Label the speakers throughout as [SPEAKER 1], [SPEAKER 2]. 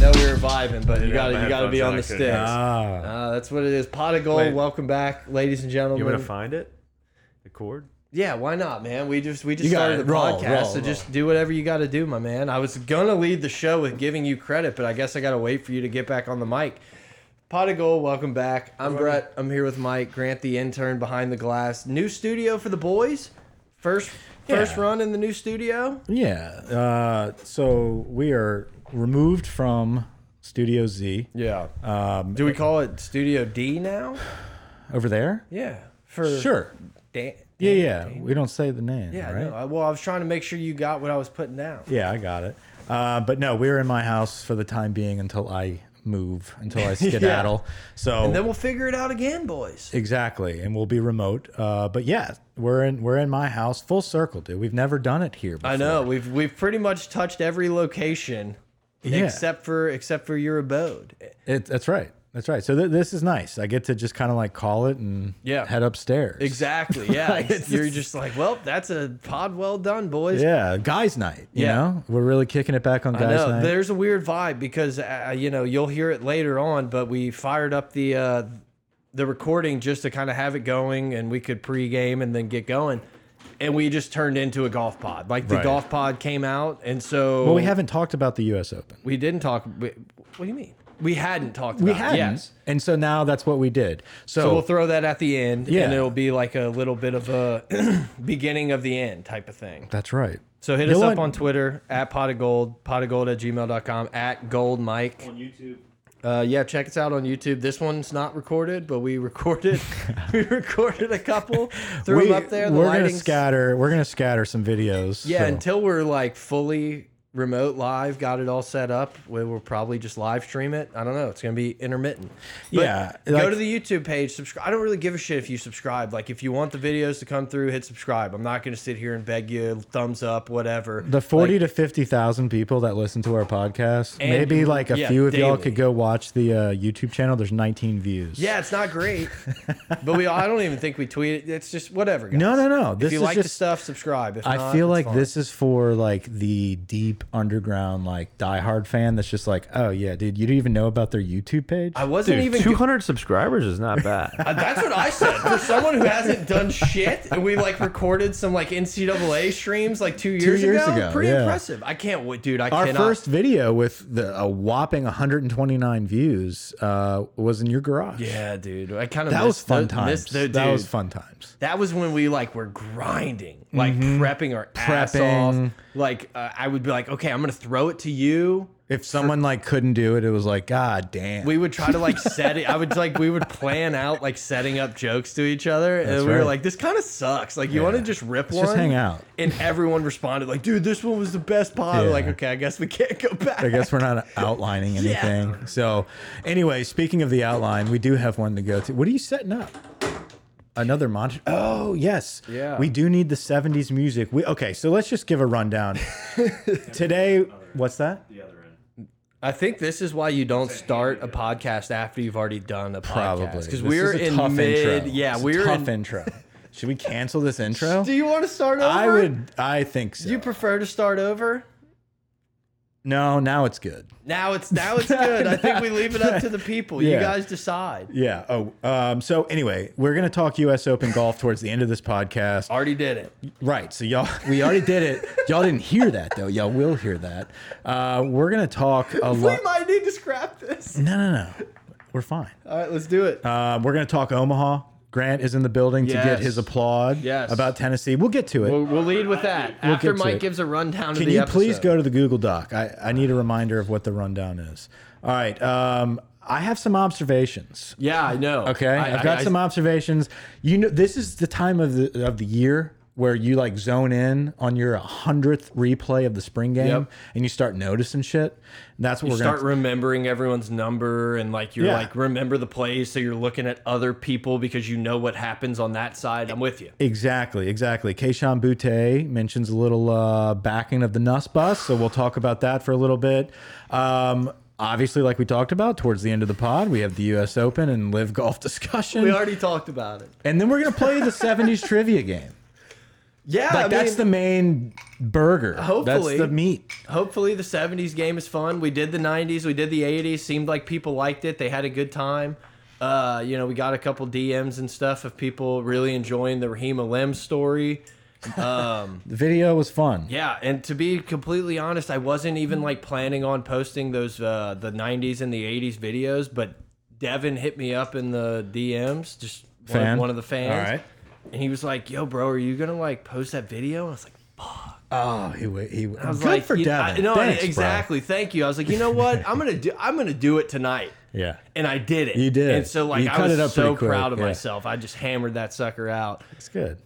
[SPEAKER 1] No, we were vibing, but you got
[SPEAKER 2] got my
[SPEAKER 1] to you got to be
[SPEAKER 2] headphones
[SPEAKER 1] on
[SPEAKER 2] on, I
[SPEAKER 1] the
[SPEAKER 2] couldn't-
[SPEAKER 1] sticks.
[SPEAKER 3] Ah.
[SPEAKER 1] Uh, that's what it is. Pot of gold.
[SPEAKER 2] Wait.
[SPEAKER 1] Welcome back, ladies and gentlemen.
[SPEAKER 2] You want to find it? The cord?
[SPEAKER 1] yeah, why not, man? We just we just
[SPEAKER 3] You got
[SPEAKER 1] started
[SPEAKER 3] it.
[SPEAKER 1] the
[SPEAKER 3] Roll,
[SPEAKER 1] podcast,
[SPEAKER 3] roll,
[SPEAKER 1] so
[SPEAKER 3] roll.
[SPEAKER 1] just do whatever you got to do, my man. I was gonna lead the show with giving you credit, but I guess I got to wait for you to get back on the mic. Pot of gold. Welcome back. I'm Brett. I'm here with Mike Grant, the intern behind the glass. New studio for the boys. First first
[SPEAKER 3] Yeah.
[SPEAKER 1] run in the new studio.
[SPEAKER 3] Yeah. Uh, so we are removed from Studio Z
[SPEAKER 1] Yeah. Um, do we call it Studio D now?
[SPEAKER 3] over there.
[SPEAKER 1] Yeah. For
[SPEAKER 3] Sure.
[SPEAKER 1] Dan
[SPEAKER 3] Yeah, yeah. We don't say the name.
[SPEAKER 1] Yeah,
[SPEAKER 3] Right?
[SPEAKER 1] no. I, well, I was trying to make sure you got what I was putting down.
[SPEAKER 3] Yeah, I got it. Uh, but no, we're in my house for the time being until I move, until I skedaddle. So
[SPEAKER 1] And then we'll figure it out again, boys.
[SPEAKER 3] exactly, and we'll be remote. Uh, but yeah, we're in we're in my house, full circle, dude. We've never done it here. Before.
[SPEAKER 1] I know we've we've pretty much touched every location
[SPEAKER 3] Yeah.
[SPEAKER 1] except for except for your abode.
[SPEAKER 3] It, that's right. That's right. So th this is nice. I get to just kind of like call it and
[SPEAKER 1] Yeah.
[SPEAKER 3] head upstairs.
[SPEAKER 1] Exactly. Yeah,
[SPEAKER 3] Like, it's
[SPEAKER 1] you're
[SPEAKER 3] just-
[SPEAKER 1] just like, well, that's a pod well done, boys.
[SPEAKER 3] Yeah, guys' night. You
[SPEAKER 1] Yeah.
[SPEAKER 3] know, we're really kicking it back on
[SPEAKER 1] I
[SPEAKER 3] guys'
[SPEAKER 1] know
[SPEAKER 3] night.
[SPEAKER 1] there's a weird vibe because uh, you know you'll hear it later on, but we fired up the uh, the recording just to kind of have it going, and we could pregame and then get going, and we just turned into a golf pod. Like the
[SPEAKER 3] Right.
[SPEAKER 1] golf pod came out, and so
[SPEAKER 3] well, we haven't talked about the U.S. Open.
[SPEAKER 1] we didn't talk. We, what do you mean? We hadn't talked.
[SPEAKER 3] We
[SPEAKER 1] about
[SPEAKER 3] hadn't,
[SPEAKER 1] It. Yes.
[SPEAKER 3] and so now that's what we did. So,
[SPEAKER 1] So we'll throw that at the end,
[SPEAKER 3] Yeah.
[SPEAKER 1] and it'll be like a little bit of a beginning of the end type of thing.
[SPEAKER 3] that's right.
[SPEAKER 1] So hit us
[SPEAKER 3] You'll
[SPEAKER 1] up
[SPEAKER 3] un-
[SPEAKER 1] on Twitter at pot of gold, pot of gold at gmail.com, at gold Mike. On YouTube. Uh, yeah, check us out on YouTube. This one's not recorded, but we recorded we recorded a couple, threw
[SPEAKER 3] we,
[SPEAKER 1] them up there. The
[SPEAKER 3] we're gonna
[SPEAKER 1] lighting's
[SPEAKER 3] scatter. We're gonna scatter some videos.
[SPEAKER 1] Yeah,
[SPEAKER 3] so-
[SPEAKER 1] until we're like fully remote live, got it all set up, we will probably just live stream it. I don't know. It's gonna be intermittent. But
[SPEAKER 3] Yeah,
[SPEAKER 1] go
[SPEAKER 3] like-
[SPEAKER 1] to the YouTube page. Subscribe. I don't really give a shit if you subscribe. Like, if you want the videos to come through, hit subscribe. I'm not gonna sit here and beg you thumbs up, whatever.
[SPEAKER 3] the forty to fifty thousand people that listen to our podcast,
[SPEAKER 1] And-
[SPEAKER 3] maybe like a
[SPEAKER 1] yeah,
[SPEAKER 3] few of y'all
[SPEAKER 1] daily.
[SPEAKER 3] could go watch the uh, YouTube channel. There's nineteen views.
[SPEAKER 1] yeah, it's not great, but we. I don't even think we tweet it. It's just whatever. Guys.
[SPEAKER 3] No, no, no.
[SPEAKER 1] If
[SPEAKER 3] This
[SPEAKER 1] you
[SPEAKER 3] is
[SPEAKER 1] like the
[SPEAKER 3] just.
[SPEAKER 1] stuff, subscribe. If
[SPEAKER 3] I
[SPEAKER 1] not,
[SPEAKER 3] feel
[SPEAKER 1] it's
[SPEAKER 3] like
[SPEAKER 1] fine.
[SPEAKER 3] this is for like the deep underground like diehard fan that's just like, oh yeah, dude, you didn't even know about their YouTube page.
[SPEAKER 1] I wasn't even.
[SPEAKER 2] Two hundred subscribers is not bad.
[SPEAKER 1] Uh, That's what I said. For someone who hasn't done shit, and we like recorded some like NCAA streams like two years,
[SPEAKER 3] years
[SPEAKER 1] ago.
[SPEAKER 3] ago,
[SPEAKER 1] Pretty
[SPEAKER 3] yeah.
[SPEAKER 1] impressive. I can't wait, dude. I
[SPEAKER 3] Our
[SPEAKER 1] cannot.
[SPEAKER 3] first video with the, a whopping 129 views uh, was in your garage.
[SPEAKER 1] yeah, dude. I kind of
[SPEAKER 3] that was fun times. that was fun times.
[SPEAKER 1] That was when we like were grinding, like prepping our ass
[SPEAKER 3] Mm-hmm. Prepping.
[SPEAKER 1] off. Like uh, I would be like, okay, I'm gonna throw it to you.
[SPEAKER 3] If someone like couldn't do it, it was like, God damn.
[SPEAKER 1] We would try to like set it. I would like we would plan out like setting up jokes to each other, and
[SPEAKER 3] That's
[SPEAKER 1] we were
[SPEAKER 3] right.
[SPEAKER 1] like, "This kind of sucks." Like, you want to just rip one?
[SPEAKER 3] just hang out.
[SPEAKER 1] And everyone responded like, "Dude, this one was the best pod."
[SPEAKER 3] Yeah.
[SPEAKER 1] Like, okay, I guess we can't go back.
[SPEAKER 3] I guess we're not outlining anything. So, anyway, speaking of the outline, we do have one to go to. What are you setting up? Another monitor. Oh yes,
[SPEAKER 1] Yeah.
[SPEAKER 3] We do need the '70s music. We okay. So let's just give a rundown. Today, what's that?
[SPEAKER 1] I think this is why you don't start a podcast after you've already done a
[SPEAKER 3] Probably
[SPEAKER 1] podcast
[SPEAKER 3] This
[SPEAKER 1] because we're
[SPEAKER 3] is a
[SPEAKER 1] in
[SPEAKER 3] tough
[SPEAKER 1] mid.
[SPEAKER 3] Intro.
[SPEAKER 1] Yeah,
[SPEAKER 3] It's a
[SPEAKER 1] we're
[SPEAKER 3] tough
[SPEAKER 1] in.
[SPEAKER 3] intro. Should we cancel this intro?
[SPEAKER 1] Do you want to start over?
[SPEAKER 3] I would. I think so.
[SPEAKER 1] You prefer to start over?
[SPEAKER 3] no, now it's good.
[SPEAKER 1] Now it's now it's good. I think we leave it up to the people. You
[SPEAKER 3] Yeah.
[SPEAKER 1] guys decide.
[SPEAKER 3] Yeah. Oh. Um. So anyway, we're gonna talk U.S. Open golf towards the end of this podcast.
[SPEAKER 1] Already did it.
[SPEAKER 3] Right. So y'all, we already did it. Y'all didn't hear that though. Y'all will hear that. Uh, we're gonna talk a
[SPEAKER 1] We
[SPEAKER 3] lot.
[SPEAKER 1] might need to scrap this.
[SPEAKER 3] No, no, no. We're fine.
[SPEAKER 1] All right, let's do it.
[SPEAKER 3] Uh, we're gonna talk Omaha. Grant is in the building to get
[SPEAKER 1] Yes.
[SPEAKER 3] his applaud
[SPEAKER 1] Yes.
[SPEAKER 3] about Tennessee. We'll get to it.
[SPEAKER 1] We'll, we'll lead with that after
[SPEAKER 3] get to
[SPEAKER 1] Mike
[SPEAKER 3] it.
[SPEAKER 1] gives a rundown of
[SPEAKER 3] Can
[SPEAKER 1] the
[SPEAKER 3] you
[SPEAKER 1] episode.
[SPEAKER 3] please go to the Google Doc? I, I need a reminder of what the rundown is. All right. Um, I have some observations.
[SPEAKER 1] Yeah, I know.
[SPEAKER 3] Okay, I,
[SPEAKER 1] I,
[SPEAKER 3] have got
[SPEAKER 1] I-
[SPEAKER 3] some observations. You know, this is the time of the of the year where you like zone in on your hundredth replay of the spring game,
[SPEAKER 1] Yep.
[SPEAKER 3] and you start noticing shit. And that's what
[SPEAKER 1] You
[SPEAKER 3] we're
[SPEAKER 1] start
[SPEAKER 3] gonna
[SPEAKER 1] remembering everyone's number and like you're
[SPEAKER 3] Yeah.
[SPEAKER 1] like remember the plays, so you're looking at other people because you know what happens on that side. I'm with you.
[SPEAKER 3] exactly, exactly. Keishan Butte mentions a little uh, backing of the Nuss Bus, so we'll talk about that for a little bit. Um, obviously, like we talked about towards the end of the pod, we have the U.S. Open and live golf discussion,
[SPEAKER 1] We already talked about it.
[SPEAKER 3] and then we're gonna play the '70s trivia game.
[SPEAKER 1] Yeah,
[SPEAKER 3] Like
[SPEAKER 1] I
[SPEAKER 3] that's
[SPEAKER 1] mean-
[SPEAKER 3] the main burger.
[SPEAKER 1] Hopefully.
[SPEAKER 3] that's the meat.
[SPEAKER 1] Hopefully, the 70s game is fun. We did the 90s, we did the 80s. Seemed like people liked it. They had a good time. Uh, you know, we got a couple DMs and stuff of people really enjoying the Raheem Alem story.
[SPEAKER 3] The video was fun.
[SPEAKER 1] Yeah, and to be completely honest, I wasn't even like planning on posting those uh, the 90s and the 80s videos, but Devin hit me up in the DMs, just one,
[SPEAKER 3] Fan?
[SPEAKER 1] one of the fans.
[SPEAKER 3] All right.
[SPEAKER 1] And he was like, "Yo, bro, are you gonna like post that video?" And I was like,
[SPEAKER 3] Oh, he wa- he.
[SPEAKER 1] I was
[SPEAKER 3] good
[SPEAKER 1] like,
[SPEAKER 3] for
[SPEAKER 1] you- I-
[SPEAKER 3] Devin.
[SPEAKER 1] no,
[SPEAKER 3] Thanks, bro.
[SPEAKER 1] exactly. Thank you. I was like, you know what? I'm gonna do. I'm gonna do it tonight.
[SPEAKER 3] Yeah.
[SPEAKER 1] And I did it.
[SPEAKER 3] You did.
[SPEAKER 1] And so like
[SPEAKER 3] You
[SPEAKER 1] I
[SPEAKER 3] cut
[SPEAKER 1] was
[SPEAKER 3] it up
[SPEAKER 1] so
[SPEAKER 3] pretty quick,
[SPEAKER 1] proud of
[SPEAKER 3] yeah.
[SPEAKER 1] myself. I just hammered that sucker out.
[SPEAKER 3] It's good.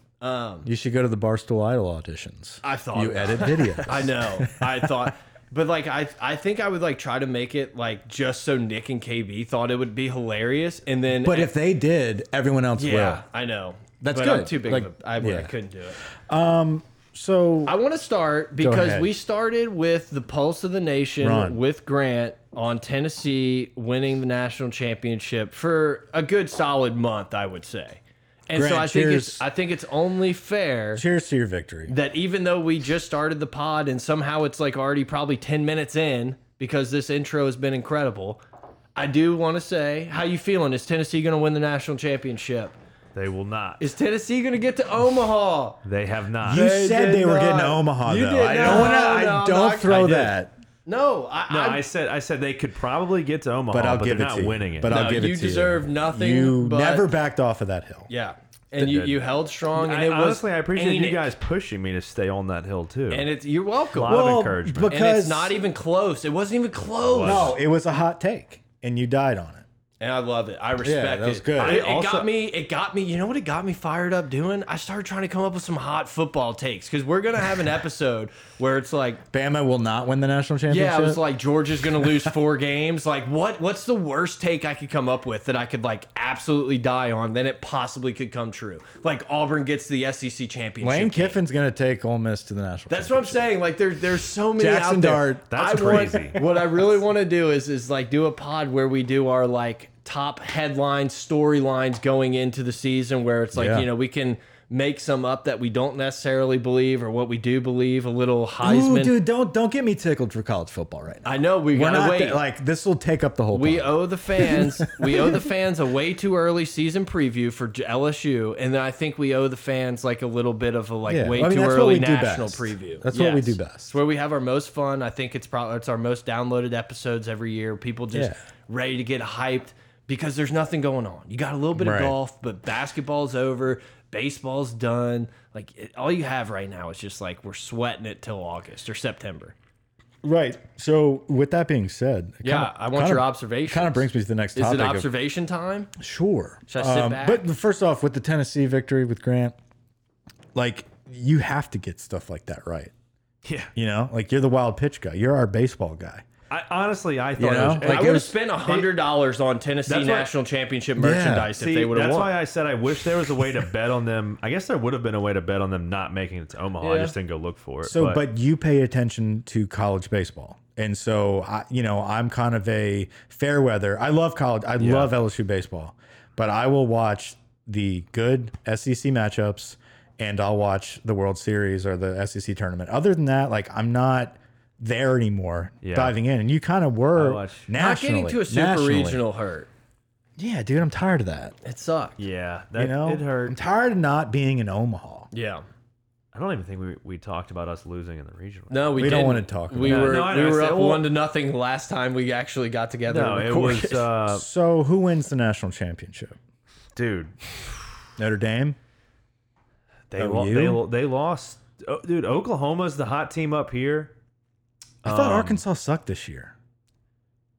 [SPEAKER 3] you should go to the Barstool Idol auditions.
[SPEAKER 1] Um, I thought
[SPEAKER 3] you
[SPEAKER 1] about
[SPEAKER 3] edit videos.
[SPEAKER 1] I know. I thought, but like I, I think I would like try to make it like just so Nick and KB thought it would be hilarious, and then
[SPEAKER 3] but if they did, everyone else
[SPEAKER 1] yeah,
[SPEAKER 3] will.
[SPEAKER 1] I know.
[SPEAKER 3] That's
[SPEAKER 1] but I'm
[SPEAKER 3] good.
[SPEAKER 1] too big.
[SPEAKER 3] Like,
[SPEAKER 1] of a, I, would- I
[SPEAKER 3] yeah.
[SPEAKER 1] couldn't do it.
[SPEAKER 3] So
[SPEAKER 1] I want to start because
[SPEAKER 3] ahead.
[SPEAKER 1] we started with the pulse of the nation
[SPEAKER 3] Ron.
[SPEAKER 1] with Grant on Tennessee winning the national championship for a good solid month, I would say. And so
[SPEAKER 3] Grant,
[SPEAKER 1] I think
[SPEAKER 3] cheers.
[SPEAKER 1] it's I think it's only fair
[SPEAKER 3] cheers to your victory.
[SPEAKER 1] that even though we just started the pod and somehow it's like already probably 10 minutes in because this intro has been incredible. I do want to say, how you feeling? Is Tennessee going to win the national championship?
[SPEAKER 2] They will not.
[SPEAKER 1] Is Tennessee going to get to Omaha?
[SPEAKER 2] They have not.
[SPEAKER 3] You
[SPEAKER 1] They
[SPEAKER 3] said
[SPEAKER 1] did
[SPEAKER 3] they were getting to
[SPEAKER 1] not.
[SPEAKER 3] Omaha
[SPEAKER 1] You
[SPEAKER 3] though.
[SPEAKER 1] did
[SPEAKER 3] I
[SPEAKER 1] not.
[SPEAKER 3] don't wanna
[SPEAKER 1] No, no,
[SPEAKER 3] I
[SPEAKER 1] I'm
[SPEAKER 3] don't
[SPEAKER 1] not- I
[SPEAKER 3] throw
[SPEAKER 1] did.
[SPEAKER 3] that.
[SPEAKER 1] No, I,
[SPEAKER 2] no,
[SPEAKER 1] I,
[SPEAKER 2] I said I said they could probably get to Omaha,
[SPEAKER 3] But
[SPEAKER 2] Oh, but,
[SPEAKER 3] I'll give
[SPEAKER 2] they're
[SPEAKER 3] it
[SPEAKER 2] not
[SPEAKER 3] to you.
[SPEAKER 2] winning it.
[SPEAKER 3] But I'll
[SPEAKER 1] No,
[SPEAKER 3] give it
[SPEAKER 1] you
[SPEAKER 3] to
[SPEAKER 1] deserve nothing,
[SPEAKER 3] You
[SPEAKER 1] but-
[SPEAKER 3] never backed off of that hill.
[SPEAKER 1] Yeah, and you,
[SPEAKER 2] did.
[SPEAKER 1] you held strong, and
[SPEAKER 2] I,
[SPEAKER 1] it was
[SPEAKER 2] honestly, I appreciate you
[SPEAKER 1] anemic.
[SPEAKER 2] guys pushing me to stay on that hill too.
[SPEAKER 1] And it's you're welcome.
[SPEAKER 2] Lot of
[SPEAKER 3] Well,
[SPEAKER 2] encouragement.
[SPEAKER 3] Oh, because
[SPEAKER 1] and it's not even close. It wasn't even close.
[SPEAKER 3] No, it was a hot take, and you died on it.
[SPEAKER 1] And I love it. I respect
[SPEAKER 3] that was
[SPEAKER 1] it.
[SPEAKER 3] good.
[SPEAKER 1] I-
[SPEAKER 3] I
[SPEAKER 1] it
[SPEAKER 2] also-
[SPEAKER 1] got me. It got me. You know what? It got me fired up doing. I started trying to come up with some hot football takes because we're gonna have an episode where it's like,
[SPEAKER 3] Bama will not win the national championship.
[SPEAKER 1] yeah, I was like, Georgia's gonna lose four games. Like, what? What's the worst take I could come up with that I could like absolutely die on? Then it possibly could come true. Like Auburn gets the SEC championship.
[SPEAKER 3] Lane
[SPEAKER 1] game.
[SPEAKER 3] Kiffin's going to take Ole Miss to the national.
[SPEAKER 1] That's what I'm saying. Like there, there's so many
[SPEAKER 3] Jackson
[SPEAKER 1] out there.
[SPEAKER 3] Dart.
[SPEAKER 2] That's
[SPEAKER 1] I want-
[SPEAKER 2] crazy.
[SPEAKER 1] what I really want to do is is like do a pod where we do our like top headlines, storylines going into the season, where it's like
[SPEAKER 3] Yeah.
[SPEAKER 1] you know we can make some up that we don't necessarily believe or what we do believe. A little
[SPEAKER 3] Ooh,
[SPEAKER 1] Heisman.
[SPEAKER 3] dude, don't don't get me tickled for college football right now.
[SPEAKER 1] I know we
[SPEAKER 3] We're
[SPEAKER 1] gotta
[SPEAKER 3] not
[SPEAKER 1] wait.
[SPEAKER 3] that- like this will take up the whole.
[SPEAKER 1] we
[SPEAKER 3] pod.
[SPEAKER 1] owe the fans. we owe the fans a way too early season preview for J- LSU, and then I think we owe the fans like a little bit of a like
[SPEAKER 3] Yeah,
[SPEAKER 1] way
[SPEAKER 3] I mean,
[SPEAKER 1] too
[SPEAKER 3] that's what
[SPEAKER 1] early
[SPEAKER 3] we do
[SPEAKER 1] national
[SPEAKER 3] best.
[SPEAKER 1] preview.
[SPEAKER 3] That's what we do best.
[SPEAKER 1] It's where we have our most fun. I think it's probably it's our most downloaded episodes every year. People just
[SPEAKER 3] Yeah.
[SPEAKER 1] ready to get hyped because there's nothing going on. You got a little bit
[SPEAKER 3] Right.
[SPEAKER 1] of golf, but basketball's over. Baseball's done. Like it, all you have right now is just like we're sweating it till August or September.
[SPEAKER 3] right. So with that being said, it
[SPEAKER 1] Yeah,
[SPEAKER 3] kinda-
[SPEAKER 1] I want
[SPEAKER 3] kinda-
[SPEAKER 1] your observation.
[SPEAKER 3] Kind of brings me to the next
[SPEAKER 1] Is
[SPEAKER 3] topic.
[SPEAKER 1] it
[SPEAKER 3] of-
[SPEAKER 1] observation time?
[SPEAKER 3] Sure. Um,
[SPEAKER 1] Should I sit back?
[SPEAKER 3] But first off, with the Tennessee victory with Grant, like you have to get stuff like that right.
[SPEAKER 2] yeah,
[SPEAKER 3] You know, like you're the wild pitch guy. You're our baseball guy.
[SPEAKER 2] I, honestly, I thought
[SPEAKER 3] You know?
[SPEAKER 2] it was,
[SPEAKER 3] Like,
[SPEAKER 1] I
[SPEAKER 3] it
[SPEAKER 1] would have
[SPEAKER 3] was-
[SPEAKER 1] spent hundred dollars on Tennessee
[SPEAKER 2] That's why-
[SPEAKER 1] national championship merchandise
[SPEAKER 2] See,
[SPEAKER 1] if they would have
[SPEAKER 2] that's
[SPEAKER 1] won.
[SPEAKER 2] why I said I wish there was a way to bet on them. I guess there would have been a way to bet on them not making it to Omaha. I
[SPEAKER 1] Yeah.
[SPEAKER 2] just didn't go look for it.
[SPEAKER 3] So, but, you pay attention to college baseball. And so, I, you know, I'm kind of a fair weather. I love college. I love LSU baseball, but I will watch the good SEC matchups and I'll watch the World Series or the SEC tournament. Other than that, like I'm not there anymore
[SPEAKER 2] Yeah.
[SPEAKER 3] diving in. And you kind of were
[SPEAKER 2] watch-
[SPEAKER 1] not
[SPEAKER 3] nationally.
[SPEAKER 1] getting to a super
[SPEAKER 3] nationally.
[SPEAKER 1] regional hurt.
[SPEAKER 3] Yeah, dude, I'm tired of that.
[SPEAKER 1] It sucked.
[SPEAKER 2] yeah, that
[SPEAKER 3] You know,
[SPEAKER 2] it
[SPEAKER 3] I'm
[SPEAKER 2] hurt.
[SPEAKER 3] tired of not being in Omaha.
[SPEAKER 1] Yeah.
[SPEAKER 2] I don't even think we, we talked about us losing in the regional.
[SPEAKER 1] No, we,
[SPEAKER 3] We don't
[SPEAKER 1] didn't.
[SPEAKER 3] wanna talk
[SPEAKER 1] We
[SPEAKER 2] about it.
[SPEAKER 1] were
[SPEAKER 2] No, I
[SPEAKER 1] we
[SPEAKER 2] know. I
[SPEAKER 1] were
[SPEAKER 2] said,
[SPEAKER 1] up
[SPEAKER 2] well-
[SPEAKER 1] one to nothing last time we actually got together.
[SPEAKER 2] no,
[SPEAKER 1] and
[SPEAKER 2] it
[SPEAKER 1] recorded.
[SPEAKER 2] was uh,
[SPEAKER 3] So, who wins the national championship?
[SPEAKER 2] dude.
[SPEAKER 3] Notre Dame.
[SPEAKER 2] They
[SPEAKER 3] Oh,
[SPEAKER 2] lo-
[SPEAKER 3] you?
[SPEAKER 2] they lo- they lost. Oh, dude, Oklahoma's the hot team up here.
[SPEAKER 3] I thought
[SPEAKER 2] Um,
[SPEAKER 3] Arkansas sucked this year.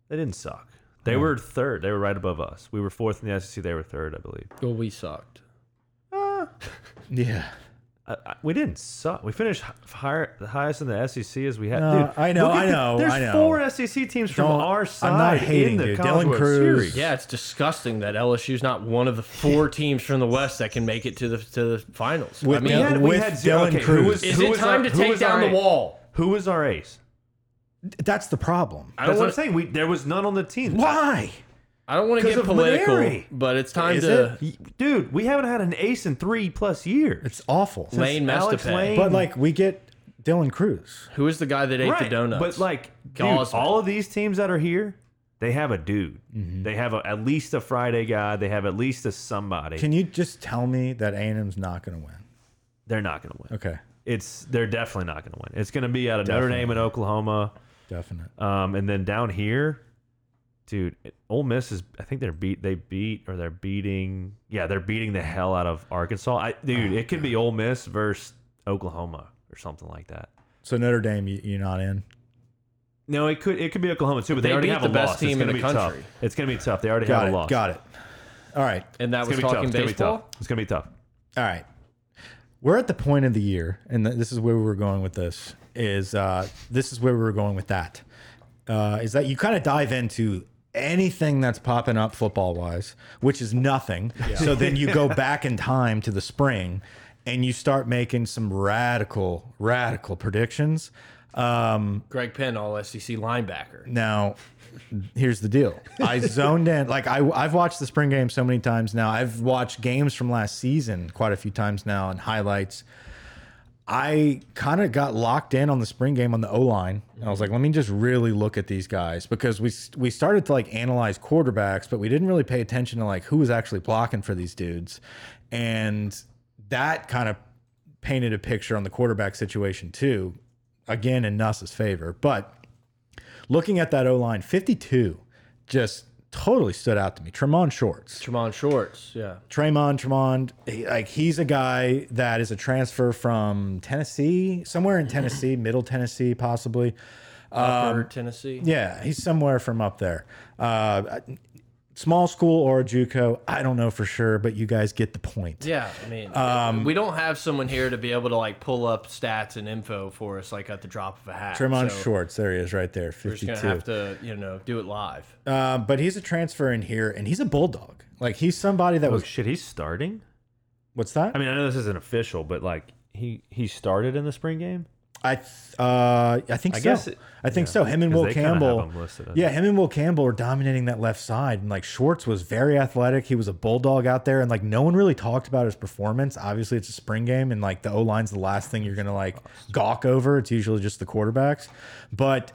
[SPEAKER 2] They didn't suck. They were third. They were right above us. We were fourth in the SEC. They were third, I believe.
[SPEAKER 1] well, we sucked.
[SPEAKER 3] Yeah.
[SPEAKER 2] I, I, we didn't suck. We finished hi- higher, the highest in the SEC as we had.
[SPEAKER 3] No,
[SPEAKER 2] dude,
[SPEAKER 3] I know,
[SPEAKER 2] look at
[SPEAKER 3] I
[SPEAKER 2] the-
[SPEAKER 3] know,
[SPEAKER 2] There's
[SPEAKER 3] I know.
[SPEAKER 2] four SEC teams from
[SPEAKER 3] Don't-
[SPEAKER 2] our side
[SPEAKER 3] I'm not hating,
[SPEAKER 2] in the
[SPEAKER 3] dude.
[SPEAKER 2] College
[SPEAKER 3] Dylan
[SPEAKER 2] World
[SPEAKER 3] Cruz.
[SPEAKER 2] Series.
[SPEAKER 1] Yeah, it's disgusting that LSU's not one of the four teams from the West that can make it to the to the finals. I
[SPEAKER 3] With
[SPEAKER 1] mean,
[SPEAKER 2] We
[SPEAKER 3] Dylan-
[SPEAKER 2] had, we
[SPEAKER 3] With
[SPEAKER 2] had zero.
[SPEAKER 3] Dylan
[SPEAKER 2] okay,
[SPEAKER 3] Cruz.
[SPEAKER 2] Who was,
[SPEAKER 1] is
[SPEAKER 2] who
[SPEAKER 1] it
[SPEAKER 2] was
[SPEAKER 1] time
[SPEAKER 2] our-
[SPEAKER 1] to
[SPEAKER 2] who
[SPEAKER 1] take
[SPEAKER 2] was our
[SPEAKER 1] down the
[SPEAKER 2] ace?
[SPEAKER 1] wall?
[SPEAKER 2] Who was our ace?
[SPEAKER 3] That's the problem.
[SPEAKER 1] I don't
[SPEAKER 2] That's what I'm
[SPEAKER 1] wanna-
[SPEAKER 2] saying. We there was none on the team.
[SPEAKER 3] Why?
[SPEAKER 1] I don't want to
[SPEAKER 3] 'Cause
[SPEAKER 1] get
[SPEAKER 3] of
[SPEAKER 1] political,
[SPEAKER 3] Maneri.
[SPEAKER 1] but it's time
[SPEAKER 3] Is
[SPEAKER 1] to
[SPEAKER 2] Y- Dude, we haven't had an ace in three plus years.
[SPEAKER 3] It's awful.
[SPEAKER 1] Lane
[SPEAKER 2] Alex
[SPEAKER 1] Mestapay.
[SPEAKER 2] Lane-
[SPEAKER 3] But like we get Dylan Cruz.
[SPEAKER 1] Who is the guy that ate the donuts?
[SPEAKER 2] But like, dude,
[SPEAKER 1] Gosman.
[SPEAKER 2] all of these teams that are here, they have a dude.
[SPEAKER 1] Mm-hmm.
[SPEAKER 2] They have a, at least a Friday guy. They have at least a somebody.
[SPEAKER 3] Can you just tell me that A&M's not going to win?
[SPEAKER 2] they're not going to win.
[SPEAKER 3] Okay,
[SPEAKER 2] It's they're definitely not going to win. It's going to be out of Notre
[SPEAKER 3] Definitely.
[SPEAKER 2] Dame and Oklahoma,
[SPEAKER 3] definite.
[SPEAKER 2] um, and then down here, dude. It, Ole Miss is. I think they're beat. They beat or they're beating. Yeah, they're beating the hell out of Arkansas. I, dude,
[SPEAKER 1] Oh,
[SPEAKER 2] it could be Ole Miss versus Oklahoma or something like that.
[SPEAKER 3] So Notre Dame, you, you're not in.
[SPEAKER 2] No, it could it could be Oklahoma too, but
[SPEAKER 1] They
[SPEAKER 2] they, already
[SPEAKER 1] beat
[SPEAKER 2] have
[SPEAKER 1] the
[SPEAKER 2] a
[SPEAKER 1] best
[SPEAKER 2] loss.
[SPEAKER 1] team
[SPEAKER 2] it's
[SPEAKER 1] in
[SPEAKER 2] gonna
[SPEAKER 1] the
[SPEAKER 2] be
[SPEAKER 1] country.
[SPEAKER 2] tough. It's gonna be tough. They already
[SPEAKER 3] Got
[SPEAKER 2] have
[SPEAKER 3] it.
[SPEAKER 2] a loss.
[SPEAKER 3] Got it. All right.
[SPEAKER 1] and that
[SPEAKER 2] It's
[SPEAKER 1] was
[SPEAKER 2] gonna be tough.
[SPEAKER 1] talking
[SPEAKER 2] It's gonna be
[SPEAKER 1] baseball.
[SPEAKER 2] tough. It's gonna be tough.
[SPEAKER 3] All right. We're at the point of the year, and th- this is where we were going with this. Is uh, this is where we were going with that? Uh, is that you kind of dive into anything that's popping up football wise, which is nothing. So then you go back in time to the spring, and you start making some radical, radical predictions. Um,
[SPEAKER 1] Greg Penn, all SEC linebacker.
[SPEAKER 3] Now, here's the deal. I zoned in. Like I, I've watched the spring game so many times now. I've watched games from last season quite a few times now and highlights. I kind of got locked in on the spring game on the O line, and I was like, let me just really look at these guys because we we started to like analyze quarterbacks, but we didn't really pay attention to like who was actually blocking for these dudes, and that kind of painted a picture on the quarterback situation too, again in Nuss's favor, but looking at that O line, 52 just totally stood out to me. Tremont Shorts.
[SPEAKER 1] Tremont Shorts, yeah.
[SPEAKER 3] Tremont, Tremont, he- like he's a guy that is a transfer from Tennessee, somewhere in Tennessee, middle Tennessee, possibly. Um,
[SPEAKER 1] Upper Tennessee.
[SPEAKER 3] Yeah, he's somewhere from up there. Uh, small school or Juco, I don't know for sure, but you guys get the point.
[SPEAKER 1] Yeah, I mean,
[SPEAKER 3] um,
[SPEAKER 1] we don't have someone here to be able to like pull up stats and info for us like at the drop of a hat.
[SPEAKER 3] Tremont
[SPEAKER 1] so
[SPEAKER 3] Shorts, there he is right there,
[SPEAKER 1] We're just
[SPEAKER 3] 52.
[SPEAKER 1] gonna have to, you know, do it live.
[SPEAKER 3] Uh, but he's a transfer in here, and he's a bulldog. Like he's somebody that
[SPEAKER 2] Oh
[SPEAKER 3] was.
[SPEAKER 2] shit, he's starting.
[SPEAKER 3] What's that?
[SPEAKER 2] I mean, I know this isn't official, but like he he started in the spring game.
[SPEAKER 3] I th uh, I think
[SPEAKER 2] I
[SPEAKER 3] so.
[SPEAKER 2] guess it-
[SPEAKER 3] I think
[SPEAKER 2] yeah,
[SPEAKER 3] so. Him and
[SPEAKER 2] 'cause
[SPEAKER 3] Will
[SPEAKER 2] they kinda have
[SPEAKER 3] Campbell.
[SPEAKER 2] them listed as-
[SPEAKER 3] Yeah, him and Will Campbell are dominating that left side. And like Schwartz was very athletic. He was a bulldog out there, and like no one really talked about his performance. Obviously, it's a spring game, and like the O line's the last thing you're gonna like gawk over. It's usually just the quarterbacks, but.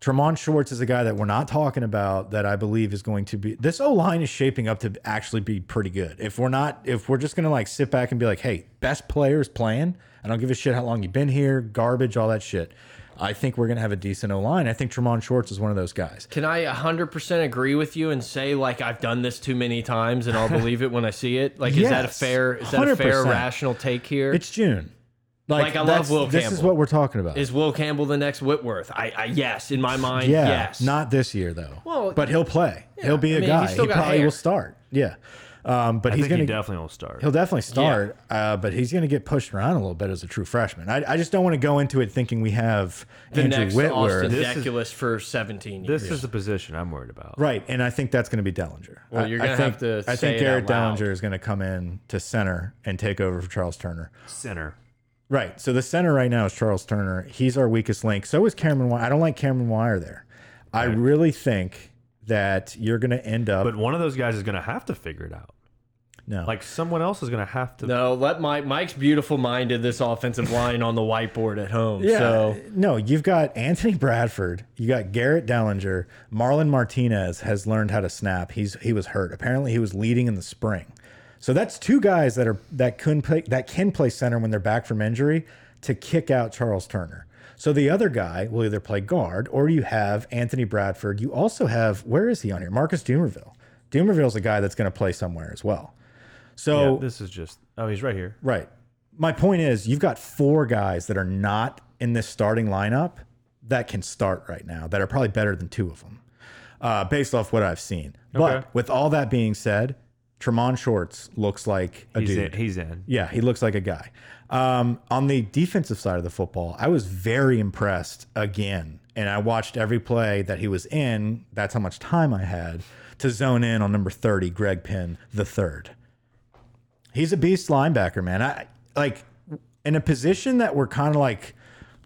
[SPEAKER 3] Tremont Schwartz is a guy that we're not talking about that I believe is going to be this O line is shaping up to actually be pretty good. If we're not, if we're just gonna like sit back and be like, hey, best players playing, I don't give a shit how long you've been here, garbage, all that shit. I think we're gonna have a decent O line. I think Tremont Schwartz is one of those guys.
[SPEAKER 1] Can I 100% agree with you and say like I've done this too many times and I'll believe it when I see it? Like, is that a
[SPEAKER 3] Yes,
[SPEAKER 1] fair? Is that a fair
[SPEAKER 3] 100%.
[SPEAKER 1] rational take here? Is
[SPEAKER 3] It's June.
[SPEAKER 1] Like, I love
[SPEAKER 3] that's-
[SPEAKER 1] Will
[SPEAKER 3] This is
[SPEAKER 1] Campbell.
[SPEAKER 3] what we're talking about.
[SPEAKER 1] Will Campbell the next Whitworth? I, I yes, in my mind,
[SPEAKER 3] yeah,
[SPEAKER 1] yes.
[SPEAKER 3] not this year though.
[SPEAKER 1] Well,
[SPEAKER 3] but he'll play. he'll be
[SPEAKER 1] I
[SPEAKER 3] a
[SPEAKER 1] mean,
[SPEAKER 3] guy.
[SPEAKER 1] he's
[SPEAKER 3] He
[SPEAKER 1] still
[SPEAKER 3] probably
[SPEAKER 1] got hair.
[SPEAKER 3] will start. Yeah, um, but
[SPEAKER 2] I
[SPEAKER 3] he's
[SPEAKER 2] think
[SPEAKER 3] gonna
[SPEAKER 2] he definitely will start.
[SPEAKER 3] He'll definitely start, uh, but he's going to get pushed around a little bit as a true freshman. I, I just don't want to go into it thinking we have
[SPEAKER 1] the
[SPEAKER 3] Andrew
[SPEAKER 1] next
[SPEAKER 3] Whitworth.
[SPEAKER 1] Austin
[SPEAKER 2] This is-
[SPEAKER 1] Deculus for 17 years.
[SPEAKER 2] This is the position I'm worried about.
[SPEAKER 3] Right, and I think that's going to be Dellinger.
[SPEAKER 1] Well,
[SPEAKER 3] I-
[SPEAKER 1] you're
[SPEAKER 3] I
[SPEAKER 1] gonna
[SPEAKER 3] think-
[SPEAKER 1] have to
[SPEAKER 3] I
[SPEAKER 1] say
[SPEAKER 3] think
[SPEAKER 1] it out
[SPEAKER 3] Garrett
[SPEAKER 1] loud.
[SPEAKER 3] Dellinger is going to come in to center and take over for Charles Turner.
[SPEAKER 2] Center.
[SPEAKER 3] Right. So the center right now is Charles Turner. He's our weakest link. So is Cameron Wire. I don't like Cameron Wire there. I really think that you're going to end up
[SPEAKER 2] But one of those guys is gonna have to figure it out.
[SPEAKER 3] no.
[SPEAKER 2] Like someone else is gonna have to.
[SPEAKER 1] No, let Mike. Mike's beautiful mind did this offensive line on the whiteboard at home. So
[SPEAKER 3] no, you've got Anthony Bradford, you got Garrett Dellinger, Marlon Martinez has learned how to snap. He's he was hurt. Apparently, he was leading in the spring. So that's two guys that are that can play that can play center when they're back from injury to kick out Charles Turner. So the other guy will either play guard or you have Anthony Bradford. You also have where is he on here? Marcus Doomerville. Doomerville's a guy that's going to play somewhere as well. So
[SPEAKER 2] Yeah, this is just. Oh, he's right here.
[SPEAKER 3] Right. My point is, you've got four guys that are not in this starting lineup that can start right now that are probably better than two of them, uh, based off what I've seen.
[SPEAKER 2] Okay.
[SPEAKER 3] But with all that being said, Tremont Shorts looks like a
[SPEAKER 2] He's
[SPEAKER 3] dude.
[SPEAKER 2] in. He's in.
[SPEAKER 3] Yeah, he looks like a guy. Um, on the defensive side of the football, I was very impressed again. And I watched every play that he was in. That's how much time I had to zone in on number 30, Greg Penn, the third. He's a beast linebacker, man. I like in a position that we're kind of like,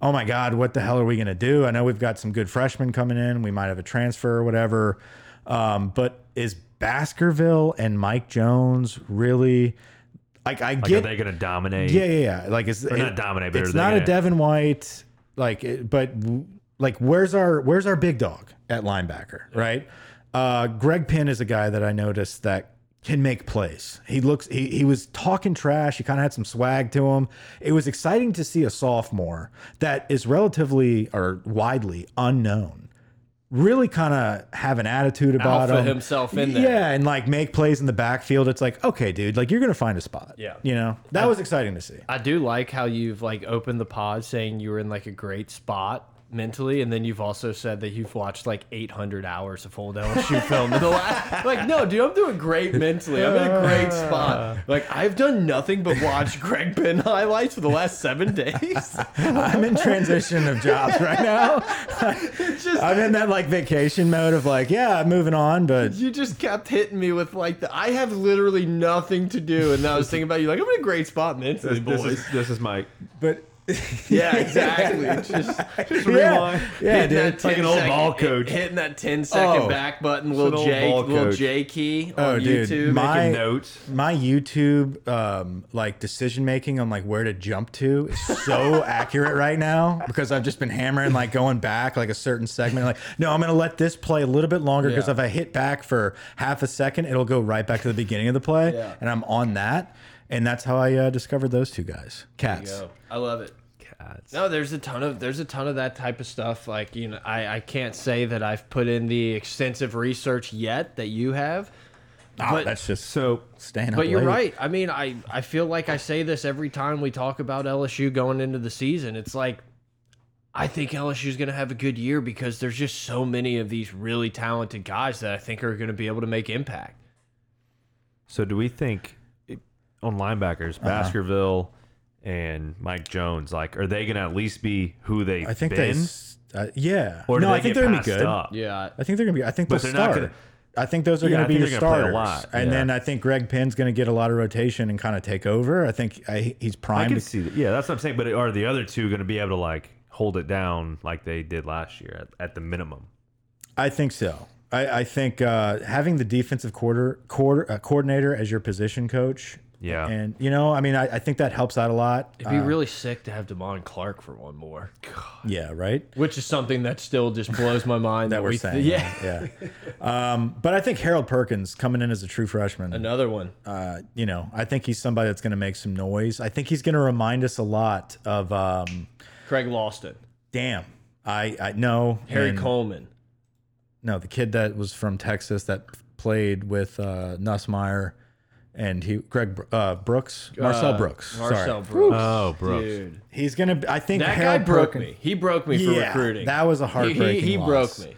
[SPEAKER 3] oh my God, what the hell are we going to do? I know we've got some good freshmen coming in. We might have a transfer or whatever. Um, but is Baskerville and Mike Jones really? Like I
[SPEAKER 2] Like, are
[SPEAKER 3] get
[SPEAKER 2] they going to dominate?
[SPEAKER 3] yeah, yeah, yeah. Like it's
[SPEAKER 2] not dominate, but
[SPEAKER 3] it's
[SPEAKER 2] are they
[SPEAKER 3] not a
[SPEAKER 2] gonna-
[SPEAKER 3] Devin White. Like, it- but w- like, where's our where's our big dog at linebacker? Right. Uh, Greg Penn is a guy that I noticed that can make plays. He looks. He he was talking trash. He kind of had some swag to him. It was exciting to see a sophomore that is relatively or widely unknown. Really, kind of have an attitude about
[SPEAKER 1] Alpha
[SPEAKER 3] him.
[SPEAKER 1] himself in there.
[SPEAKER 3] yeah, and like make plays in the backfield. It's like, okay, dude, like you're gonna find a spot.
[SPEAKER 1] Yeah.
[SPEAKER 3] you know that was exciting to see.
[SPEAKER 1] I do like how you've like opened the pod saying you were in like a great spot mentally, and then you've also said that you've watched like 800 hours of old LSU film. in the last, like, no, dude, I'm doing great mentally. I'm in a great spot. Like, I've done nothing but watch Greg Penn highlights for the last seven days.
[SPEAKER 3] I'm in transition of jobs right now. I'm in that like vacation mode of like, yeah, I'm moving on, but
[SPEAKER 1] You just kept hitting me with like the I have literally nothing to do, and I was thinking about you like I'm in a great spot mentally, boys.
[SPEAKER 2] this is my
[SPEAKER 3] but
[SPEAKER 1] yeah, exactly. It's just
[SPEAKER 3] yeah,
[SPEAKER 2] rewind.
[SPEAKER 3] yeah,
[SPEAKER 1] hitting that
[SPEAKER 3] dude.
[SPEAKER 1] 10
[SPEAKER 2] like an old ball
[SPEAKER 1] hit-
[SPEAKER 2] coach.
[SPEAKER 1] hitting that 10 second
[SPEAKER 3] Oh.
[SPEAKER 1] back button,
[SPEAKER 2] an
[SPEAKER 1] little
[SPEAKER 2] old
[SPEAKER 1] J,
[SPEAKER 2] ball
[SPEAKER 1] little
[SPEAKER 2] coach.
[SPEAKER 1] J key on
[SPEAKER 3] Oh,
[SPEAKER 1] YouTube.
[SPEAKER 3] dude, my- I-
[SPEAKER 2] notes.
[SPEAKER 3] My YouTube um, like decision making on like where to jump to is so accurate right now because I've just been hammering like going back like a certain segment. Like, no, I'm gonna let this play a little bit longer because
[SPEAKER 1] Yeah.
[SPEAKER 3] if I hit back for half a second, it'll go right back to the beginning of the play,
[SPEAKER 1] Yeah.
[SPEAKER 3] and I'm on that. And that's how I uh, discovered those two guys, cats.
[SPEAKER 1] Yo, I love it.
[SPEAKER 2] Cats.
[SPEAKER 1] No, there's a ton of there's a ton of that type of stuff. Like you know, I I can't say that I've put in the extensive research yet that you have.
[SPEAKER 3] Ah,
[SPEAKER 1] But-
[SPEAKER 3] that's just
[SPEAKER 2] So
[SPEAKER 3] staying up
[SPEAKER 1] But you're
[SPEAKER 3] late.
[SPEAKER 1] right. I mean, I, I feel like I say this every time we talk about LSU going into the season. It's like, I think LSU's going to have a good year because there's just so many of these really talented guys that I think are going to be able to make impact.
[SPEAKER 2] So do we think it- on linebackers
[SPEAKER 3] Uh-huh.
[SPEAKER 2] Baskerville and Mike Jones like are they going to at least be who they?
[SPEAKER 3] I think
[SPEAKER 2] been?
[SPEAKER 3] they, s- uh, yeah.
[SPEAKER 2] Or do
[SPEAKER 3] no,
[SPEAKER 2] they
[SPEAKER 3] I think
[SPEAKER 2] get
[SPEAKER 3] they're gonna be
[SPEAKER 2] passed
[SPEAKER 3] good.
[SPEAKER 2] Up?
[SPEAKER 1] Yeah.
[SPEAKER 3] I think they're gonna be. I think
[SPEAKER 2] But
[SPEAKER 3] they'll
[SPEAKER 2] they're not
[SPEAKER 3] start.
[SPEAKER 2] gonna-
[SPEAKER 3] I think those are
[SPEAKER 2] Yeah, I
[SPEAKER 3] gonna be
[SPEAKER 2] think they're
[SPEAKER 3] your
[SPEAKER 2] gonna play
[SPEAKER 3] starters,
[SPEAKER 2] a lot,
[SPEAKER 3] and
[SPEAKER 2] yeah.
[SPEAKER 3] then I think Greg Penn's gonna get a lot of rotation and kind of take over. I think I, he's
[SPEAKER 2] I
[SPEAKER 3] primed.
[SPEAKER 2] can
[SPEAKER 3] to-
[SPEAKER 2] see that. Yeah, that's what I'm saying. But are the other two going to be able to like hold it down like they did last year at, at the minimum?
[SPEAKER 3] I think so. I, I think uh, having the defensive quarter, quarter uh, coordinator as your position coach.
[SPEAKER 2] Yeah.
[SPEAKER 3] and you know, I mean, I, I think that helps out a lot.
[SPEAKER 1] It'd be really sick to have Damon Clark for one more,
[SPEAKER 3] Yeah, right.
[SPEAKER 1] which is something that still just blows my mind
[SPEAKER 3] That we're
[SPEAKER 1] we-
[SPEAKER 3] saying.
[SPEAKER 1] Yeah.
[SPEAKER 3] yeah. Um, but I think Harold Perkins coming in as a true freshman.
[SPEAKER 1] Another one.
[SPEAKER 3] uh, you know, I think he's somebody that's going to make some noise. I think he's going to remind us a lot of, um,
[SPEAKER 1] Craig Lawson,
[SPEAKER 3] damn, I, I know
[SPEAKER 1] Harry
[SPEAKER 3] and-
[SPEAKER 1] Coleman.
[SPEAKER 3] No, the kid that was from Texas that played with uh, Nussmeyer and he Greg uh, Brooks, Marcel
[SPEAKER 1] uh,
[SPEAKER 3] Brooks.
[SPEAKER 1] Marcel
[SPEAKER 3] Sorry,
[SPEAKER 1] Brooks.
[SPEAKER 2] Oh, Brooks.
[SPEAKER 1] Dude.
[SPEAKER 3] he's going to. I think
[SPEAKER 1] That
[SPEAKER 3] Harold
[SPEAKER 1] guy broke
[SPEAKER 3] Perkins-
[SPEAKER 1] me. He broke me for
[SPEAKER 3] Yeah,
[SPEAKER 1] recruiting.
[SPEAKER 3] that was a
[SPEAKER 1] He- he-
[SPEAKER 3] heartbreaking.
[SPEAKER 1] He,
[SPEAKER 3] loss.
[SPEAKER 1] broke me.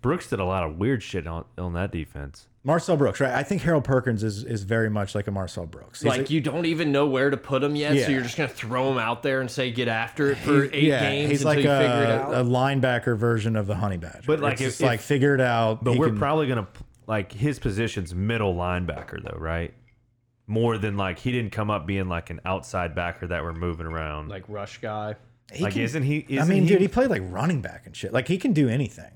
[SPEAKER 2] Brooks did a lot of weird shit on, on that defense.
[SPEAKER 3] Marcel Brooks, right? I think Harold Perkins is is very much like a Marcel Brooks. He's
[SPEAKER 1] like you don't even know where to put him yet,
[SPEAKER 3] Yeah.
[SPEAKER 1] so you're just gonna throw him out there and say get after it for eight games
[SPEAKER 3] he's
[SPEAKER 1] until
[SPEAKER 3] like
[SPEAKER 1] you
[SPEAKER 3] a,
[SPEAKER 1] figure it out.
[SPEAKER 3] a linebacker version of the honey badger.
[SPEAKER 2] But, like,
[SPEAKER 3] It's
[SPEAKER 2] if-
[SPEAKER 3] just like
[SPEAKER 2] if-
[SPEAKER 3] figure it out.
[SPEAKER 2] But
[SPEAKER 3] he
[SPEAKER 2] we're
[SPEAKER 3] can-
[SPEAKER 2] probably going to like his position's middle linebacker though, right? More than like he didn't come up being like an outside backer that we're moving around. Like,
[SPEAKER 1] like rush guy.
[SPEAKER 3] he can-
[SPEAKER 2] isn't he?
[SPEAKER 3] I
[SPEAKER 2] Isn't
[SPEAKER 3] mean,
[SPEAKER 2] he,
[SPEAKER 3] dude, he played like running back and shit. Like he can do anything.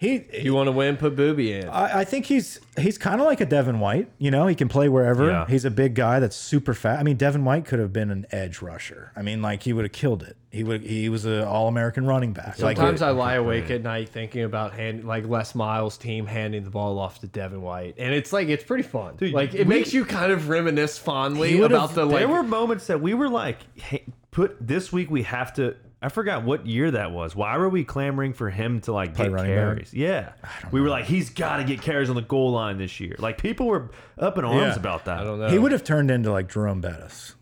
[SPEAKER 3] He,
[SPEAKER 1] You want to win? Put Booby in.
[SPEAKER 3] I, I think he's he's kind of like a Devin White. You know, he can play wherever.
[SPEAKER 2] Yeah.
[SPEAKER 3] He's a big guy that's super fat. I mean, Devin White could have been an edge rusher. I mean, like he would have killed it. He would. He was an All American running back. like
[SPEAKER 1] Sometimes I lie awake at night thinking about hand, like Les Miles' team handing the ball off to Devin White, and it's like it's pretty fun. like it makes you kind of reminisce fondly
[SPEAKER 2] He would've-
[SPEAKER 1] about the like.
[SPEAKER 2] there were moments that we were like, hey, put this week we have to. I forgot what year that was. Why were we clamoring for him to like get
[SPEAKER 3] running back?
[SPEAKER 2] carries? Yeah, we were like, he's got to get carries on the goal line this year. Like people were up in arms
[SPEAKER 3] Yeah.
[SPEAKER 2] about that.
[SPEAKER 1] I don't know.
[SPEAKER 3] he would have turned into like Jerome Bettis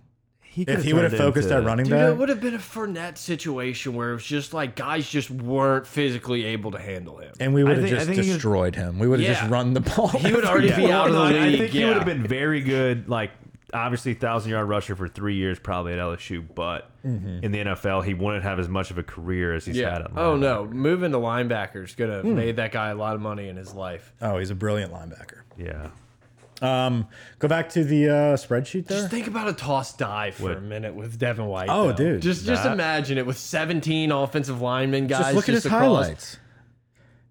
[SPEAKER 3] if
[SPEAKER 2] could've
[SPEAKER 3] he would have
[SPEAKER 2] turned
[SPEAKER 3] focused
[SPEAKER 2] into-
[SPEAKER 3] at running
[SPEAKER 1] Dude,
[SPEAKER 3] back.
[SPEAKER 1] it would have been a Fournette situation where it was just like guys just weren't physically able to handle him.
[SPEAKER 3] and we would have
[SPEAKER 2] think- I
[SPEAKER 3] just
[SPEAKER 2] think he was-
[SPEAKER 3] destroyed him. We would have
[SPEAKER 1] Yeah.
[SPEAKER 3] just run the ball.
[SPEAKER 1] He would already be out of the
[SPEAKER 2] I-
[SPEAKER 1] league.
[SPEAKER 2] I think
[SPEAKER 1] yeah.
[SPEAKER 2] he would have been very good. Like obviously, thousand yard rusher for three years probably at LSU, but in the NFL, he wouldn't have as much of a career as he's had.
[SPEAKER 1] Mm-hmm. Yeah.
[SPEAKER 2] At
[SPEAKER 1] Oh
[SPEAKER 2] linebacker.
[SPEAKER 1] no, moving to linebacker is gonna
[SPEAKER 3] Hmm.
[SPEAKER 1] made that guy a lot of money in his life.
[SPEAKER 3] Oh, he's a brilliant linebacker.
[SPEAKER 1] Oh.
[SPEAKER 2] yeah.
[SPEAKER 3] Um, go back to the uh, spreadsheet there.
[SPEAKER 1] Just think about a toss dive for
[SPEAKER 2] What?
[SPEAKER 1] a minute with Devin White.
[SPEAKER 3] Oh,
[SPEAKER 1] though.
[SPEAKER 3] dude,
[SPEAKER 1] just just
[SPEAKER 2] that-
[SPEAKER 1] imagine it with 17 offensive linemen guys.
[SPEAKER 3] Just look at his
[SPEAKER 1] across.
[SPEAKER 3] highlights.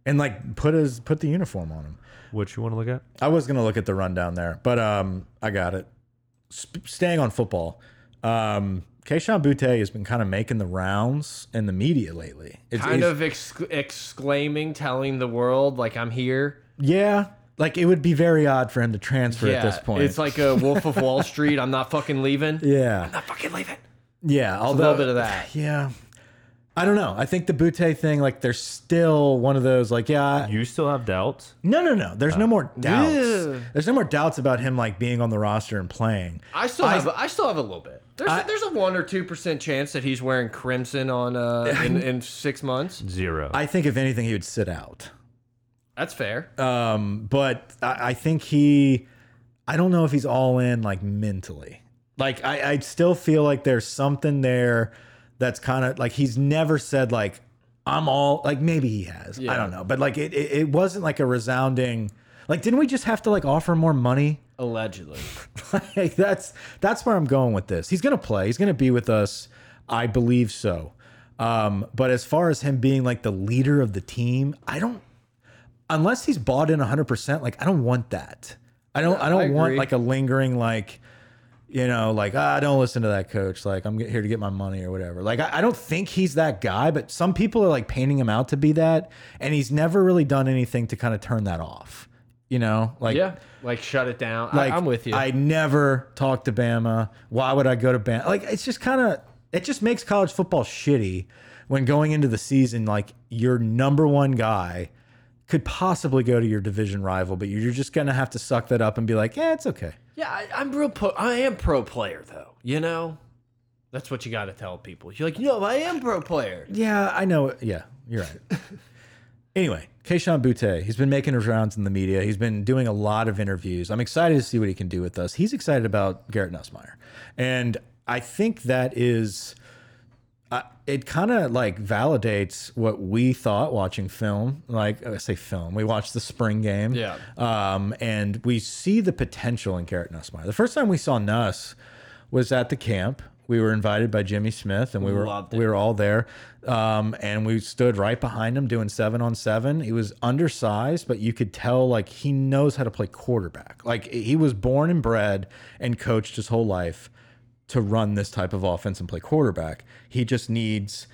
[SPEAKER 3] and like put his put the uniform on him.
[SPEAKER 2] What you want to look at?
[SPEAKER 3] I was gonna look at the rundown there, but um, I got it. Sp staying on football, um, Keishawn Butte has been kind of making the rounds in the media lately. It's,
[SPEAKER 1] Kind
[SPEAKER 3] it's-
[SPEAKER 1] of exc exclaiming, telling the world like I'm here.
[SPEAKER 3] yeah. Like it would be very odd for him to transfer at this point.
[SPEAKER 1] it's like a Wolf of Wall Street. I'm not fucking leaving.
[SPEAKER 3] yeah,
[SPEAKER 1] Not fucking leaving.
[SPEAKER 3] yeah.
[SPEAKER 1] A
[SPEAKER 3] Although,
[SPEAKER 1] little bit of that.
[SPEAKER 3] Yeah. I don't know. I think the Butte thing, like, there's still one of those, like, yeah, I-
[SPEAKER 2] You still have doubts?
[SPEAKER 3] no, no, no. There's no more doubts.
[SPEAKER 1] Yeah.
[SPEAKER 3] There's no more doubts about him like being on the roster and playing.
[SPEAKER 1] I still have I still have a little bit. There's a, there's a one or two percent chance that he's wearing crimson on uh in, in six months.
[SPEAKER 2] Zero.
[SPEAKER 3] I think if anything, he would sit out.
[SPEAKER 1] That's fair.
[SPEAKER 3] Um, but I, I think he, I don't know if he's all in like mentally. Like I, I still feel like there's something there that's kind of like he's never said like I'm all like maybe he has I
[SPEAKER 1] Yeah.
[SPEAKER 3] don't know, but like it, it it wasn't like a resounding like didn't we just have to like offer more money
[SPEAKER 1] Allegedly.
[SPEAKER 3] like that's that's where I'm going with this. He's gonna play. He's gonna be with us. I believe so. Um, but as far as him being like the leader of the team, I don't. Unless he's bought in 100, percent like I don't want that. I don't. I
[SPEAKER 1] I
[SPEAKER 3] don't want
[SPEAKER 1] agree.
[SPEAKER 3] like a lingering like, you know, like ah, don't listen to that coach. Like I'm here to get my money or whatever. Like I, I don't think he's that guy. But some people are like painting him out to be that, and he's never really done anything to kind of turn that off. You know, like
[SPEAKER 1] Yeah. Like shut it down.
[SPEAKER 3] like
[SPEAKER 1] I, I'm with you.
[SPEAKER 3] I never talk to Bama. Why would I go to Bama? Like it's just kind of it just makes college football shitty when going into the season like your number one guy could possibly go to your division rival, but you're just gonna have to suck that up and be like, yeah, it's okay.
[SPEAKER 1] yeah, I, I'm real. Pro, I am pro player though. You know, that's what you got to tell people. You're like, no, I am pro player.
[SPEAKER 3] Yeah, I know. it. Yeah, you're right. anyway, Keishawn Butte, he's been making his rounds in the media. He's been doing a lot of interviews. I'm excited to see what he can do with us. He's excited about Garrett Nussmeyer. And I think that is, uh, it kind of like validates what we thought watching film. Like, I say film, we watched the spring game.
[SPEAKER 1] Yeah.
[SPEAKER 3] Um, and we see the potential in Garrett Nussmeyer. The first time we saw Nuss was at the camp. We were invited by Jimmy Smith, and we were
[SPEAKER 1] Loved it.
[SPEAKER 3] we were all there, um, and we stood right behind him doing seven on seven. He was undersized, but you could tell like he knows how to play quarterback. Like he was born and bred and coached his whole life to run this type of offense and play quarterback. He just needs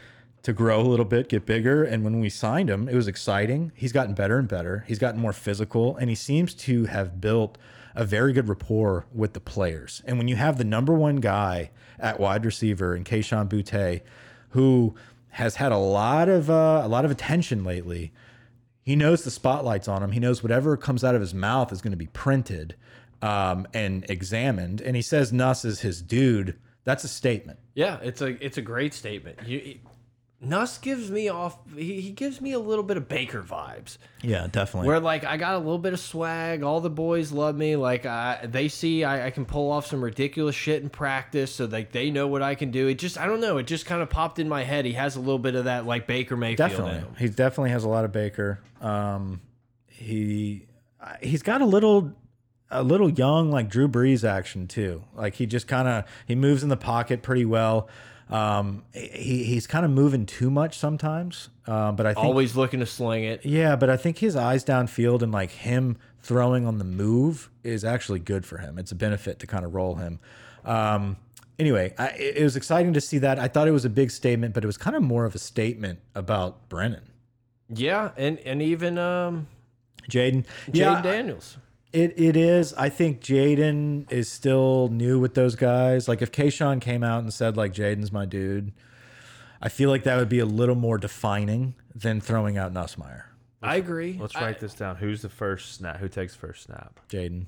[SPEAKER 3] to grow a little bit, get bigger. And when we signed him, it was exciting. He's gotten better and better. He's gotten more physical, and he seems to have built a very good rapport with the players. And when you have the number one guy at wide receiver in Keishawn Butte, who has had a lot of uh, a lot of attention lately, he knows the spotlight's on him. He knows whatever comes out of his mouth is going to be printed um, and examined. And he says Nuss is his dude. That's a statement.
[SPEAKER 1] Yeah, it's a it's a great statement. You, Nuss gives me off. He, he gives me a little bit of Baker vibes.
[SPEAKER 3] Yeah, definitely.
[SPEAKER 1] where like I got a little bit of swag. All the boys love me. Like I, they see I, I can pull off some ridiculous shit in practice, so like they know what I can do. It just I don't know. It just kind of popped in my head. He has a little bit of that like Baker Mayfield. in
[SPEAKER 3] definitely.
[SPEAKER 1] him.
[SPEAKER 3] He definitely has a lot of Baker. Um, he I- he's got a little a little young like Drew Brees action too. Like he just kind of he moves in the pocket pretty well. Um, he he's kind of moving too much sometimes. Um, but I think
[SPEAKER 1] Always looking to sling it.
[SPEAKER 3] Yeah, but I think his eyes downfield and like him throwing on the move is actually good for him. It's a benefit to kind of roll him. Um, anyway, I, it it was exciting to see that. I thought it was a big statement, but it was kind of more of a statement about Brennan,
[SPEAKER 1] Yeah, and and even um
[SPEAKER 3] Jaden.
[SPEAKER 1] Jane
[SPEAKER 3] Yeah,
[SPEAKER 1] Daniels.
[SPEAKER 3] It it is. I think Jaden is still new with those guys. Like if Kayshawn came out and said like Jaden's my dude, I feel like that would be a little more defining than throwing out Nussmeyer.
[SPEAKER 1] I agree.
[SPEAKER 2] Let's
[SPEAKER 1] I-
[SPEAKER 2] write this down. Who's the first snap? Who takes first snap?
[SPEAKER 3] Jaden.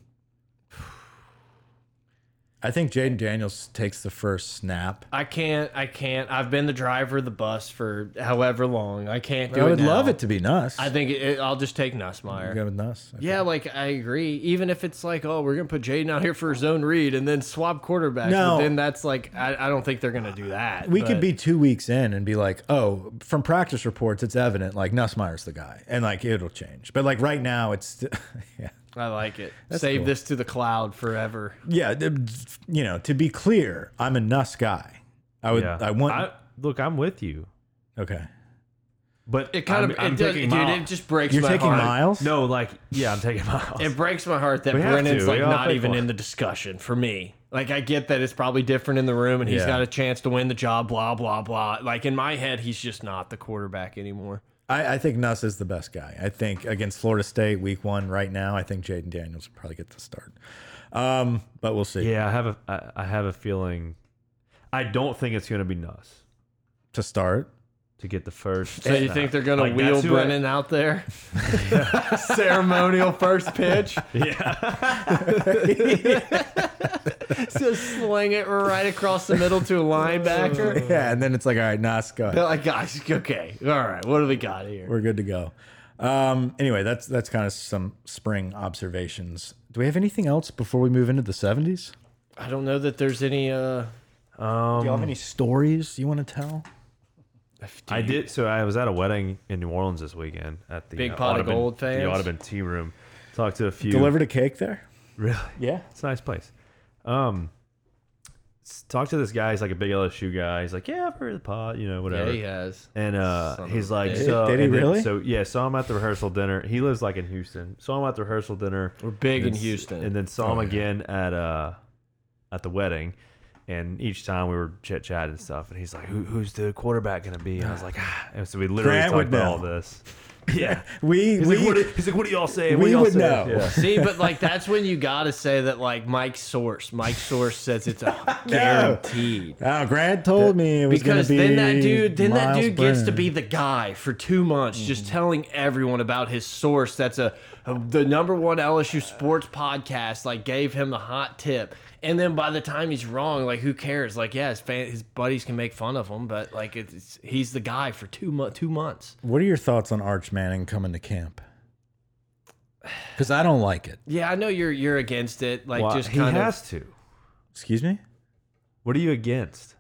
[SPEAKER 3] I think Jaden Daniels takes the first snap.
[SPEAKER 1] I can't. I can't. I've been the driver of the bus for however long. I can't do
[SPEAKER 3] I
[SPEAKER 1] it.
[SPEAKER 3] would
[SPEAKER 1] now.
[SPEAKER 3] love it to be Nuss.
[SPEAKER 1] I
[SPEAKER 3] I
[SPEAKER 1] think it, I'll just take Nussmeyer.
[SPEAKER 3] go with Nuss.
[SPEAKER 1] Yeah, like I agree. Even if it's like, oh, we're gonna put Jaden out here for a zone read and then swap quarterbacks,
[SPEAKER 3] No.
[SPEAKER 1] but then that's like, I, I don't think they're gonna do that.
[SPEAKER 3] We
[SPEAKER 1] but-
[SPEAKER 3] could be two weeks in and be like, oh, from practice reports, it's evident like Nussmeyer's the guy, and like it'll change. But like right now, it's st- yeah,
[SPEAKER 1] I like it. Save
[SPEAKER 3] cool.
[SPEAKER 1] this to the cloud forever.
[SPEAKER 3] yeah. the- You know, to be clear, I'm a Nuss guy. I would, I want.
[SPEAKER 2] look, I'm with you.
[SPEAKER 3] okay,
[SPEAKER 2] But
[SPEAKER 1] It kind
[SPEAKER 2] I'm-
[SPEAKER 1] of
[SPEAKER 2] I'm
[SPEAKER 1] it does,
[SPEAKER 2] taking
[SPEAKER 1] dude.
[SPEAKER 2] Miles.
[SPEAKER 1] It just breaks.
[SPEAKER 3] You're
[SPEAKER 1] my
[SPEAKER 3] taking
[SPEAKER 1] heart.
[SPEAKER 3] Miles?
[SPEAKER 2] No, like yeah, I'm taking Miles.
[SPEAKER 1] It breaks my heart that
[SPEAKER 2] We have
[SPEAKER 1] Brennan's
[SPEAKER 2] to.
[SPEAKER 1] like
[SPEAKER 2] We all
[SPEAKER 1] not
[SPEAKER 2] pick
[SPEAKER 1] even
[SPEAKER 2] one.
[SPEAKER 1] in the discussion for me. Like I get that it's probably different in the room, and he's
[SPEAKER 3] Yeah.
[SPEAKER 1] got a chance to win the job. Blah blah blah. Like in my head, he's just not the quarterback anymore.
[SPEAKER 3] I, I think Nuss is the best guy. I think against Florida State, week one right now, I think Jaden Daniels will probably get the start. Um, but we'll see.
[SPEAKER 2] yeah, I have a I, I have a feeling. I don't think it's going to be Nuss
[SPEAKER 3] To start,
[SPEAKER 2] to get the first.
[SPEAKER 1] So you
[SPEAKER 2] snap.
[SPEAKER 1] think they're gonna
[SPEAKER 2] Like,
[SPEAKER 1] wheel
[SPEAKER 2] that's who I-
[SPEAKER 1] Brennan out there? Ceremonial first pitch.
[SPEAKER 2] yeah,
[SPEAKER 1] Just sling it right across the middle to a linebacker.
[SPEAKER 3] yeah, and then it's like, all right, Nuss, go ahead.
[SPEAKER 1] They're like, guys, okay, all right, what do we got here?
[SPEAKER 3] We're good to go. Um, anyway, that's that's kind of some spring observations. Do we have anything else before we move into the seventies?
[SPEAKER 1] I don't know that there's any. uh
[SPEAKER 3] Do you
[SPEAKER 1] Um,
[SPEAKER 3] have any stories you want to tell?
[SPEAKER 2] I did. So I was at a wedding in New Orleans this weekend at the uh,
[SPEAKER 1] Big pot of
[SPEAKER 2] Audubon-
[SPEAKER 1] gold
[SPEAKER 2] The
[SPEAKER 1] fans.
[SPEAKER 2] Audubon Tea Room. Talked to a few.
[SPEAKER 3] Delivered a cake there?
[SPEAKER 2] Really.
[SPEAKER 3] Yeah.
[SPEAKER 2] It's a nice place. Um, s- talk to this guy. He's like a big LSU guy. He's like, yeah, I've heard of the pod, you know,
[SPEAKER 1] Yeah,
[SPEAKER 2] whatever.
[SPEAKER 1] he has.
[SPEAKER 2] And uh,
[SPEAKER 1] Son of
[SPEAKER 2] he's
[SPEAKER 1] a
[SPEAKER 2] like,
[SPEAKER 1] bitch.
[SPEAKER 2] so
[SPEAKER 3] Did he
[SPEAKER 2] and then-
[SPEAKER 3] really?
[SPEAKER 2] So yeah, saw him at the rehearsal dinner. He lives like in Houston. Saw him at the rehearsal dinner.
[SPEAKER 1] We're big
[SPEAKER 2] and
[SPEAKER 1] in
[SPEAKER 2] then s-
[SPEAKER 1] Houston.
[SPEAKER 2] and then saw him again at uh, at the wedding. And each time we were chit chatting and stuff, and he's like, Who, "Who's the quarterback gonna be?" And I was like, "Ah." And so we literally
[SPEAKER 3] Grant
[SPEAKER 2] talked
[SPEAKER 3] would
[SPEAKER 2] about
[SPEAKER 3] know.
[SPEAKER 2] all this. Yeah,
[SPEAKER 3] We
[SPEAKER 2] he's
[SPEAKER 3] we
[SPEAKER 2] like, what, do- he's like, "What do y'all say?" What
[SPEAKER 3] we
[SPEAKER 2] do y'all
[SPEAKER 3] would
[SPEAKER 2] say?
[SPEAKER 3] know.
[SPEAKER 2] Yeah.
[SPEAKER 1] See, but like that's when you gotta say that like Mike's source. Mike's source says it's a guaranteed.
[SPEAKER 3] Oh, Grant told me it was
[SPEAKER 1] Because
[SPEAKER 3] gonna be
[SPEAKER 1] then that dude then that
[SPEAKER 3] Miles
[SPEAKER 1] dude gets to
[SPEAKER 3] Brennan. Mm.
[SPEAKER 1] be the guy for two months, just telling everyone about his source that's a, a the number one LSU sports podcast, like gave him the hot tip. And then by the time he's wrong, like who cares? Like, yeah, his fan, his buddies can make fun of him, but like it's, it's he's the guy for two mo two months.
[SPEAKER 3] What are your thoughts on Arch Manning coming to camp? Because I don't like it.
[SPEAKER 1] Yeah, I know you're you're against it. Like
[SPEAKER 2] Why-
[SPEAKER 1] just
[SPEAKER 2] he
[SPEAKER 1] kind of
[SPEAKER 2] has to.
[SPEAKER 3] Excuse me?
[SPEAKER 2] What are you against?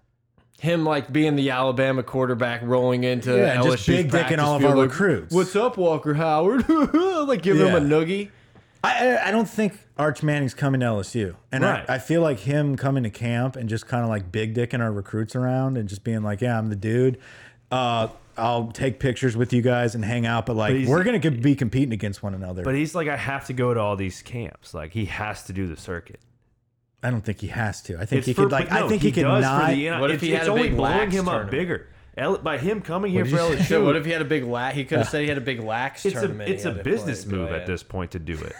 [SPEAKER 1] him like being the Alabama quarterback rolling into
[SPEAKER 3] Yeah,
[SPEAKER 1] LSU
[SPEAKER 3] and just big dicking
[SPEAKER 1] practice
[SPEAKER 3] all of
[SPEAKER 1] field,
[SPEAKER 3] our
[SPEAKER 1] like,
[SPEAKER 3] recruits.
[SPEAKER 1] What's up, Walker Howard? like giving him a
[SPEAKER 3] Yeah.
[SPEAKER 1] noogie.
[SPEAKER 3] I I- I don't think Arch Manning's coming to LSU, and
[SPEAKER 2] Right.
[SPEAKER 3] I, I feel like him coming to camp and just kind of like big dicking our recruits around and just being like, "Yeah, I'm the dude. Uh, I'll take pictures with you guys and hang out, but like
[SPEAKER 2] he's-
[SPEAKER 3] we're gonna co- be competing against one another."
[SPEAKER 2] But he's like, I have to go to all these camps. Like he has to do the circuit.
[SPEAKER 3] I don't think he has to. I think
[SPEAKER 2] It's
[SPEAKER 3] he
[SPEAKER 2] for-
[SPEAKER 3] could like.
[SPEAKER 2] but no,
[SPEAKER 3] I think he, could
[SPEAKER 2] does
[SPEAKER 3] not.
[SPEAKER 2] For the, NIL.
[SPEAKER 1] What if
[SPEAKER 2] it's,
[SPEAKER 1] he had
[SPEAKER 2] it's
[SPEAKER 1] a
[SPEAKER 2] only
[SPEAKER 1] big
[SPEAKER 2] blowing
[SPEAKER 1] lax
[SPEAKER 2] him
[SPEAKER 1] tournament?
[SPEAKER 2] up bigger. L, by him coming here
[SPEAKER 3] did
[SPEAKER 2] for
[SPEAKER 3] you say?
[SPEAKER 2] LSU,
[SPEAKER 1] So what if he had a big lax? He could have said he had a big lax
[SPEAKER 2] it's a
[SPEAKER 1] tournament.
[SPEAKER 2] it's a business move at this point to do it.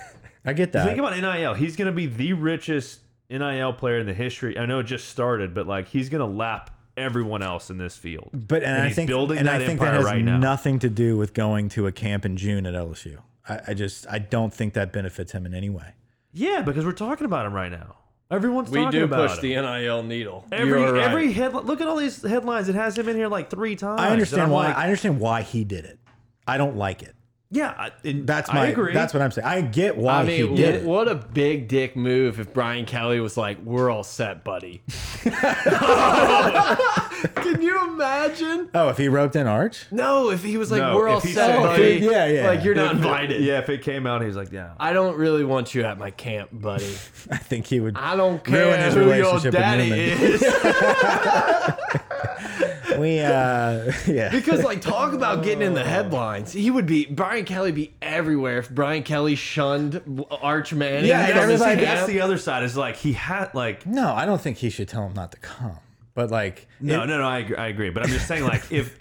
[SPEAKER 3] I get that.
[SPEAKER 2] Think about NIL. He's going to be the richest NIL player in the history. I know it just started, but like he's going to lap everyone else in this field.
[SPEAKER 3] but and, I
[SPEAKER 2] he's
[SPEAKER 3] think
[SPEAKER 2] building
[SPEAKER 3] and
[SPEAKER 2] that
[SPEAKER 3] I think
[SPEAKER 2] empire
[SPEAKER 3] that has
[SPEAKER 2] right now.
[SPEAKER 3] nothing to do with going to a camp in June at LSU. I, I just I don't think that benefits him in any way.
[SPEAKER 2] yeah, because we're talking about him right now. Everyone's
[SPEAKER 1] We
[SPEAKER 2] talking
[SPEAKER 1] do
[SPEAKER 2] about
[SPEAKER 1] push
[SPEAKER 2] him.
[SPEAKER 1] the NIL needle.
[SPEAKER 2] Every
[SPEAKER 1] You're right.
[SPEAKER 2] every headline. Look at all these headlines. It has him in here like three times.
[SPEAKER 3] I understand
[SPEAKER 2] I'm
[SPEAKER 3] why.
[SPEAKER 2] like,
[SPEAKER 3] I understand why he did it. I don't like it.
[SPEAKER 2] yeah, I- and
[SPEAKER 3] That's
[SPEAKER 2] I
[SPEAKER 3] my.
[SPEAKER 2] agree.
[SPEAKER 3] That's what I'm saying. I get why
[SPEAKER 1] I mean,
[SPEAKER 3] he did
[SPEAKER 1] wh-
[SPEAKER 3] it.
[SPEAKER 1] what a big dick move if Brian Kelly was like, "We're all set, buddy." Can you imagine?
[SPEAKER 3] Oh, if he roped in Arch,
[SPEAKER 1] No, if he was like,
[SPEAKER 2] No,
[SPEAKER 1] "We're all
[SPEAKER 2] if he
[SPEAKER 1] set,
[SPEAKER 2] said-
[SPEAKER 1] buddy,"
[SPEAKER 3] Yeah, yeah.
[SPEAKER 1] like you're not
[SPEAKER 2] If it-
[SPEAKER 1] invited.
[SPEAKER 2] Yeah, if it came out, he was like, yeah.
[SPEAKER 1] I don't really want you at my camp, buddy.
[SPEAKER 3] I think he would.
[SPEAKER 1] I don't
[SPEAKER 3] Ruin
[SPEAKER 1] care
[SPEAKER 3] his
[SPEAKER 1] who your
[SPEAKER 3] relationship with
[SPEAKER 1] daddy
[SPEAKER 3] Newman.
[SPEAKER 1] is.
[SPEAKER 3] We, uh, yeah.
[SPEAKER 1] because like talk about getting in the headlines. He would be Brian Kelly would be everywhere if Brian Kelly shunned Arch Manning.
[SPEAKER 3] Yeah,
[SPEAKER 1] from
[SPEAKER 3] and
[SPEAKER 1] his
[SPEAKER 3] everybody-
[SPEAKER 1] camp.
[SPEAKER 2] That's the other side. Is like he had like
[SPEAKER 3] No, I don't think he should tell him not to come. But like,
[SPEAKER 2] no, no, no. I agree, I agree. But I'm just saying like if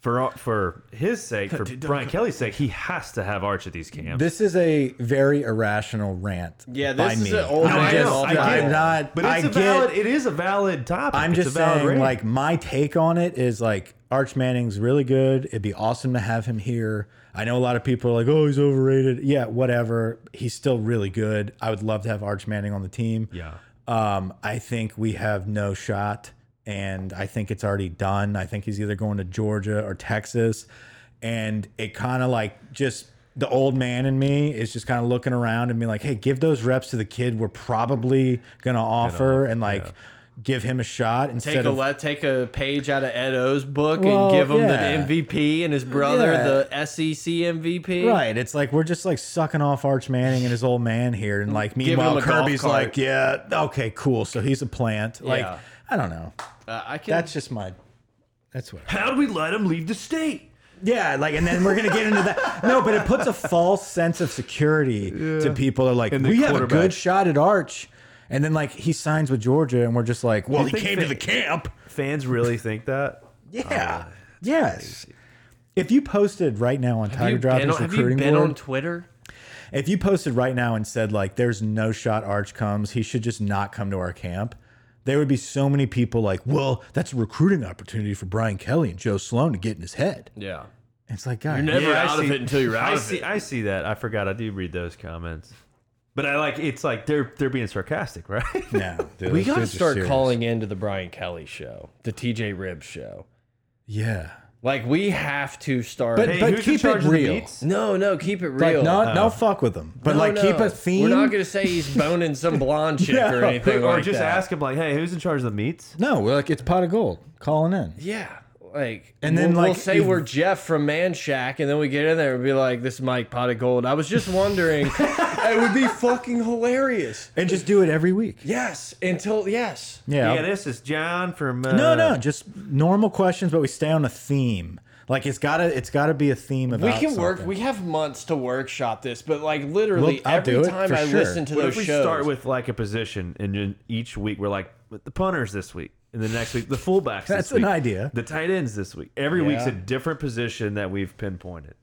[SPEAKER 2] for for his sake, for Brian Kelly's sake, he has to have Arch at these camps.
[SPEAKER 3] this is a very irrational rant.
[SPEAKER 1] Yeah, this
[SPEAKER 3] by
[SPEAKER 1] is
[SPEAKER 3] me.
[SPEAKER 1] an old
[SPEAKER 3] I'm
[SPEAKER 2] I
[SPEAKER 1] man
[SPEAKER 3] just,
[SPEAKER 2] know, I
[SPEAKER 1] off the
[SPEAKER 2] get
[SPEAKER 3] I'm
[SPEAKER 2] it.
[SPEAKER 3] not.
[SPEAKER 2] But it's
[SPEAKER 3] I
[SPEAKER 2] a
[SPEAKER 3] get.
[SPEAKER 2] valid. It is a valid topic.
[SPEAKER 3] I'm
[SPEAKER 2] It's
[SPEAKER 3] just
[SPEAKER 2] a valid
[SPEAKER 3] saying,
[SPEAKER 2] rant.
[SPEAKER 3] like, my take on it is like Arch Manning's really good. It'd be awesome to have him here. I know a lot of people are like, oh, he's overrated. Yeah, whatever. He's still really good. I would love to have Arch Manning on the team.
[SPEAKER 2] yeah.
[SPEAKER 3] Um, I think we have no shot, and I think it's already done. I think he's either going to Georgia or Texas, and it kind of like just the old man in me is just kind of looking around and being like, "Hey, give those reps to the kid. We're probably gonna offer and like give him a shot instead
[SPEAKER 1] Take a
[SPEAKER 3] of."
[SPEAKER 1] let take a page out of Ed O's book
[SPEAKER 3] Well,
[SPEAKER 1] and give him
[SPEAKER 3] yeah.
[SPEAKER 1] the MVP and his brother
[SPEAKER 3] Yeah.
[SPEAKER 1] the E SEC MVP.
[SPEAKER 3] Right, it's like we're just like sucking off Arch Manning and his old man here, and like
[SPEAKER 1] him
[SPEAKER 3] meanwhile
[SPEAKER 1] a golf
[SPEAKER 3] Kirby's
[SPEAKER 1] cart.
[SPEAKER 3] like, yeah, okay, cool. So he's a plant. Like
[SPEAKER 1] Yeah.
[SPEAKER 3] I don't know.
[SPEAKER 1] Uh, I can.
[SPEAKER 3] That's just my. That's what.
[SPEAKER 2] How do we let him leave the state?
[SPEAKER 3] Yeah, like, and then we're gonna get into that. No, but it puts a false sense of security to people. That are like,
[SPEAKER 2] And the
[SPEAKER 3] we have a
[SPEAKER 2] quarterback.
[SPEAKER 3] good shot at Arch, and then like he signs with Georgia, and we're just like, well, he
[SPEAKER 2] think
[SPEAKER 3] came to
[SPEAKER 2] fa-
[SPEAKER 3] the camp.
[SPEAKER 1] Oh,
[SPEAKER 2] Fans really think that?
[SPEAKER 3] Yeah. yes. If you posted right now on Tiger Drive's
[SPEAKER 1] on, have you
[SPEAKER 3] recruiting
[SPEAKER 1] been
[SPEAKER 3] board,
[SPEAKER 1] on Twitter?
[SPEAKER 3] if you posted right now and said like, "There's no shot Arch comes. He should just not come to our camp." There would be so many people like, "Well, that's a recruiting opportunity for Brian Kelly and Joe Sloan to get in his head."
[SPEAKER 1] Yeah.
[SPEAKER 3] It's like, God,
[SPEAKER 1] You're never
[SPEAKER 2] I
[SPEAKER 1] out of
[SPEAKER 2] see-
[SPEAKER 1] it until you're out
[SPEAKER 2] I
[SPEAKER 1] of
[SPEAKER 2] see,
[SPEAKER 1] it.
[SPEAKER 2] I see that. I forgot. I do read those comments, but I like it's like they're they're being sarcastic, right?
[SPEAKER 3] no, dude,
[SPEAKER 1] We
[SPEAKER 3] those
[SPEAKER 1] got to
[SPEAKER 3] dudes are
[SPEAKER 1] start
[SPEAKER 3] serious.
[SPEAKER 1] calling into the Brian Kelly show, the TJ Rib show.
[SPEAKER 3] Yeah.
[SPEAKER 1] Like we have to start.
[SPEAKER 3] But-
[SPEAKER 2] Hey,
[SPEAKER 3] but
[SPEAKER 2] who's in
[SPEAKER 3] keep it
[SPEAKER 2] charge of the
[SPEAKER 3] real.
[SPEAKER 2] beats?
[SPEAKER 1] no, no, keep it real. uh,
[SPEAKER 3] Like, no, no, fuck with them. But
[SPEAKER 1] No,
[SPEAKER 3] like, keep
[SPEAKER 1] no.
[SPEAKER 3] a theme.
[SPEAKER 1] We're not gonna say he's boning some blonde chick
[SPEAKER 3] Yeah.
[SPEAKER 1] or anything
[SPEAKER 2] Or
[SPEAKER 1] like
[SPEAKER 2] just
[SPEAKER 1] that.
[SPEAKER 2] ask him like, hey, who's in charge of the meats?
[SPEAKER 3] no, we're like it's pot of gold calling in.
[SPEAKER 1] Yeah. Like
[SPEAKER 3] And then,
[SPEAKER 1] we'll, we'll
[SPEAKER 3] like,
[SPEAKER 1] say
[SPEAKER 3] if-
[SPEAKER 1] we're Jeff from Man Shack, and then we get in there and be like, "This is Mike Pot of Gold." I was just wondering, it would be fucking hilarious.
[SPEAKER 3] And just do it every week.
[SPEAKER 1] Yes, until yes,
[SPEAKER 3] Yeah.
[SPEAKER 2] Yeah, this is John from. Uh,
[SPEAKER 3] no, no, just normal questions, but we stay on a theme. Like it's gotta, it's gotta be a theme
[SPEAKER 1] we
[SPEAKER 3] about.
[SPEAKER 1] can work.
[SPEAKER 3] something.
[SPEAKER 1] We have months to workshop this, but like literally
[SPEAKER 3] Well, I'll do
[SPEAKER 1] every
[SPEAKER 3] it,
[SPEAKER 1] time
[SPEAKER 3] for
[SPEAKER 1] I
[SPEAKER 3] sure.
[SPEAKER 1] listen to
[SPEAKER 2] What
[SPEAKER 1] those
[SPEAKER 2] if we
[SPEAKER 1] shows,
[SPEAKER 2] start with like a position, and then each week we're like the punters this week, and the next week the fullbacks.
[SPEAKER 3] That's
[SPEAKER 2] this week,
[SPEAKER 3] an idea.
[SPEAKER 2] The tight ends this week. Every
[SPEAKER 1] Yeah.
[SPEAKER 2] week's a different position that we've pinpointed.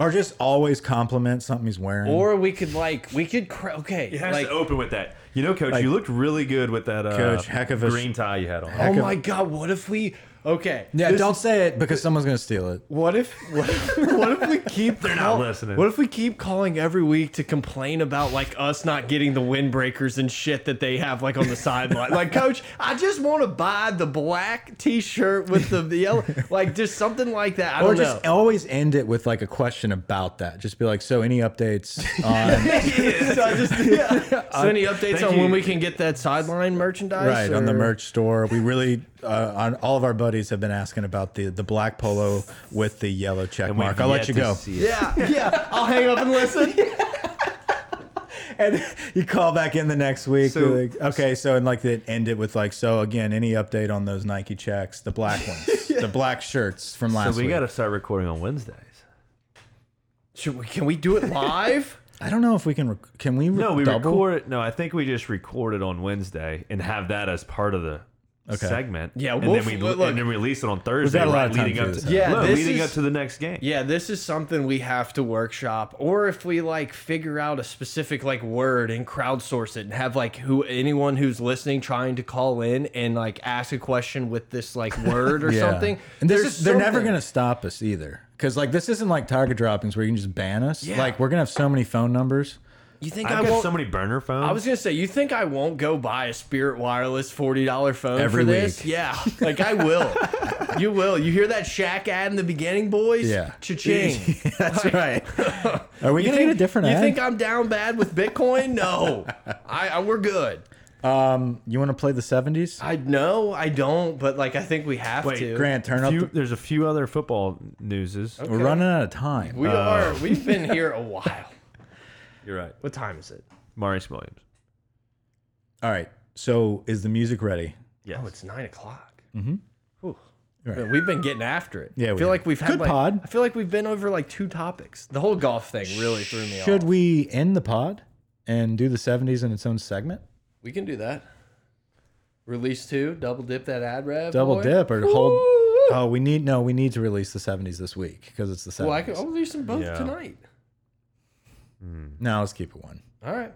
[SPEAKER 3] or just always compliment something he's wearing.
[SPEAKER 1] or we could like we could cr- okay,
[SPEAKER 2] It has
[SPEAKER 1] like oh
[SPEAKER 2] to open with that. You know, Coach, you looked really good with that uh,
[SPEAKER 3] Coach, heck of a-
[SPEAKER 2] green tie you had on.
[SPEAKER 1] oh my god, what if we okay?
[SPEAKER 3] yeah,
[SPEAKER 1] this-
[SPEAKER 3] don't say it because someone's gonna steal it.
[SPEAKER 1] What if what if, what if we keep they're
[SPEAKER 2] not listening.
[SPEAKER 1] What if we keep calling every week to complain about like us not getting the windbreakers and shit that they have like on the sideline? like, coach, I just want to buy the black T-shirt with the, the yellow, like just something like that. I
[SPEAKER 3] Or
[SPEAKER 1] don't
[SPEAKER 3] just
[SPEAKER 1] know.
[SPEAKER 3] always end it with like a question about that. Just be like, so any updates on
[SPEAKER 1] so, I just, yeah. so any updates on
[SPEAKER 2] you.
[SPEAKER 1] when we can get that sideline merchandise?
[SPEAKER 3] right on the
[SPEAKER 1] or-
[SPEAKER 3] merch store? We really, uh, on all of our buddies have been asking about the the black polo with the yellow check
[SPEAKER 2] And we've
[SPEAKER 3] mark. I'll let
[SPEAKER 2] yet
[SPEAKER 3] you
[SPEAKER 2] to
[SPEAKER 3] go.
[SPEAKER 2] see it.
[SPEAKER 1] Yeah, yeah. I'll hang up and listen.
[SPEAKER 3] and you call back in the next week.
[SPEAKER 2] So-
[SPEAKER 3] you're like, okay, so and like they end it with like, so again, any update on those Nike checks, the black ones, the black shirts from
[SPEAKER 2] So
[SPEAKER 3] last
[SPEAKER 2] we
[SPEAKER 3] week?
[SPEAKER 2] got to start recording on Wednesdays.
[SPEAKER 1] Should we? Can we do it live?
[SPEAKER 3] I don't know if we can. rec- Can we?
[SPEAKER 2] No,
[SPEAKER 3] re-
[SPEAKER 2] we
[SPEAKER 3] double?
[SPEAKER 2] record it. No, I think we just record it on Wednesday and have that as part of the
[SPEAKER 3] Okay.
[SPEAKER 2] segment.
[SPEAKER 1] Yeah,
[SPEAKER 2] and
[SPEAKER 1] we'll-
[SPEAKER 2] then we
[SPEAKER 1] look- look.
[SPEAKER 2] and then release it on Thursday.
[SPEAKER 3] got a lot
[SPEAKER 2] right,
[SPEAKER 3] of time
[SPEAKER 2] leading
[SPEAKER 3] to
[SPEAKER 2] up
[SPEAKER 3] do
[SPEAKER 2] to
[SPEAKER 3] this.
[SPEAKER 1] Yeah,
[SPEAKER 2] no,
[SPEAKER 1] this
[SPEAKER 2] leading
[SPEAKER 1] is-
[SPEAKER 2] up to the next game.
[SPEAKER 1] Yeah, this is something we have to workshop, or if we like figure out a specific like word and crowdsource it and have like who anyone who's listening trying to call in and like ask a question with this like word or
[SPEAKER 3] Yeah.
[SPEAKER 1] something.
[SPEAKER 3] And this
[SPEAKER 1] There's
[SPEAKER 3] is, they're never
[SPEAKER 1] something.
[SPEAKER 3] going to stop us either, because like this isn't like target droppings where you can just ban us.
[SPEAKER 1] Yeah.
[SPEAKER 3] Like we're gonna have so many phone numbers.
[SPEAKER 1] You think I
[SPEAKER 2] I've got
[SPEAKER 1] won't?
[SPEAKER 2] so many burner phones.
[SPEAKER 1] I was gonna say, you think I won't go buy a Spirit Wireless forty dollar phone
[SPEAKER 3] Every
[SPEAKER 1] for this?
[SPEAKER 3] week.
[SPEAKER 1] Yeah, like I will. you will. You hear that Shaq ad in the beginning, boys?
[SPEAKER 3] Yeah.
[SPEAKER 1] cha-ching.
[SPEAKER 3] That's right. Are we gonna get a different
[SPEAKER 1] You
[SPEAKER 3] ad?
[SPEAKER 1] think I'm down bad with Bitcoin? No, I, I we're good.
[SPEAKER 3] um, you want to play the seventies?
[SPEAKER 1] I know I don't, but like I think we have
[SPEAKER 2] Wait,
[SPEAKER 1] to.
[SPEAKER 3] Grant, turn up.
[SPEAKER 2] Few-
[SPEAKER 3] the-
[SPEAKER 2] there's a few other football newses.
[SPEAKER 1] Oh,
[SPEAKER 3] We're running out of time.
[SPEAKER 1] we are. We've been here a while.
[SPEAKER 2] You're right.
[SPEAKER 1] What time is it?
[SPEAKER 2] Marius Williams.
[SPEAKER 3] All right. So is the music ready?
[SPEAKER 2] Yes.
[SPEAKER 1] Oh, it's nine o'clock.
[SPEAKER 3] Mm-hmm. Right.
[SPEAKER 1] Man, We've been getting after it.
[SPEAKER 3] Yeah,
[SPEAKER 1] I
[SPEAKER 3] we
[SPEAKER 1] feel
[SPEAKER 3] have.
[SPEAKER 1] like we've had
[SPEAKER 3] Good
[SPEAKER 1] like,
[SPEAKER 3] pod.
[SPEAKER 1] I feel like we've been over like two topics. The whole golf thing really threw me off.
[SPEAKER 3] Should we end the pod and do the 70s in its own segment?
[SPEAKER 1] We can do that. Release two, double dip that ad rev.
[SPEAKER 3] Double
[SPEAKER 1] boy.
[SPEAKER 3] dip or hold?
[SPEAKER 1] Ooh.
[SPEAKER 3] Oh, we need no. We need to release the 70s this week because it's the 70s.
[SPEAKER 1] Well, I can, oh. I'll release them both
[SPEAKER 2] Yeah.
[SPEAKER 1] tonight.
[SPEAKER 3] no, let's keep it one.
[SPEAKER 1] All right,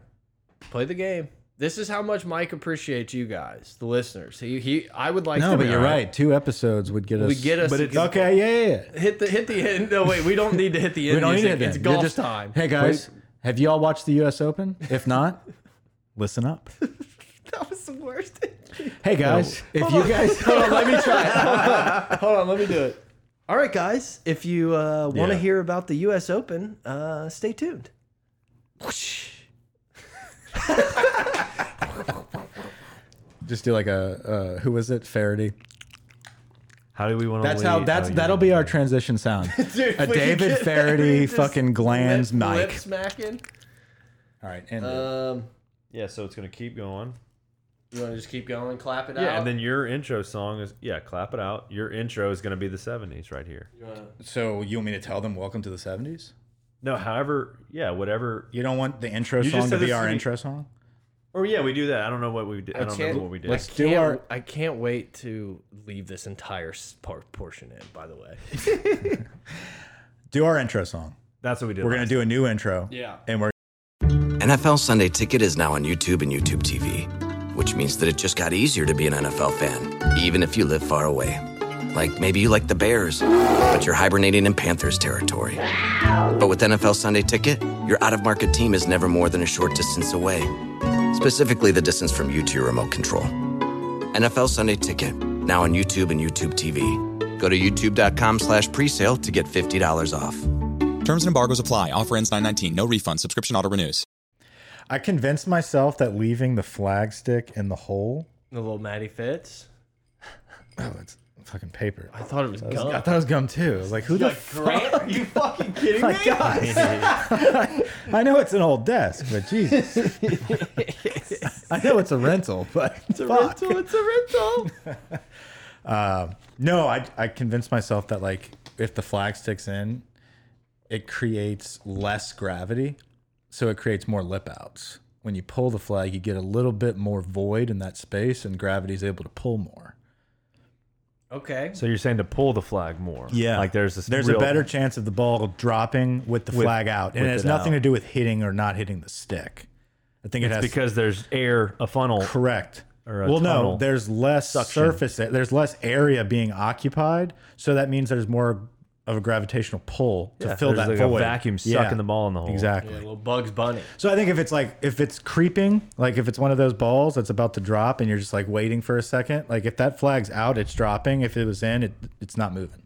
[SPEAKER 1] play the game. This is how much Mike appreciates you guys, the listeners. He, he I would like
[SPEAKER 3] No,
[SPEAKER 1] to
[SPEAKER 3] but
[SPEAKER 1] be-
[SPEAKER 3] you're right. Two episodes would get us.
[SPEAKER 1] We get us.
[SPEAKER 2] But it's-
[SPEAKER 3] Okay. Yeah. yeah, yeah.
[SPEAKER 1] Hit the hit the end. No wait, we don't need to hit the end.
[SPEAKER 3] We don't need
[SPEAKER 1] music.
[SPEAKER 3] it. then.
[SPEAKER 1] It's
[SPEAKER 3] You're
[SPEAKER 1] golf
[SPEAKER 3] just-
[SPEAKER 1] time.
[SPEAKER 3] Hey guys, have you all watched the U.S. Open? If not, listen up.
[SPEAKER 1] that was the worst.
[SPEAKER 3] Hey guys, if you guys,
[SPEAKER 1] Hold on, let me try it. Hold on, Hold on, let me do it. All right, guys. If you uh, want to
[SPEAKER 3] Yeah.
[SPEAKER 1] hear about the U.S. Open, uh, stay tuned.
[SPEAKER 3] just do like a uh, who was it? Faraday.
[SPEAKER 2] How do we want to?
[SPEAKER 3] That's how.
[SPEAKER 2] Oh,
[SPEAKER 3] That's that'll be our transition sound. a David Faraday fucking glands mic.
[SPEAKER 1] smacking.
[SPEAKER 3] All right, and
[SPEAKER 1] Um,
[SPEAKER 2] Yeah, so it's gonna keep going.
[SPEAKER 1] You want to just keep going, clap it out.
[SPEAKER 2] Yeah, and then your intro song is yeah, clap it out. Your intro is gonna be the '70s right here.
[SPEAKER 1] You wanna-
[SPEAKER 3] So you want me to tell them welcome to the 70s?
[SPEAKER 2] No, however, yeah, whatever.
[SPEAKER 3] You don't want the intro
[SPEAKER 2] just
[SPEAKER 3] song to
[SPEAKER 2] said
[SPEAKER 3] be
[SPEAKER 2] this
[SPEAKER 3] our
[SPEAKER 2] is the-
[SPEAKER 3] intro song?
[SPEAKER 2] Or yeah, we do that. I don't know what we did. I, don't remember what we did.
[SPEAKER 3] let's
[SPEAKER 1] I
[SPEAKER 3] do
[SPEAKER 1] can't-
[SPEAKER 3] our-
[SPEAKER 1] I can't wait to leave this entire s- part portion in. By the way,
[SPEAKER 3] Do our intro song.
[SPEAKER 2] That's what we did.
[SPEAKER 3] We're going to do a new intro.
[SPEAKER 1] Yeah.
[SPEAKER 3] And we're
[SPEAKER 4] NFL Sunday Ticket is now on YouTube and YouTube TV, which means that it just got easier to be an NFL fan, even if you live far away. Like maybe you like the Bears, but you're hibernating in Panthers territory. But with NFL Sunday Ticket, your out of market team is never more than a short distance away, specifically the distance from you to your remote control. NFL Sunday Ticket, now on YouTube and YouTube TV. Go to youtube.com slash presale to get $50 off.
[SPEAKER 5] Terms and embargoes apply. Offer ends 919. No refund. Subscription auto renews.
[SPEAKER 3] I convinced myself that leaving the flag stick in the hole.
[SPEAKER 1] the little Matty Fitz.
[SPEAKER 3] Oh, it's fucking paper.
[SPEAKER 1] I thought it was gum.
[SPEAKER 3] I thought it was gum too. I was like, who the
[SPEAKER 1] like Grant, are you fucking kidding me?
[SPEAKER 3] I know it's an old desk, but Jesus. I know it's a rental, but it's fuck.
[SPEAKER 1] It's a rental.
[SPEAKER 3] No, I, I convinced myself that like if the flag sticks in, it creates less gravity, so it creates more lip outs. When you pull the flag, you get a little bit more void in that space, and gravity's able to pull more.
[SPEAKER 1] Okay.
[SPEAKER 2] So you're saying to pull the flag more? Like there's this.
[SPEAKER 3] there's
[SPEAKER 2] real-
[SPEAKER 3] a better chance of the ball dropping with the flag out, and it
[SPEAKER 2] with
[SPEAKER 3] has
[SPEAKER 2] it
[SPEAKER 3] nothing
[SPEAKER 2] out.
[SPEAKER 3] to do with hitting or not hitting the stick. I think it has
[SPEAKER 2] because there's air, a funnel.
[SPEAKER 3] Correct.
[SPEAKER 2] Or a
[SPEAKER 3] well, no,
[SPEAKER 2] tunnel.
[SPEAKER 3] there's less surface. There's less area being occupied, so that means there's more of a gravitational pull to
[SPEAKER 2] Yeah,
[SPEAKER 3] fill
[SPEAKER 2] there's
[SPEAKER 3] that
[SPEAKER 2] like a
[SPEAKER 3] void.
[SPEAKER 2] vacuum sucking the ball in the hole.
[SPEAKER 3] Exactly.
[SPEAKER 1] Yeah, little Bugs Bunny.
[SPEAKER 3] So I think if it's like if it's creeping, like if it's one of those balls that's about to drop, and you're just like waiting for a second, like if that flag's out, it's dropping. If it was in, it it's not moving.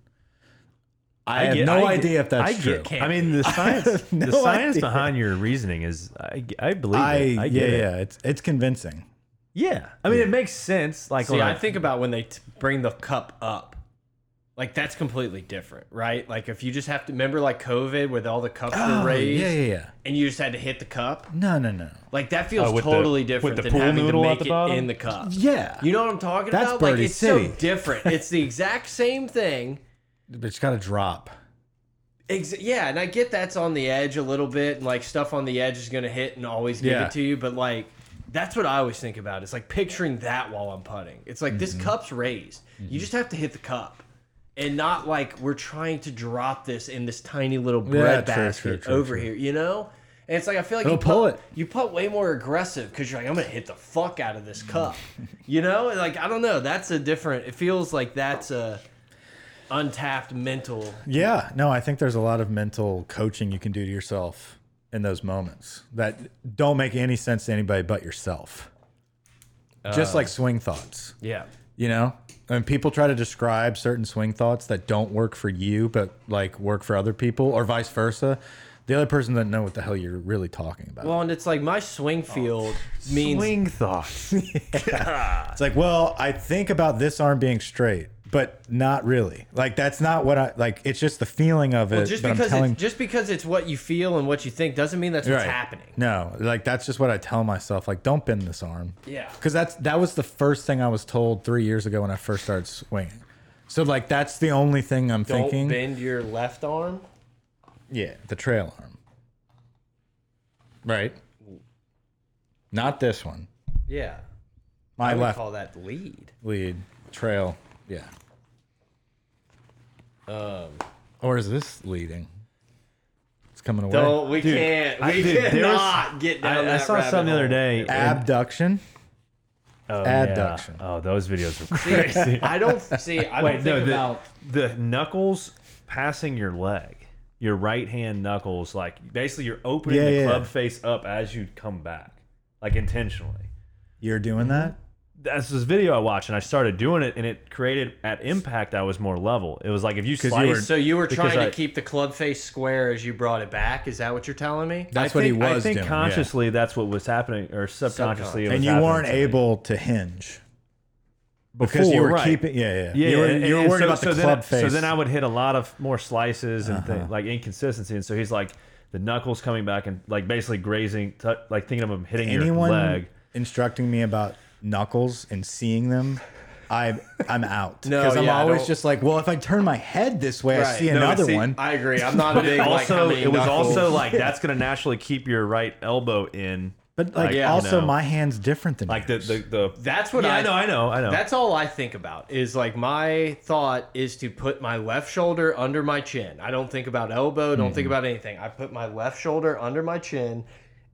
[SPEAKER 3] I, have
[SPEAKER 2] get-
[SPEAKER 3] no
[SPEAKER 2] I get-
[SPEAKER 3] idea if that's
[SPEAKER 2] I
[SPEAKER 3] true.
[SPEAKER 2] get, I mean, the science,
[SPEAKER 3] no
[SPEAKER 2] the science
[SPEAKER 3] idea.
[SPEAKER 2] behind your reasoning is, I, I believe
[SPEAKER 3] I,
[SPEAKER 2] it. I
[SPEAKER 3] yeah
[SPEAKER 2] get it.
[SPEAKER 3] yeah it's it's convincing.
[SPEAKER 2] Yeah, I mean, it makes sense. Like,
[SPEAKER 1] See,
[SPEAKER 2] when
[SPEAKER 1] I think about when they t bring the cup up. Like that's completely different, right? Like if you just have to remember like COVID with all the cups
[SPEAKER 2] Oh,
[SPEAKER 1] were raised
[SPEAKER 3] Oh, yeah yeah yeah.
[SPEAKER 1] and you just had to hit the cup.
[SPEAKER 3] No no no.
[SPEAKER 1] Like that feels
[SPEAKER 2] Oh, with the-
[SPEAKER 1] totally
[SPEAKER 2] with
[SPEAKER 1] different
[SPEAKER 2] the
[SPEAKER 1] than
[SPEAKER 2] pool
[SPEAKER 1] having to
[SPEAKER 2] noodle at
[SPEAKER 1] make
[SPEAKER 2] the
[SPEAKER 1] it
[SPEAKER 2] bottom?
[SPEAKER 1] in the cup.
[SPEAKER 3] Yeah.
[SPEAKER 1] You know what I'm talking
[SPEAKER 3] That's
[SPEAKER 1] about?
[SPEAKER 3] Birdie
[SPEAKER 1] like it's
[SPEAKER 3] City.
[SPEAKER 1] so different. It's the exact same thing.
[SPEAKER 3] It's got to drop.
[SPEAKER 1] Ex yeah, and I get that's on the edge a little bit, and like stuff on the edge is gonna hit and always give
[SPEAKER 3] Yeah.
[SPEAKER 1] it to you. But like, that's what I always think about. It's like picturing that while I'm putting. It's like
[SPEAKER 3] Mm-hmm.
[SPEAKER 1] this cup's raised. You just have to hit the cup, and not like we're trying to drop this in this tiny little bread
[SPEAKER 3] true, true,
[SPEAKER 1] basket
[SPEAKER 3] true,
[SPEAKER 1] over here. You know. And it's like I feel like
[SPEAKER 3] It'll
[SPEAKER 1] you
[SPEAKER 3] pull
[SPEAKER 1] putt,
[SPEAKER 3] it.
[SPEAKER 1] You putt way more aggressive because you're like I'm gonna hit the fuck out of this cup, you know. And, Like I don't know. That's a different. It feels like that's a untapped mental
[SPEAKER 3] Yeah, no, I think there's a lot of mental coaching you can do to yourself in those moments that don't make any sense to anybody but yourself.
[SPEAKER 1] Uh.
[SPEAKER 3] Just like swing thoughts,
[SPEAKER 1] yeah.
[SPEAKER 3] you know? And people try to describe certain swing thoughts that don't work for you, but like work for other people, or vice versa. The other person doesn't know what the hell you're really talking about.
[SPEAKER 1] Well, and it's like my swing
[SPEAKER 2] Oh.
[SPEAKER 1] field means
[SPEAKER 2] swing thoughts.
[SPEAKER 3] It's like, well, I think about this arm being straight, but not really. Like, that's not what I like. It's just the feeling of it.
[SPEAKER 1] well, just
[SPEAKER 3] but I'm
[SPEAKER 1] because
[SPEAKER 3] telling-
[SPEAKER 1] it's, just because it's what you feel and what you think doesn't mean that's what's
[SPEAKER 3] Right.
[SPEAKER 1] happening.
[SPEAKER 3] No, like that's just what I tell myself. Like, don't bend this arm.
[SPEAKER 1] Yeah.
[SPEAKER 3] Because that's that was the first thing I was told three years ago when I first started swinging. So like that's the only thing I'm
[SPEAKER 1] Don't
[SPEAKER 3] thinking.
[SPEAKER 1] bend your left arm.
[SPEAKER 3] Yeah, the trail arm. Right. Not this one.
[SPEAKER 1] Yeah,
[SPEAKER 3] My
[SPEAKER 1] I would
[SPEAKER 3] left
[SPEAKER 1] call that lead.
[SPEAKER 3] lead trail. Yeah. Um.
[SPEAKER 1] Um,
[SPEAKER 3] Or is this leading? It's coming away.
[SPEAKER 1] Don't we can't we
[SPEAKER 2] dude, there was-
[SPEAKER 1] cannot get down
[SPEAKER 2] I, I
[SPEAKER 1] that
[SPEAKER 2] saw
[SPEAKER 1] rabbit
[SPEAKER 2] something the other
[SPEAKER 1] hole.
[SPEAKER 2] day.
[SPEAKER 3] Abduction.
[SPEAKER 2] oh,
[SPEAKER 3] Abduction.
[SPEAKER 2] Yeah. Oh, those videos were
[SPEAKER 1] See,
[SPEAKER 2] crazy.
[SPEAKER 1] I don't see. I don't
[SPEAKER 2] Wait,
[SPEAKER 1] think
[SPEAKER 2] no, the,
[SPEAKER 1] about.
[SPEAKER 2] the knuckles passing your leg, your right hand knuckles, like basically you're opening
[SPEAKER 3] Yeah,
[SPEAKER 2] the
[SPEAKER 3] yeah.
[SPEAKER 2] club face up as you come back, like intentionally.
[SPEAKER 3] You're doing that.
[SPEAKER 2] That's this video I watched, and I started doing it, and it created at impact. I was more level. It was like if you
[SPEAKER 3] 'Cause you were-
[SPEAKER 2] slice,
[SPEAKER 1] So you were
[SPEAKER 2] because
[SPEAKER 1] trying to
[SPEAKER 2] I-
[SPEAKER 1] keep the club face square as you brought it back. Is that what you're telling me?
[SPEAKER 3] That's
[SPEAKER 2] I
[SPEAKER 3] what
[SPEAKER 2] think,
[SPEAKER 3] he was
[SPEAKER 2] I think
[SPEAKER 3] doing. yeah.
[SPEAKER 2] consciously that's what was happening, or subconsciously. it was
[SPEAKER 3] and you
[SPEAKER 2] happening
[SPEAKER 3] weren't
[SPEAKER 2] to me.
[SPEAKER 3] able to hinge because
[SPEAKER 2] Before,
[SPEAKER 3] you were
[SPEAKER 2] right.
[SPEAKER 3] keeping. Yeah, yeah,
[SPEAKER 2] Yeah,
[SPEAKER 3] You were,
[SPEAKER 2] and-
[SPEAKER 3] you were
[SPEAKER 2] and
[SPEAKER 3] worried
[SPEAKER 2] so-
[SPEAKER 3] about the
[SPEAKER 2] so then,
[SPEAKER 3] club
[SPEAKER 2] I-
[SPEAKER 3] face. Uh-huh.
[SPEAKER 2] So then I would hit a lot of more slices and thi- like inconsistency, and so he's like the knuckles coming back and like basically grazing, t like thinking of him hitting your
[SPEAKER 3] anyone
[SPEAKER 2] leg.
[SPEAKER 3] instructing me about knuckles and seeing them, I I'm out.
[SPEAKER 1] No,
[SPEAKER 3] I'm
[SPEAKER 1] yeah, I
[SPEAKER 3] always
[SPEAKER 1] don't-
[SPEAKER 3] just like, well, if I turn my head this way, I
[SPEAKER 1] Right.
[SPEAKER 3] see
[SPEAKER 1] No,
[SPEAKER 3] another
[SPEAKER 2] see,
[SPEAKER 3] one.
[SPEAKER 1] I agree. I'm not a big like, how
[SPEAKER 2] also,
[SPEAKER 1] many
[SPEAKER 2] it was
[SPEAKER 1] knuckles.
[SPEAKER 2] also like that's going to naturally keep your right elbow in.
[SPEAKER 3] But like,
[SPEAKER 2] yeah,
[SPEAKER 3] also
[SPEAKER 2] no.
[SPEAKER 3] my hand's different than
[SPEAKER 2] Like the
[SPEAKER 3] yours.
[SPEAKER 2] the, the
[SPEAKER 1] That's what
[SPEAKER 2] yeah,
[SPEAKER 1] I-
[SPEAKER 2] know. I know. I know.
[SPEAKER 1] That's all I think about is like my thought is to put my left shoulder under my chin. I don't think about elbow, don't
[SPEAKER 2] Mm-hmm.
[SPEAKER 1] think about anything. I put my left shoulder under my chin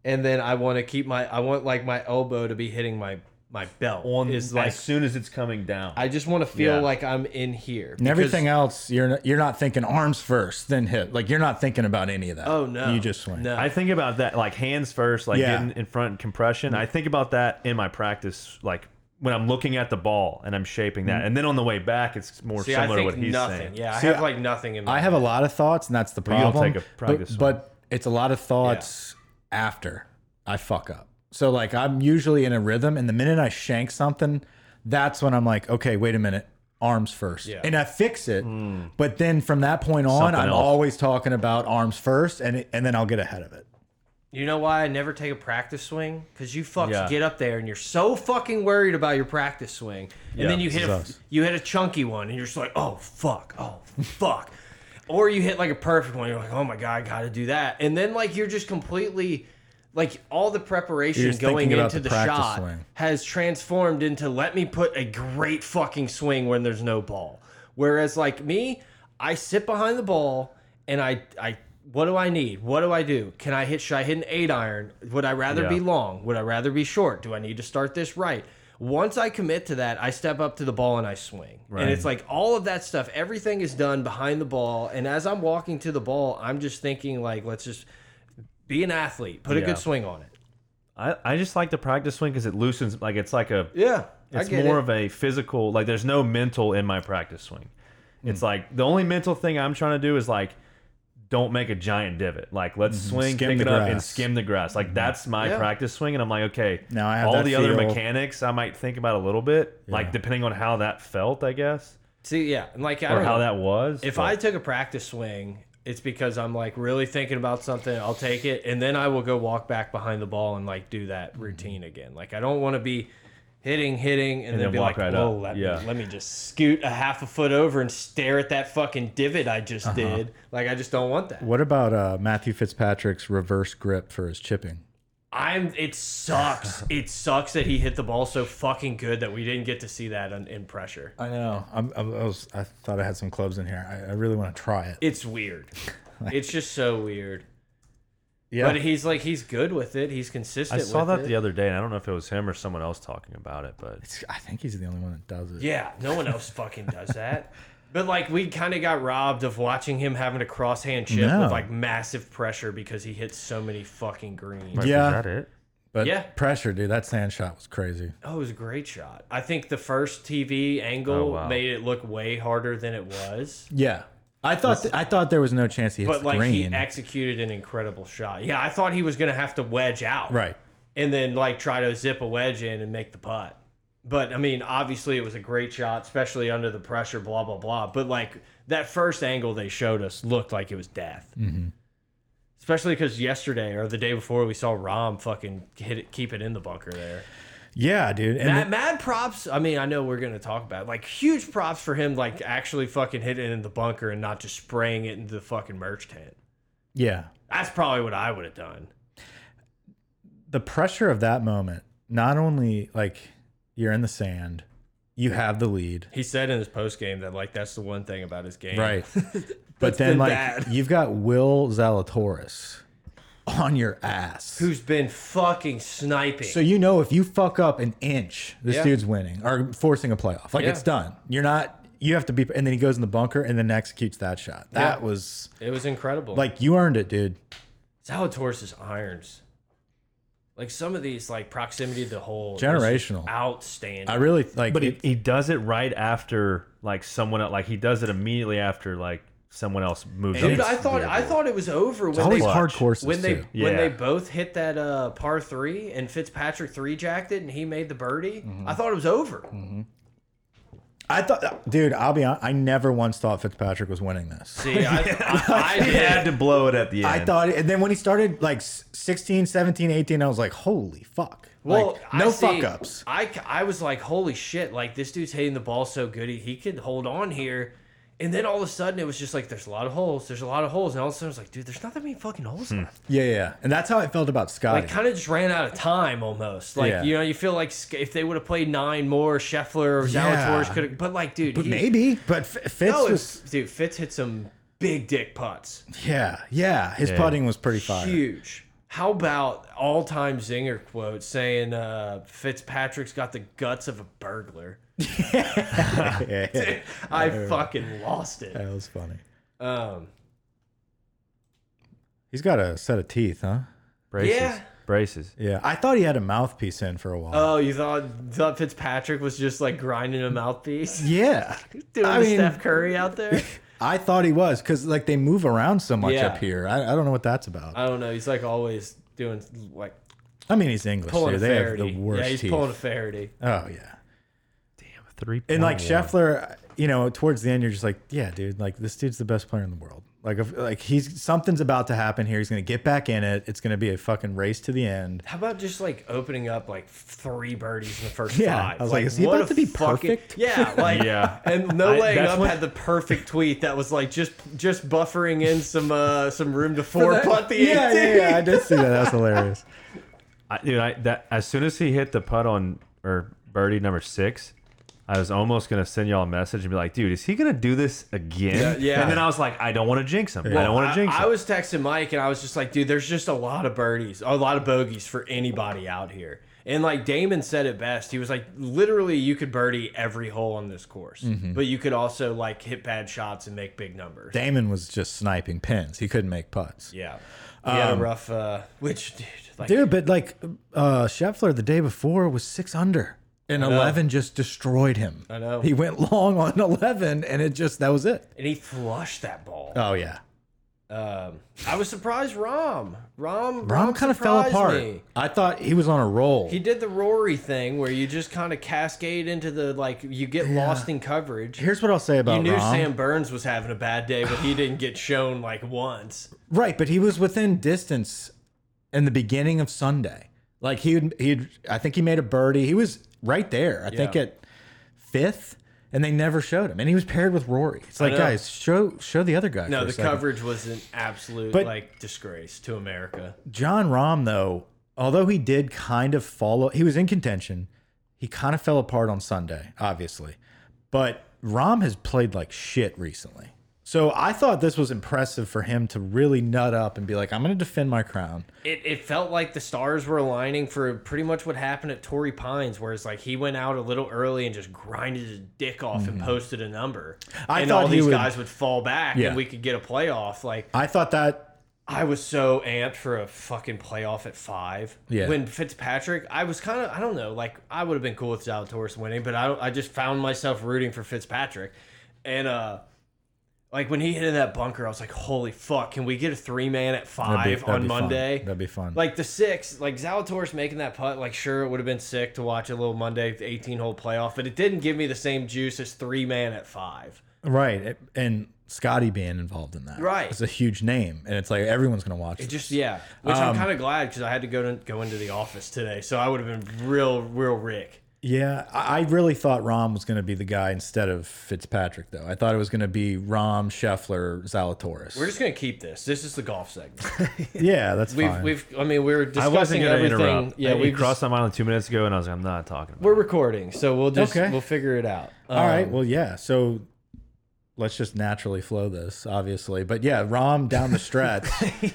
[SPEAKER 1] and then I want to keep my I want like my elbow to be hitting my my belt.
[SPEAKER 2] on
[SPEAKER 1] is like
[SPEAKER 2] as soon as it's coming down.
[SPEAKER 1] I just want to feel
[SPEAKER 2] Yeah.
[SPEAKER 1] like I'm in here.
[SPEAKER 3] and everything else, you're not, you're not thinking arms first, then hip. Like you're not thinking about any of that.
[SPEAKER 1] Oh no.
[SPEAKER 3] you just swing.
[SPEAKER 1] No.
[SPEAKER 2] I think about that like hands first, like
[SPEAKER 3] Yeah.
[SPEAKER 2] getting in front and compression. I think about that in my practice, like when I'm looking at the ball and I'm shaping that, and then on the way back, it's more
[SPEAKER 1] See, I
[SPEAKER 2] similar to
[SPEAKER 1] think
[SPEAKER 2] what he's
[SPEAKER 1] nothing.
[SPEAKER 2] saying.
[SPEAKER 1] Yeah,
[SPEAKER 3] See,
[SPEAKER 1] I have like nothing in my
[SPEAKER 3] I have a lot of thoughts, and that's the
[SPEAKER 2] you don't
[SPEAKER 3] problem.
[SPEAKER 2] take a practice
[SPEAKER 3] but, but it's a lot of thoughts after I fuck up. So like I'm usually in a rhythm, and the minute I shank something, that's when I'm like, okay, wait a minute, arms first, and I fix it. But then from that point on,
[SPEAKER 2] Hmm. Something
[SPEAKER 3] I'm
[SPEAKER 2] else.
[SPEAKER 3] always talking about arms first, and it, and then I'll get ahead of it.
[SPEAKER 1] You know why I never take a practice swing? Because you fucks
[SPEAKER 2] Yeah.
[SPEAKER 1] get up there and you're so fucking worried about your practice swing, and then you hit a you hit a chunky one, and you're just like, oh fuck, oh fuck, or you hit like a perfect one, you're like, oh my god, I got to do that, and then like you're just completely like all the
[SPEAKER 3] You're
[SPEAKER 1] preparation
[SPEAKER 3] just
[SPEAKER 1] going
[SPEAKER 3] thinking about
[SPEAKER 1] into
[SPEAKER 3] the
[SPEAKER 1] the,
[SPEAKER 3] practice
[SPEAKER 1] shot
[SPEAKER 3] swing.
[SPEAKER 1] has transformed into let me put a great fucking swing when there's no ball. Whereas like me, I sit behind the ball and I I what do I need? What do I do? Can I hit should I hit an eight iron? Would I rather be
[SPEAKER 2] Yeah.
[SPEAKER 1] long? Would I rather be short? Do I need to start this right? Once I commit to that, I step up to the ball and I swing. And it's like all of that stuff, everything is done behind the ball. And as I'm walking to the ball, I'm just thinking like, let's just be an athlete, put a
[SPEAKER 2] Yeah.
[SPEAKER 1] good swing on it.
[SPEAKER 2] I, I just like the practice swing because it loosens. Like it's like a
[SPEAKER 1] Yeah,
[SPEAKER 2] It's more of a physical. Like there's no mental in my practice swing.
[SPEAKER 3] Hmm.
[SPEAKER 2] It's like the only mental thing I'm trying to do is like, don't make a giant divot. Like let's swing,
[SPEAKER 3] Mm-hmm. Skim
[SPEAKER 2] pick
[SPEAKER 3] the
[SPEAKER 2] it up, and
[SPEAKER 3] grass. Mm-hmm.
[SPEAKER 2] skim the grass. Like that's my
[SPEAKER 1] Yeah.
[SPEAKER 2] practice swing, and I'm like, okay.
[SPEAKER 3] Now I have
[SPEAKER 2] all
[SPEAKER 3] that
[SPEAKER 2] the other
[SPEAKER 3] feel.
[SPEAKER 2] mechanics I might think about a little bit, like depending on how that felt, I guess,
[SPEAKER 1] See, yeah, and like I
[SPEAKER 2] or
[SPEAKER 1] don't
[SPEAKER 2] how
[SPEAKER 1] know.
[SPEAKER 2] that was.
[SPEAKER 1] If
[SPEAKER 2] but-
[SPEAKER 1] I took a practice swing, it's because I'm like really thinking about something. I'll take it, and then I will go walk back behind the ball and like do that
[SPEAKER 2] Mm-hmm.
[SPEAKER 1] routine again. Like I don't want to be hitting, hitting, and, then,
[SPEAKER 2] then
[SPEAKER 1] be
[SPEAKER 2] walk
[SPEAKER 1] like,
[SPEAKER 2] right
[SPEAKER 1] "Whoa,
[SPEAKER 2] up."
[SPEAKER 1] let
[SPEAKER 2] Yeah.
[SPEAKER 1] me let me just scoot a half a foot over and stare at that fucking divot I just
[SPEAKER 2] Uh-huh.
[SPEAKER 1] did." Like I just don't want that.
[SPEAKER 3] What about uh, Matthew Fitzpatrick's reverse grip for his chipping?
[SPEAKER 1] I'm. It sucks. it sucks that he hit the ball so fucking good that we didn't get to see that in, in pressure.
[SPEAKER 3] I know. I'm, I'm, I, was, I thought I had some clubs in here. I, I really want to try it.
[SPEAKER 1] It's weird. it's just so weird.
[SPEAKER 3] Yeah.
[SPEAKER 1] But he's like he's good with it. He's consistent.
[SPEAKER 2] I saw
[SPEAKER 1] with
[SPEAKER 2] that
[SPEAKER 1] it.
[SPEAKER 2] the other day, and I don't know if it was him or someone else talking about it, but
[SPEAKER 3] I think he's the only one that does it.
[SPEAKER 1] Yeah, no one else fucking does that. But like we kind of got robbed of watching him having a crosshand chip
[SPEAKER 3] No.
[SPEAKER 1] with like massive pressure because he hit so many fucking greens.
[SPEAKER 3] Yeah.
[SPEAKER 2] is that it?
[SPEAKER 3] But
[SPEAKER 1] Yeah.
[SPEAKER 3] pressure, dude, that sand shot was crazy.
[SPEAKER 1] Oh, it was a great shot. I think the first TV angle
[SPEAKER 2] Oh, wow.
[SPEAKER 1] made it look way harder than it was.
[SPEAKER 3] Yeah. I thought th I thought there was no chance he hits
[SPEAKER 1] But
[SPEAKER 3] the
[SPEAKER 1] like
[SPEAKER 3] green.
[SPEAKER 1] he executed an incredible shot. Yeah, I thought he was gonna have to wedge out.
[SPEAKER 3] right.
[SPEAKER 1] and then like try to zip a wedge in and make the putt. But I mean, obviously it was a great shot, especially under the pressure, blah blah blah. But like that first angle they showed us looked like it was death.
[SPEAKER 3] Mm-hmm.
[SPEAKER 1] Especially because yesterday or the day before we saw Rom fucking hit it, keep it in the bunker there.
[SPEAKER 3] Yeah, dude. And
[SPEAKER 1] Mad, mad props. I mean, I know we're gonna talk about it. like huge props for him, like actually fucking hitting it in the bunker and not just spraying it into the fucking merch tent.
[SPEAKER 3] the- yeah.
[SPEAKER 1] That's probably what I would have done.
[SPEAKER 3] The pressure of that moment, not only like you're in the sand, you have the lead.
[SPEAKER 1] He said in his post game that like that's the one thing about his game.
[SPEAKER 3] Right. but then
[SPEAKER 1] been
[SPEAKER 3] like
[SPEAKER 1] bad.
[SPEAKER 3] you've got Will Zalatoris on your ass.
[SPEAKER 1] who's been fucking sniping.
[SPEAKER 3] so you know if you fuck up an inch, this
[SPEAKER 1] Yeah.
[SPEAKER 3] dude's winning or forcing a playoff. Like
[SPEAKER 1] Yeah.
[SPEAKER 3] it's done. You're not you have to be and then he goes in the bunker and then executes that shot. That
[SPEAKER 1] Yeah.
[SPEAKER 3] was
[SPEAKER 1] it was incredible.
[SPEAKER 3] like you earned it, dude.
[SPEAKER 1] Zalatoris' irons. Like some of these, like proximity to the hole, is
[SPEAKER 3] Generational.
[SPEAKER 1] outstanding.
[SPEAKER 3] I really like
[SPEAKER 2] But
[SPEAKER 3] it-
[SPEAKER 2] he, he does it right after like someone else. Like he does it immediately after like someone else moves.
[SPEAKER 1] Dude,
[SPEAKER 2] up.
[SPEAKER 1] I thought I thought it was over when
[SPEAKER 3] always
[SPEAKER 1] they
[SPEAKER 3] hard courses,
[SPEAKER 1] when they
[SPEAKER 3] too.
[SPEAKER 1] when
[SPEAKER 2] Yeah.
[SPEAKER 1] they both hit that uh, par three
[SPEAKER 3] Mm-hmm.
[SPEAKER 1] and Fitzpatrick three jacked it and he made the birdie. I thought it was over.
[SPEAKER 3] I thought, dude, I'll be honest. I never once thought Fitzpatrick was winning this.
[SPEAKER 1] See, I, I, I
[SPEAKER 2] He had
[SPEAKER 1] did.
[SPEAKER 2] to blow it at the end.
[SPEAKER 3] I thought, and then when he started like s- 16, 17, 18, I was like, holy fuck.
[SPEAKER 1] Well,
[SPEAKER 3] like,
[SPEAKER 1] I
[SPEAKER 3] no
[SPEAKER 1] see-
[SPEAKER 3] fuck ups.
[SPEAKER 1] I, c- I was like, holy shit! Like this dude's hitting the ball so good, he, he could hold on here. And then all of a sudden, it was just like, there's a lot of holes. There's a lot of holes. And all of a sudden, I was like, dude, there's not that many fucking holes left.
[SPEAKER 3] Yeah, yeah. And that's how I felt about Scotty.
[SPEAKER 1] Like, kind of just ran out of time almost. Like,
[SPEAKER 3] Yeah.
[SPEAKER 1] you know, you feel like sc- if they would have played nine more, Scheffler or
[SPEAKER 3] Yeah.
[SPEAKER 1] Zalatoris could have. But, like, dude,
[SPEAKER 3] but
[SPEAKER 1] he-
[SPEAKER 3] maybe. But F- Fitz
[SPEAKER 1] No,
[SPEAKER 3] was,
[SPEAKER 1] it's, dude, Fitz hit some big dick putts.
[SPEAKER 3] yeah, yeah. His putting was pretty fire.
[SPEAKER 1] Huge. How about all time zinger quote saying uh, Fitzpatrick's got the guts of a burglar?
[SPEAKER 3] Yeah, yeah.
[SPEAKER 1] I fucking lost it.
[SPEAKER 3] That was funny.
[SPEAKER 1] Um,
[SPEAKER 3] He's got a set of teeth, huh?
[SPEAKER 2] braces.
[SPEAKER 1] Yeah.
[SPEAKER 2] Braces.
[SPEAKER 3] Yeah. I thought he had a mouthpiece in for a while.
[SPEAKER 1] oh, you thought, thought Fitzpatrick was just like grinding a mouthpiece?
[SPEAKER 3] yeah.
[SPEAKER 1] Doing
[SPEAKER 3] I
[SPEAKER 1] the
[SPEAKER 3] mean-
[SPEAKER 1] Steph Curry out there?
[SPEAKER 3] I thought he was because like they move around so much
[SPEAKER 1] Yeah.
[SPEAKER 3] up here. I, I don't know what that's about.
[SPEAKER 1] I don't know. He's like always doing like
[SPEAKER 3] I mean, he's English.
[SPEAKER 1] pulling
[SPEAKER 3] Dude.
[SPEAKER 1] a
[SPEAKER 3] They have
[SPEAKER 1] Faraday.
[SPEAKER 3] the worst
[SPEAKER 1] yeah, he's
[SPEAKER 3] teeth.
[SPEAKER 1] pulling a Faraday.
[SPEAKER 3] oh yeah.
[SPEAKER 2] Three.
[SPEAKER 3] And like Scheffler, you know, towards the end, you're just like, yeah, dude, like this dude's the best player in the world. Like, if, like he's something's about to happen here. He's gonna get back in it. It's gonna be a fucking race to the end.
[SPEAKER 1] How about just like opening up like three birdies in the first
[SPEAKER 3] Yeah,
[SPEAKER 1] five?
[SPEAKER 3] I was like, is he
[SPEAKER 1] what
[SPEAKER 3] about
[SPEAKER 1] a
[SPEAKER 3] to be
[SPEAKER 1] fucking-
[SPEAKER 3] perfect?
[SPEAKER 1] Yeah, like
[SPEAKER 2] Yeah.
[SPEAKER 1] And no
[SPEAKER 2] I-
[SPEAKER 1] laying
[SPEAKER 2] that's
[SPEAKER 1] up
[SPEAKER 2] what-
[SPEAKER 1] had the perfect tweet that was like just just buffering in some uh some room to four putt the
[SPEAKER 3] Yeah,
[SPEAKER 1] 18.
[SPEAKER 3] yeah, yeah. I did see that. That's hilarious.
[SPEAKER 2] I, dude, I, that as soon as he hit the putt on or birdie number six, I was almost gonna send y'all a message and be like, dude, is he gonna do this again?
[SPEAKER 1] Yeah, yeah.
[SPEAKER 2] And then I was like, I don't want to jinx him. I don't want
[SPEAKER 1] I-
[SPEAKER 2] to jinx him.
[SPEAKER 1] I was texting Mike and I was just like, dude, there's just a lot of birdies, a lot of bogeys for anybody out here. And like Damon said it best, he was like, literally, you could birdie every hole on this course,
[SPEAKER 3] Mm-hmm.
[SPEAKER 1] but you could also like hit bad shots and make big numbers.
[SPEAKER 3] Damon was just sniping pins. He couldn't make putts.
[SPEAKER 1] Yeah, he had a rough. Uh, which dude, like,
[SPEAKER 3] Um, Dude, but like uh Scheffler the day before was six under. And eleven just destroyed him. I
[SPEAKER 1] know.
[SPEAKER 3] He went long on eleven and it just that was it.
[SPEAKER 1] and he flushed that ball.
[SPEAKER 3] Oh yeah.
[SPEAKER 1] Um, I was surprised. Rom, Rom,
[SPEAKER 3] Rom kind of fell
[SPEAKER 1] surprised
[SPEAKER 3] apart.
[SPEAKER 1] me.
[SPEAKER 3] I thought he was on a roll.
[SPEAKER 1] He did the Rory thing where you just kind of cascade into the like you get lost in coverage.
[SPEAKER 3] Here's what I'll say about
[SPEAKER 1] You knew
[SPEAKER 3] Rahm.
[SPEAKER 1] Sam Burns was having a bad day, but he didn't get shown like once.
[SPEAKER 3] Right, but he was within distance in the beginning of Sunday. Like he would, he would I think he made a birdie. He was right there. I think
[SPEAKER 1] Yeah.
[SPEAKER 3] at fifth, and they never showed him. And he was paired with Rory. It's like
[SPEAKER 1] know.
[SPEAKER 3] guys, show show the other guy.
[SPEAKER 1] No,
[SPEAKER 3] for a
[SPEAKER 1] the
[SPEAKER 3] second.
[SPEAKER 1] coverage was an absolute
[SPEAKER 3] But-
[SPEAKER 1] like disgrace to America.
[SPEAKER 3] John Rahm though, although he did kind of follow, he was in contention. He kind of fell apart on Sunday, obviously, but Rahm has played like shit recently. So I thought this was impressive for him to really nut up and be like, I'm going to defend my crown.
[SPEAKER 1] It, it felt like the stars were aligning for pretty much what happened at Torrey Pines, where it's like he went out a little early and just grinded his dick off and posted a number.
[SPEAKER 3] Mm. I
[SPEAKER 1] and
[SPEAKER 3] thought
[SPEAKER 1] all
[SPEAKER 3] he
[SPEAKER 1] these
[SPEAKER 3] would-
[SPEAKER 1] guys would fall back
[SPEAKER 3] Yeah.
[SPEAKER 1] and we could get a playoff. Like
[SPEAKER 3] I thought that
[SPEAKER 1] I was so amped for a fucking playoff at five.
[SPEAKER 3] Yeah.
[SPEAKER 1] When Fitzpatrick, I was kind of, I don't know, like I would have been cool with Zalatoris winning, but I don't, I just found myself rooting for Fitzpatrick, and uh, like when he hit in that bunker, I was like, holy fuck, can we get a three man at
[SPEAKER 3] That'd be-
[SPEAKER 1] five
[SPEAKER 3] that'd
[SPEAKER 1] on
[SPEAKER 3] be fun.
[SPEAKER 1] Monday?
[SPEAKER 3] That'd be fun.
[SPEAKER 1] Like the six, like Zalatoris making that putt, like sure it would have been sick to watch a little Monday eighteen hole playoff, but it didn't give me the same juice as three man at five.
[SPEAKER 3] right, it- and Scotty being involved in that,
[SPEAKER 1] Right.
[SPEAKER 3] It's a huge name, and it's like everyone's gonna watch.
[SPEAKER 1] It just yeah, which I'm
[SPEAKER 3] Um,
[SPEAKER 1] kind of glad because I had to go to go into the office today, so I would have been real, real Rick.
[SPEAKER 3] yeah, I I really thought Rom was gonna be the guy instead of Fitzpatrick, though. I thought it was gonna be Rom, Scheffler, Zalatoris.
[SPEAKER 1] We're just gonna keep this. This is the golf segment.
[SPEAKER 3] yeah, that's
[SPEAKER 1] We've,
[SPEAKER 3] fine.
[SPEAKER 1] we've, I mean, we were
[SPEAKER 2] I
[SPEAKER 1] discussing
[SPEAKER 2] wasn't gonna
[SPEAKER 1] everything.
[SPEAKER 2] interrupt.
[SPEAKER 1] Yeah,
[SPEAKER 2] we
[SPEAKER 1] we
[SPEAKER 2] crossed my mind two minutes ago, and I was like, I'm not talking about.
[SPEAKER 1] We're recording, so we'll just
[SPEAKER 3] Okay.
[SPEAKER 1] we'll figure it out.
[SPEAKER 3] All
[SPEAKER 1] um,
[SPEAKER 3] right, well, yeah. So let's just naturally flow this, obviously. But yeah, Rom down the stretch,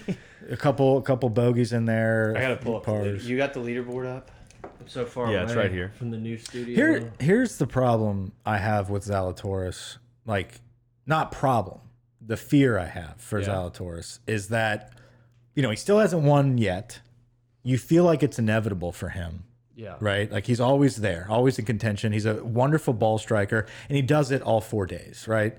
[SPEAKER 3] a couple, a couple bogeys in there.
[SPEAKER 1] I gotta pull up. the leader-
[SPEAKER 3] pars.
[SPEAKER 1] You got the leaderboard up? I'm so far.
[SPEAKER 2] Yeah, it's
[SPEAKER 1] away
[SPEAKER 2] right here.
[SPEAKER 1] from the new studio.
[SPEAKER 3] Here, here's the problem I have with Zalatoris. Like, not problem. The fear I have for Zalatoris is that, you know, he still hasn't won yet. You feel like it's inevitable for him,
[SPEAKER 1] yeah.
[SPEAKER 3] right? Like he's always there, always in contention. He's a wonderful ball striker, and he does it all four days, right?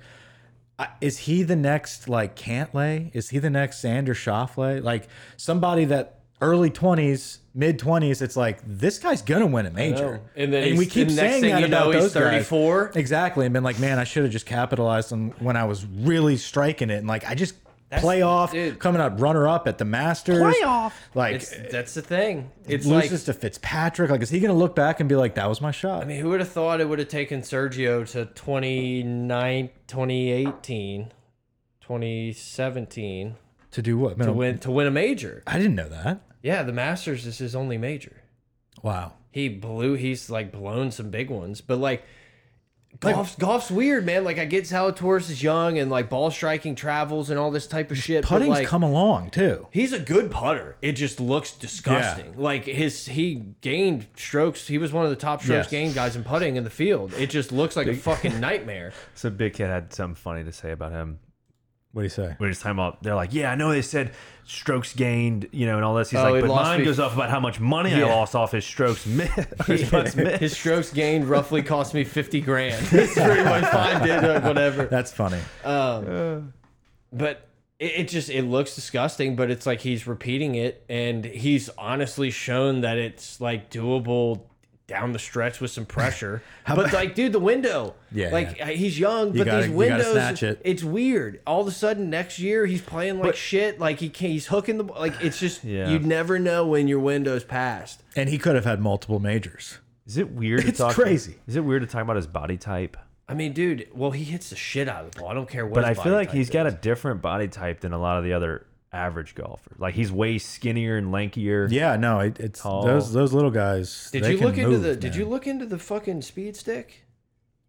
[SPEAKER 3] I- Is he the next like Cantlay? Is he the next Xander Schauffele? Like somebody that early 20s, mid 20s, it's like this guy's gonna win a major.
[SPEAKER 1] know. And then he's-
[SPEAKER 3] we keep
[SPEAKER 1] and next
[SPEAKER 3] saying
[SPEAKER 1] thing
[SPEAKER 3] that
[SPEAKER 1] you
[SPEAKER 3] about
[SPEAKER 1] know,
[SPEAKER 3] those
[SPEAKER 1] he's
[SPEAKER 3] guys.
[SPEAKER 1] 34.
[SPEAKER 3] Exactly, and been like, man, I should have just capitalized on when I was really striking it, and like I just playoff
[SPEAKER 1] dude.
[SPEAKER 3] coming up runner up at the Masters. Playoff, like
[SPEAKER 1] It's, that's the thing. It's like
[SPEAKER 3] loses to Fitzpatrick. Like, is he gonna look back and be like, that was my shot?
[SPEAKER 1] I mean, who would have thought it would have taken Sergio to 29, 2018, 2017
[SPEAKER 3] to do what?
[SPEAKER 1] to
[SPEAKER 3] Minimum-
[SPEAKER 1] win to win a major?
[SPEAKER 3] I didn't know that.
[SPEAKER 1] Yeah, the Masters is his only major.
[SPEAKER 3] Wow.
[SPEAKER 1] He blew. He's like blown some big ones, but like. Golf's, golf's weird, man. Like I get how Torres is young and like ball striking travels and all this type of shit. but,
[SPEAKER 3] Putting's
[SPEAKER 1] like,
[SPEAKER 3] come along too.
[SPEAKER 1] He's a good putter. It just looks disgusting. Like his he gained strokes. He was one of the top strokes
[SPEAKER 3] Yes.
[SPEAKER 1] gained guys in putting in the field. It just looks like a fucking nightmare.
[SPEAKER 2] So Big Cat had something funny to say about him.
[SPEAKER 3] What do you say?
[SPEAKER 2] When he's talking about, they're like, "Yeah, I know they said strokes gained, you know, and all this." He's
[SPEAKER 1] Oh, he
[SPEAKER 2] like, "But
[SPEAKER 1] lost
[SPEAKER 2] mine
[SPEAKER 1] fif-
[SPEAKER 2] goes off about how much money I
[SPEAKER 1] Yeah.
[SPEAKER 2] lost off his strokes missed." his putts missed.
[SPEAKER 1] His strokes gained roughly cost me fifty grand. It's pretty much fine, did uh, whatever.
[SPEAKER 3] That's funny.
[SPEAKER 1] But it, it just it looks disgusting. But it's like he's repeating it, and he's honestly shown that it's like doable down the stretch with some pressure. but like, dude, the window.
[SPEAKER 3] Yeah,
[SPEAKER 1] Like uh,
[SPEAKER 3] yeah.
[SPEAKER 1] he's young, but these
[SPEAKER 3] gotta- you gotta
[SPEAKER 1] windows.
[SPEAKER 3] snatch it.
[SPEAKER 1] It's weird. All of a sudden, next year he's playing like shit. Like he can't. He's hooking the. Like it's just
[SPEAKER 2] Yeah.
[SPEAKER 1] you never know when your window's passed.
[SPEAKER 3] And he could have had multiple majors.
[SPEAKER 2] Is it weird? To
[SPEAKER 3] It's
[SPEAKER 2] talk
[SPEAKER 3] crazy.
[SPEAKER 2] is it weird to talk about his body type?
[SPEAKER 1] I mean, dude. Well, he hits the shit out of the ball. I don't care what.
[SPEAKER 2] But
[SPEAKER 1] his
[SPEAKER 2] I feel
[SPEAKER 1] body
[SPEAKER 2] like
[SPEAKER 1] type
[SPEAKER 2] he's got
[SPEAKER 1] is.
[SPEAKER 2] a different body type than a lot of the other average golfers. Like he's way skinnier and lankier.
[SPEAKER 3] Yeah, no, it, it's
[SPEAKER 2] Tall.
[SPEAKER 3] those those little guys.
[SPEAKER 1] Did
[SPEAKER 3] they
[SPEAKER 1] you
[SPEAKER 3] can
[SPEAKER 1] look into
[SPEAKER 3] move,
[SPEAKER 1] the? Did
[SPEAKER 3] man.
[SPEAKER 1] you look into the fucking speed stick?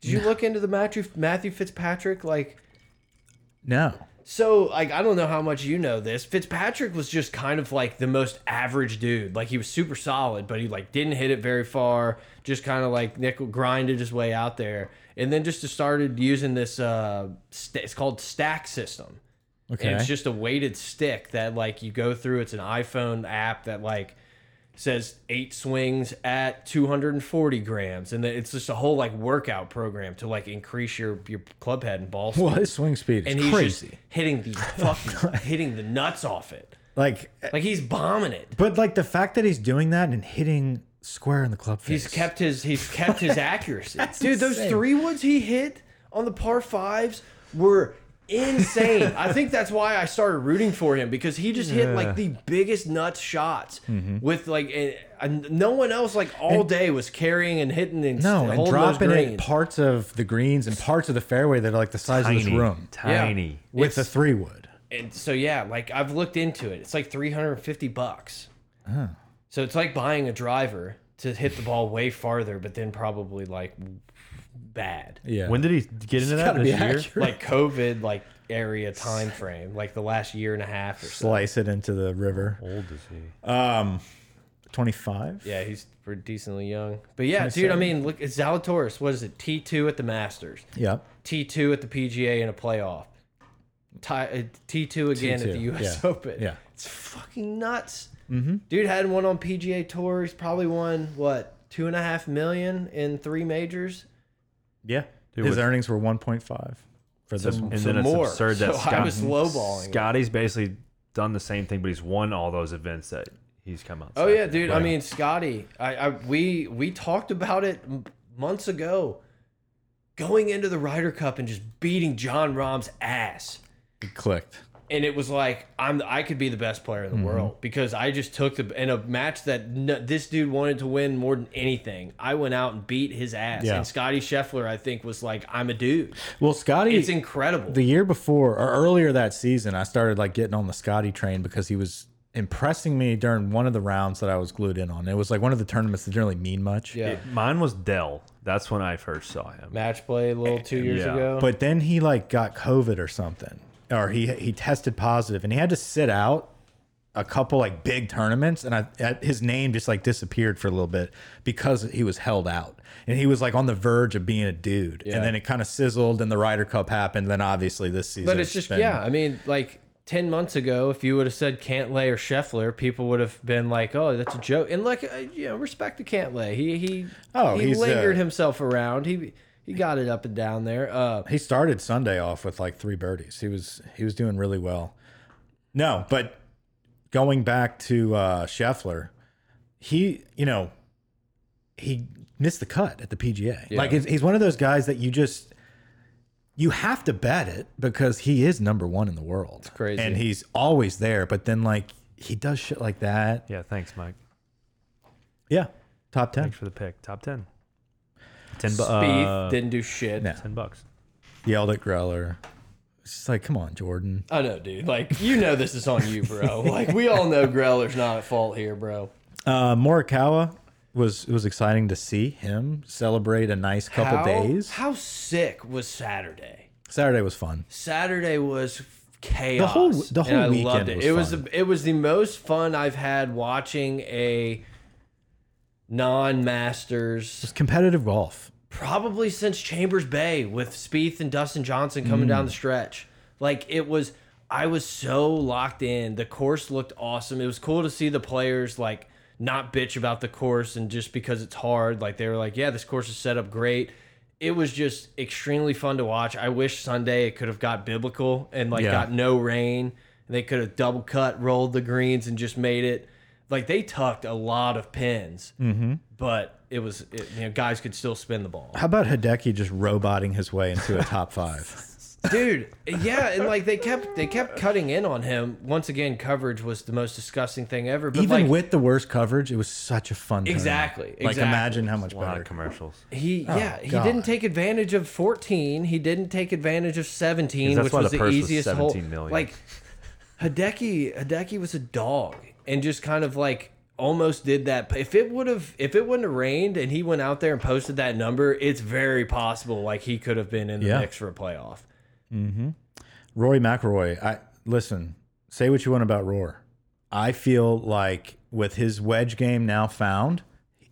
[SPEAKER 1] Did you look into the Matthew Matthew Fitzpatrick like?
[SPEAKER 3] No,
[SPEAKER 1] So like I don't know how much you know this. Fitzpatrick was just kind of like the most average dude. Like he was super solid, but he like didn't hit it very far. Just kind of like nickel grinded his way out there, and then just started using this. Uh, st it's called stack system.
[SPEAKER 3] okay.
[SPEAKER 1] And it's just a weighted stick that like you go through. It's an iPhone app that like says eight swings at 240 grams, and then it's just a whole like workout program to like increase your your club head and ball.
[SPEAKER 3] well,
[SPEAKER 1] speed.
[SPEAKER 3] his swing speed is
[SPEAKER 1] And he's
[SPEAKER 3] crazy.
[SPEAKER 1] just hitting the fucking hitting the nuts off it.
[SPEAKER 3] like,
[SPEAKER 1] Like he's bombing it.
[SPEAKER 3] but like the fact that he's doing that and hitting square in the club face.
[SPEAKER 1] He's kept his he's kept his accuracy. Dude, those
[SPEAKER 3] insane.
[SPEAKER 1] three woods he hit on the par fives were insane. I think that's why I started rooting for him because he just hit like the biggest nuts shots
[SPEAKER 3] Mm-hmm.
[SPEAKER 1] with like a, a- no one else like all day was carrying and hitting and
[SPEAKER 3] no,
[SPEAKER 1] st-
[SPEAKER 3] and
[SPEAKER 1] holding those
[SPEAKER 3] dropping it
[SPEAKER 1] greens.
[SPEAKER 3] parts of the greens and parts of the fairway that are like the size of this
[SPEAKER 2] Tiny,
[SPEAKER 3] room
[SPEAKER 2] tiny.
[SPEAKER 3] with
[SPEAKER 1] It's-
[SPEAKER 3] the three wood.
[SPEAKER 1] and so yeah, like I've looked into it. It's like 350 bucks. So it's like buying a driver to hit the ball way farther, but then probably like bad.
[SPEAKER 3] Yeah.
[SPEAKER 2] When did he get into that
[SPEAKER 3] gotta be
[SPEAKER 2] this year?
[SPEAKER 3] accurate.
[SPEAKER 1] like COVID like area time frame, like the last year and a half or so.
[SPEAKER 3] slice it into the river?
[SPEAKER 2] How old is he?
[SPEAKER 3] Um, twenty five.
[SPEAKER 1] Yeah, he's pretty decently young. But yeah, dude, I mean, look, it's Zalatoris. What is it? T two at the Masters,
[SPEAKER 3] Yep.
[SPEAKER 1] T two at the PGA in a playoff, uh, T two again at the
[SPEAKER 3] T2,
[SPEAKER 1] U.S.
[SPEAKER 3] yeah,
[SPEAKER 1] Open.
[SPEAKER 3] yeah.
[SPEAKER 1] it's fucking nuts. Dude had one on PGA Tour. He's probably won what two and a half million in three majors.
[SPEAKER 3] Yeah.
[SPEAKER 2] Dude,
[SPEAKER 3] His
[SPEAKER 2] what-
[SPEAKER 3] earnings were one point five for this one.
[SPEAKER 2] And
[SPEAKER 1] some
[SPEAKER 2] then it's
[SPEAKER 1] more.
[SPEAKER 2] absurd that
[SPEAKER 1] So I
[SPEAKER 2] Scott,
[SPEAKER 1] was lowballing it.
[SPEAKER 2] Scotty's basically done the same thing, but he's won all those events that he's come out.
[SPEAKER 1] Oh yeah, dude. I mean, Scotty, I, I we we talked about it m- months ago, going into the Ryder Cup and just beating John Rahm's ass,
[SPEAKER 3] It clicked.
[SPEAKER 1] and it was like I'm I could be the best player in the
[SPEAKER 3] Mm-hmm.
[SPEAKER 1] world because I just took the in a match that no, this dude wanted to win more than anything. I went out and beat his ass,
[SPEAKER 3] Yeah.
[SPEAKER 1] and Scotty Scheffler, I think, was like, I'm a dude.
[SPEAKER 3] Well, Scotty,
[SPEAKER 1] It's incredible.
[SPEAKER 3] the year before or earlier that season, I started like getting on the Scotty train because he was impressing me during one of the rounds that I was glued in on. It was like one of the tournaments that didn't really mean much.
[SPEAKER 1] yeah,
[SPEAKER 2] mine was Dell. That's when I first saw him.
[SPEAKER 1] match play a little two years
[SPEAKER 2] Yeah.
[SPEAKER 1] ago.
[SPEAKER 3] Eh, But then he like got COVID or something, or he he tested positive and he had to sit out a couple like big tournaments, and I at, his name just like disappeared for a little bit because he was held out, and he was like on the verge of being a dude, and then it kind of sizzled, and the Ryder Cup happened, then obviously this season.
[SPEAKER 1] But it's just
[SPEAKER 3] been-
[SPEAKER 1] yeah. I mean, like ten months ago, if you would have said Cantlay or Scheffler, people would have been like, "Oh, that's a joke." And like, uh, you know, respect to Cantlay. He he
[SPEAKER 3] Oh,
[SPEAKER 1] he
[SPEAKER 3] he's, uh,
[SPEAKER 1] lingered himself around. He he got it up and down there. Uh,
[SPEAKER 3] He started Sunday off with like three birdies. He was he was doing really well. No, but going back to uh, Scheffler, he, you know, he missed the cut at the PGA. Like he's- he's one of those guys that you just you have to bet it because he is number one in the world. It's
[SPEAKER 1] crazy.
[SPEAKER 3] and he's always there. But then like he does shit like that.
[SPEAKER 2] Yeah, thanks, Mike.
[SPEAKER 3] Yeah, top ten.
[SPEAKER 2] Thanks for the pick. Top ten. Ten bucks.
[SPEAKER 3] uh,
[SPEAKER 1] Spieth didn't do shit.
[SPEAKER 3] no.
[SPEAKER 2] ten bucks.
[SPEAKER 3] Yelled at Greller. It's just like, come on, Jordan.
[SPEAKER 1] I know, dude. Like, you know this is on you, bro. Like, we all know Greller's not at fault here, bro.
[SPEAKER 3] Uh, Morikawa was it was exciting to see him celebrate a nice couple
[SPEAKER 1] how,
[SPEAKER 3] days.
[SPEAKER 1] How sick was Saturday?
[SPEAKER 3] Saturday was fun.
[SPEAKER 1] Saturday was chaos.
[SPEAKER 3] The whole- the
[SPEAKER 1] and
[SPEAKER 3] whole
[SPEAKER 1] I
[SPEAKER 3] weekend
[SPEAKER 1] loved it.
[SPEAKER 3] was
[SPEAKER 1] it was
[SPEAKER 3] fun.
[SPEAKER 1] the, it was the most fun I've had watching a non-masters
[SPEAKER 3] It's competitive golf.
[SPEAKER 1] probably since Chambers Bay with Spieth and Dustin Johnson coming down the stretch. Like it was I was so locked in. The course looked awesome. It was cool to see the players like not bitch about the course and just because it's hard. Like they were like, yeah, this course is set up great. It was just extremely fun to watch. I wish Sunday it could have got biblical and like
[SPEAKER 3] Yeah.
[SPEAKER 1] got no rain. They could have double cut, rolled the greens, and just made it. Like they tucked a lot of pins, but it was it, you know guys could still spin the ball,
[SPEAKER 3] How about Hideki just roboting his way into a top five?
[SPEAKER 1] dude. Yeah, and like they kept they kept cutting in on him. Once again, coverage was the most disgusting thing ever. But
[SPEAKER 3] Even
[SPEAKER 1] like
[SPEAKER 3] with the worst coverage, it was such a fun. tournament.
[SPEAKER 1] Exactly,
[SPEAKER 3] Like
[SPEAKER 1] exactly.
[SPEAKER 3] imagine how much
[SPEAKER 2] A lot
[SPEAKER 3] better.
[SPEAKER 2] of commercials.
[SPEAKER 1] he, yeah, he
[SPEAKER 3] God.
[SPEAKER 1] didn't take advantage of fourteen. He didn't take advantage of seventeen,
[SPEAKER 2] 'Cause that's
[SPEAKER 1] which
[SPEAKER 2] why
[SPEAKER 1] was
[SPEAKER 2] the
[SPEAKER 1] the,
[SPEAKER 2] purse was
[SPEAKER 1] easiest hole.
[SPEAKER 2] 17 million.
[SPEAKER 1] Like Hideki, Hideki was a dog and just kind of like almost did that. If it would have, if it wouldn't have rained and he went out there and posted that number, it's very possible like he could have been in the
[SPEAKER 3] Yeah.
[SPEAKER 1] mix for a playoff.
[SPEAKER 3] Rory McIlroy. I listen. Say what you want about Roar. I feel like with his wedge game now found,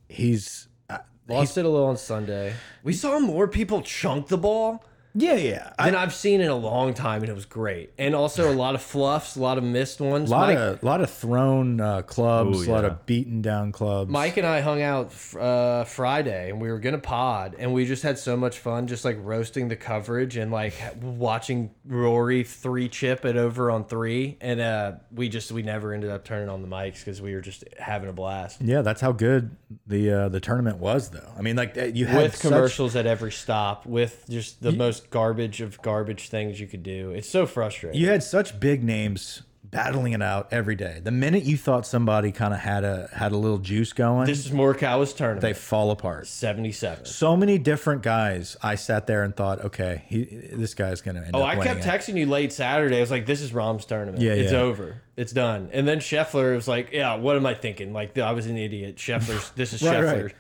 [SPEAKER 3] he's uh,
[SPEAKER 1] Lost it a little on Sunday. We saw more people chunk the ball
[SPEAKER 3] yeah yeah. I,
[SPEAKER 1] than I've seen in a long time, and it was great. And also a lot of fluffs, a lot of missed ones.
[SPEAKER 3] a lot
[SPEAKER 1] Mike,
[SPEAKER 3] of lot of thrown uh, clubs,
[SPEAKER 2] Ooh,
[SPEAKER 3] a lot
[SPEAKER 2] yeah.
[SPEAKER 3] of beaten down clubs.
[SPEAKER 1] Mike and I hung out uh, Friday, and we were gonna pod, and we just had so much fun, just like roasting the coverage and like watching Rory three chip it over on three, and uh, we just we never ended up turning on the mics because we were just having a blast
[SPEAKER 3] Yeah, that's how good the uh, the tournament was, though. I mean, like you had
[SPEAKER 1] with
[SPEAKER 3] such-
[SPEAKER 1] commercials at every stop, with just the most garbage of garbage things you could do. It's so frustrating.
[SPEAKER 3] you had such big names battling it out every day. The minute you thought somebody kind of had a had a little juice going,
[SPEAKER 1] This is Morikawa's tournament.
[SPEAKER 3] they fall apart.
[SPEAKER 1] 77.
[SPEAKER 3] So many different guys. I sat there and thought, okay, he, this guy's gonna end
[SPEAKER 1] Oh,
[SPEAKER 3] up
[SPEAKER 1] I
[SPEAKER 3] winning
[SPEAKER 1] kept
[SPEAKER 3] it.
[SPEAKER 1] texting you late Saturday. I was like, this is Rom's tournament.
[SPEAKER 3] Yeah,
[SPEAKER 1] it's
[SPEAKER 3] yeah.
[SPEAKER 1] over. It's done. And then Scheffler was like, yeah, what am I thinking? Like, I was an idiot. Scheffler's, this is
[SPEAKER 3] Right,
[SPEAKER 1] Scheffler.
[SPEAKER 3] right.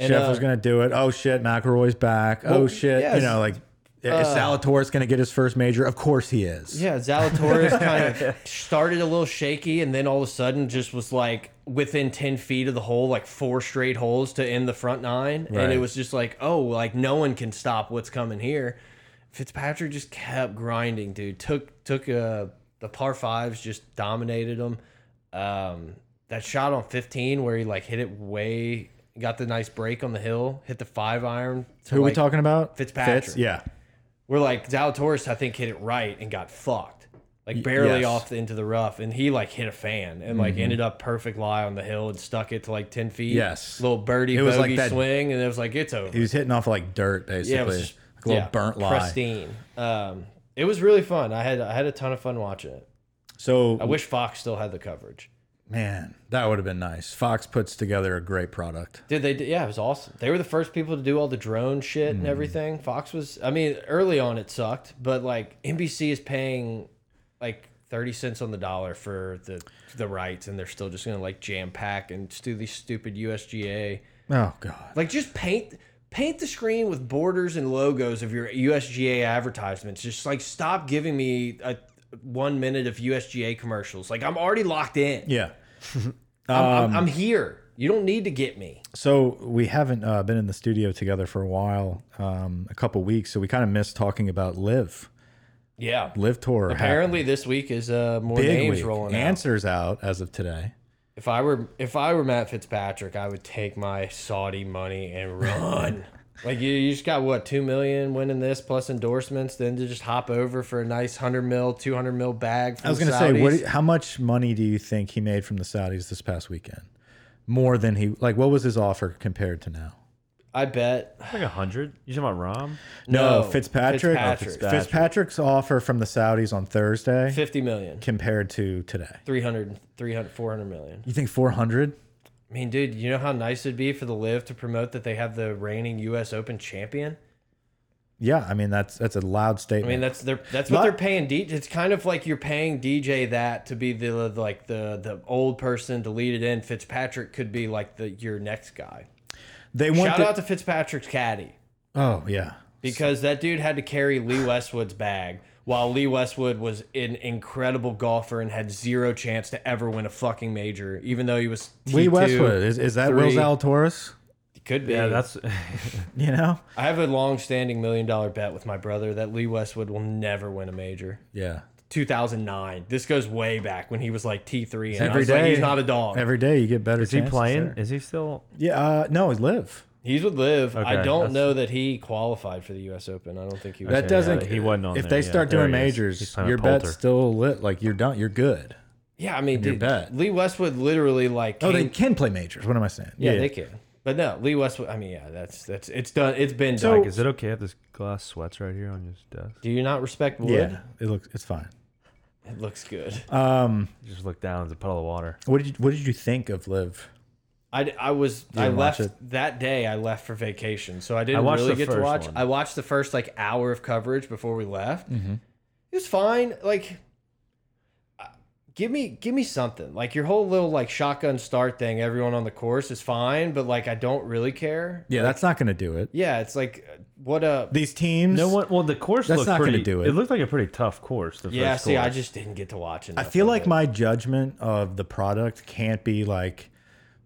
[SPEAKER 1] And,
[SPEAKER 3] Scheffler's
[SPEAKER 1] uh,
[SPEAKER 3] gonna do it. Oh shit, McElroy's back. oh shit,
[SPEAKER 1] yes. Uh,
[SPEAKER 3] you know, like is Salatore's gonna get his first major? Of course he is.
[SPEAKER 1] Yeah, Zalatoris kind of started a little shaky and then all of a sudden just was like within 10 feet of the hole, like four straight holes to end the front nine. And it
[SPEAKER 3] Right.
[SPEAKER 1] was just like, oh, like no one can stop what's coming here. Fitzpatrick just kept grinding, dude. Took took uh, the par fives, just dominated them. Um, that shot on 15 where he like hit it way, got the nice break on the hill, hit the five iron. to,
[SPEAKER 3] Who are we
[SPEAKER 1] like-
[SPEAKER 3] talking about?
[SPEAKER 1] Fitzpatrick.
[SPEAKER 3] yeah.
[SPEAKER 1] we're like Zalatoris, I think hit it right and got fucked, like barely
[SPEAKER 3] yes. Mm-hmm.
[SPEAKER 1] off the, into the rough, and he like hit a fan and like ended up perfect lie on the hill and stuck it to like ten feet.
[SPEAKER 3] Yes.
[SPEAKER 1] little birdie
[SPEAKER 3] It was
[SPEAKER 1] bogey
[SPEAKER 3] like that-
[SPEAKER 1] swing, and it was like it's over.
[SPEAKER 3] He was hitting off like dirt, basically.
[SPEAKER 1] yeah, it was just-
[SPEAKER 3] like a little
[SPEAKER 1] yeah,
[SPEAKER 3] burnt lie.
[SPEAKER 1] pristine. Um, it was really fun. I had I had a ton of fun watching it.
[SPEAKER 3] So
[SPEAKER 1] I wish Fox still had the coverage.
[SPEAKER 3] Man, that would have been nice. Fox puts together a great product.
[SPEAKER 1] Did they? Yeah, it was awesome. They were the first people to do all the drone shit and everything. Fox was. I mean, early on it sucked, but like NBC is paying like thirty cents on the dollar for the the rights, and they're still just gonna like jam pack and just do these stupid USGA.
[SPEAKER 3] Oh God.
[SPEAKER 1] Like just paint paint the screen with borders and logos of your USGA advertisements. Just like stop giving me a one minute of USGA commercials. Like I'm already locked in.
[SPEAKER 3] Yeah.
[SPEAKER 1] I'm, I'm, I'm here. You don't need to get me.
[SPEAKER 3] So we haven't uh, been in the studio together for a while, um, a couple weeks. So we kind of missed talking about Live,
[SPEAKER 1] Yeah.
[SPEAKER 3] Live Tour.
[SPEAKER 1] Apparently, this week is uh, more
[SPEAKER 3] happened. big
[SPEAKER 1] names
[SPEAKER 3] week.
[SPEAKER 1] rolling out.
[SPEAKER 3] Answers out as of today.
[SPEAKER 1] If I were if I were Matt Fitzpatrick, I would take my Saudi money and run. Like you, you just got what two million winning this plus endorsements, then to just hop over for a nice hundred mil, two hundred mil bag.
[SPEAKER 3] I was going to say, what, how much money do you think he made from the Saudis this past weekend? More than he like. What was his offer compared to now?
[SPEAKER 1] I bet
[SPEAKER 2] Like a hundred? You talking about Rom?
[SPEAKER 1] No,
[SPEAKER 3] No, Fitzpatrick.
[SPEAKER 1] Fitzpatrick.
[SPEAKER 2] Fitzpatrick.
[SPEAKER 3] Fitzpatrick's offer from the Saudis on Thursday
[SPEAKER 1] fifty million,
[SPEAKER 3] compared to today.
[SPEAKER 1] 300, 300 400 million.
[SPEAKER 3] You think 400?
[SPEAKER 1] I mean, dude, you know how nice it'd be for the Live to promote that they have the reigning U.S. Open champion.
[SPEAKER 3] Yeah, I mean that's that's a loud
[SPEAKER 1] I
[SPEAKER 3] statement.
[SPEAKER 1] mean, that's their that's what
[SPEAKER 3] Lot-
[SPEAKER 1] they're paying DJ. It's kind of like you're paying DJ that to be the like the the old person to lead it in. Fitzpatrick could be like the your next guy.
[SPEAKER 3] they want
[SPEAKER 1] Shout
[SPEAKER 3] the-
[SPEAKER 1] out to Fitzpatrick's caddy.
[SPEAKER 3] Oh yeah,
[SPEAKER 1] because that dude had to carry Lee Westwood's bag while Lee Westwood was an incredible golfer and had zero chance to ever win a fucking major, even though he was T2.
[SPEAKER 3] Lee Westwood is, is that Will
[SPEAKER 1] three.
[SPEAKER 3] Zalatoris?
[SPEAKER 1] Could be.
[SPEAKER 2] Yeah, that's
[SPEAKER 3] You know?
[SPEAKER 1] I have a long-standing million-dollar bet with my brother that Lee Westwood will never win a major.
[SPEAKER 3] Yeah.
[SPEAKER 1] 2009. This goes way back when he was like T3, and I
[SPEAKER 3] Every
[SPEAKER 1] was
[SPEAKER 3] day
[SPEAKER 1] like, he's not a dog.
[SPEAKER 3] Every day you get better.
[SPEAKER 2] is he
[SPEAKER 3] chances
[SPEAKER 2] playing?
[SPEAKER 3] there.
[SPEAKER 2] Is he still
[SPEAKER 3] Yeah. Uh, no, he's live.
[SPEAKER 1] he's with Live. I
[SPEAKER 2] Okay,
[SPEAKER 1] don't
[SPEAKER 2] that's-
[SPEAKER 1] know that he qualified for the U.S. Open. I don't think he was.
[SPEAKER 3] That
[SPEAKER 1] in.
[SPEAKER 3] doesn't.
[SPEAKER 2] he wasn't on
[SPEAKER 3] If
[SPEAKER 2] there,
[SPEAKER 3] they
[SPEAKER 2] yeah.
[SPEAKER 3] start
[SPEAKER 2] There
[SPEAKER 3] doing
[SPEAKER 2] he is.
[SPEAKER 3] majors,
[SPEAKER 2] He's playing
[SPEAKER 3] your
[SPEAKER 2] with
[SPEAKER 3] bet's
[SPEAKER 2] Poulter.
[SPEAKER 3] still lit. Like you're done. You're good.
[SPEAKER 1] Yeah, I mean, dude,
[SPEAKER 3] bet.
[SPEAKER 1] Lee Westwood literally like
[SPEAKER 3] Oh,
[SPEAKER 1] came
[SPEAKER 3] they can play majors. What am I saying?
[SPEAKER 1] Yeah, they can. But no, Lee Westwood. I mean, yeah, that's that's it's done. It's been
[SPEAKER 3] So-
[SPEAKER 1] done.
[SPEAKER 2] like? Is it okay if this glass sweats right here on his desk?
[SPEAKER 1] Do you not respect wood?
[SPEAKER 3] Yeah, it looks it's fine.
[SPEAKER 1] It looks good.
[SPEAKER 3] Um,
[SPEAKER 2] Just look down. It's a puddle of water.
[SPEAKER 3] what did you, what did you think of Live?
[SPEAKER 1] I, I was I
[SPEAKER 3] didn't watch
[SPEAKER 1] left
[SPEAKER 3] it?
[SPEAKER 1] that day. I left for vacation, so I didn't
[SPEAKER 2] watched
[SPEAKER 1] really
[SPEAKER 2] the
[SPEAKER 1] get to
[SPEAKER 2] first
[SPEAKER 1] watch.
[SPEAKER 2] one. Mm-hmm.
[SPEAKER 1] I watched the first like hour of coverage before we left. It was fine. Like, uh, give me give me something. Like your whole little like shotgun start thing. Everyone on the course is fine, but like I don't really care.
[SPEAKER 3] Yeah, that's not going to do it.
[SPEAKER 1] Yeah, it's like uh, what a
[SPEAKER 3] These teams.
[SPEAKER 2] No one. Well, the course
[SPEAKER 3] That's
[SPEAKER 2] looked
[SPEAKER 3] not gonna
[SPEAKER 2] pretty.
[SPEAKER 3] do it.
[SPEAKER 2] It looked like a pretty tough course. The
[SPEAKER 1] yeah.
[SPEAKER 2] first
[SPEAKER 1] See, I
[SPEAKER 2] course.
[SPEAKER 1] just didn't get to watch.
[SPEAKER 3] I
[SPEAKER 1] enough
[SPEAKER 3] feel
[SPEAKER 1] of
[SPEAKER 3] like
[SPEAKER 1] it.
[SPEAKER 3] my judgment of the product can't be like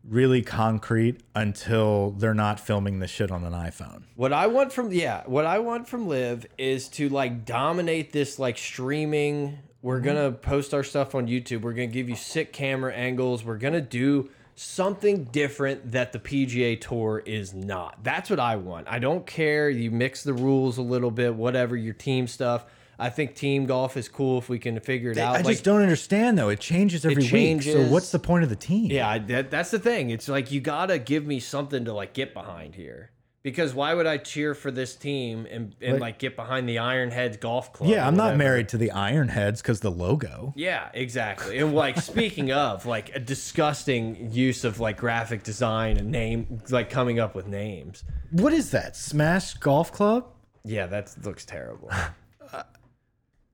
[SPEAKER 3] really concrete until they're not filming this shit on an iPhone.
[SPEAKER 1] What I want from yeah, what I want from Live is to like dominate this like streaming. We're
[SPEAKER 3] Mm-hmm.
[SPEAKER 1] gonna post our stuff on YouTube. We're gonna give you sick camera angles. We're gonna do something different that the PGA Tour is not. That's what I want. I don't care. You mix the rules a little bit, whatever your team stuff. I think team golf is cool if we can figure it out.
[SPEAKER 3] I
[SPEAKER 1] Like,
[SPEAKER 3] just don't understand though. It changes every week.
[SPEAKER 1] changes.
[SPEAKER 3] So what's the point of the team?
[SPEAKER 1] yeah, I, that, that's the thing. It's like you gotta give me something to like get behind here. Because why would I cheer for this team and, and like, get behind the Ironheads Golf Club?
[SPEAKER 3] Yeah,
[SPEAKER 1] or
[SPEAKER 3] I'm not
[SPEAKER 1] whatever?
[SPEAKER 3] married to the Ironheads because the logo.
[SPEAKER 1] Yeah, exactly. And like speaking of like a disgusting use of like graphic design and name, like coming up with names.
[SPEAKER 3] What is that? Smash Golf Club?
[SPEAKER 1] Yeah, that looks terrible.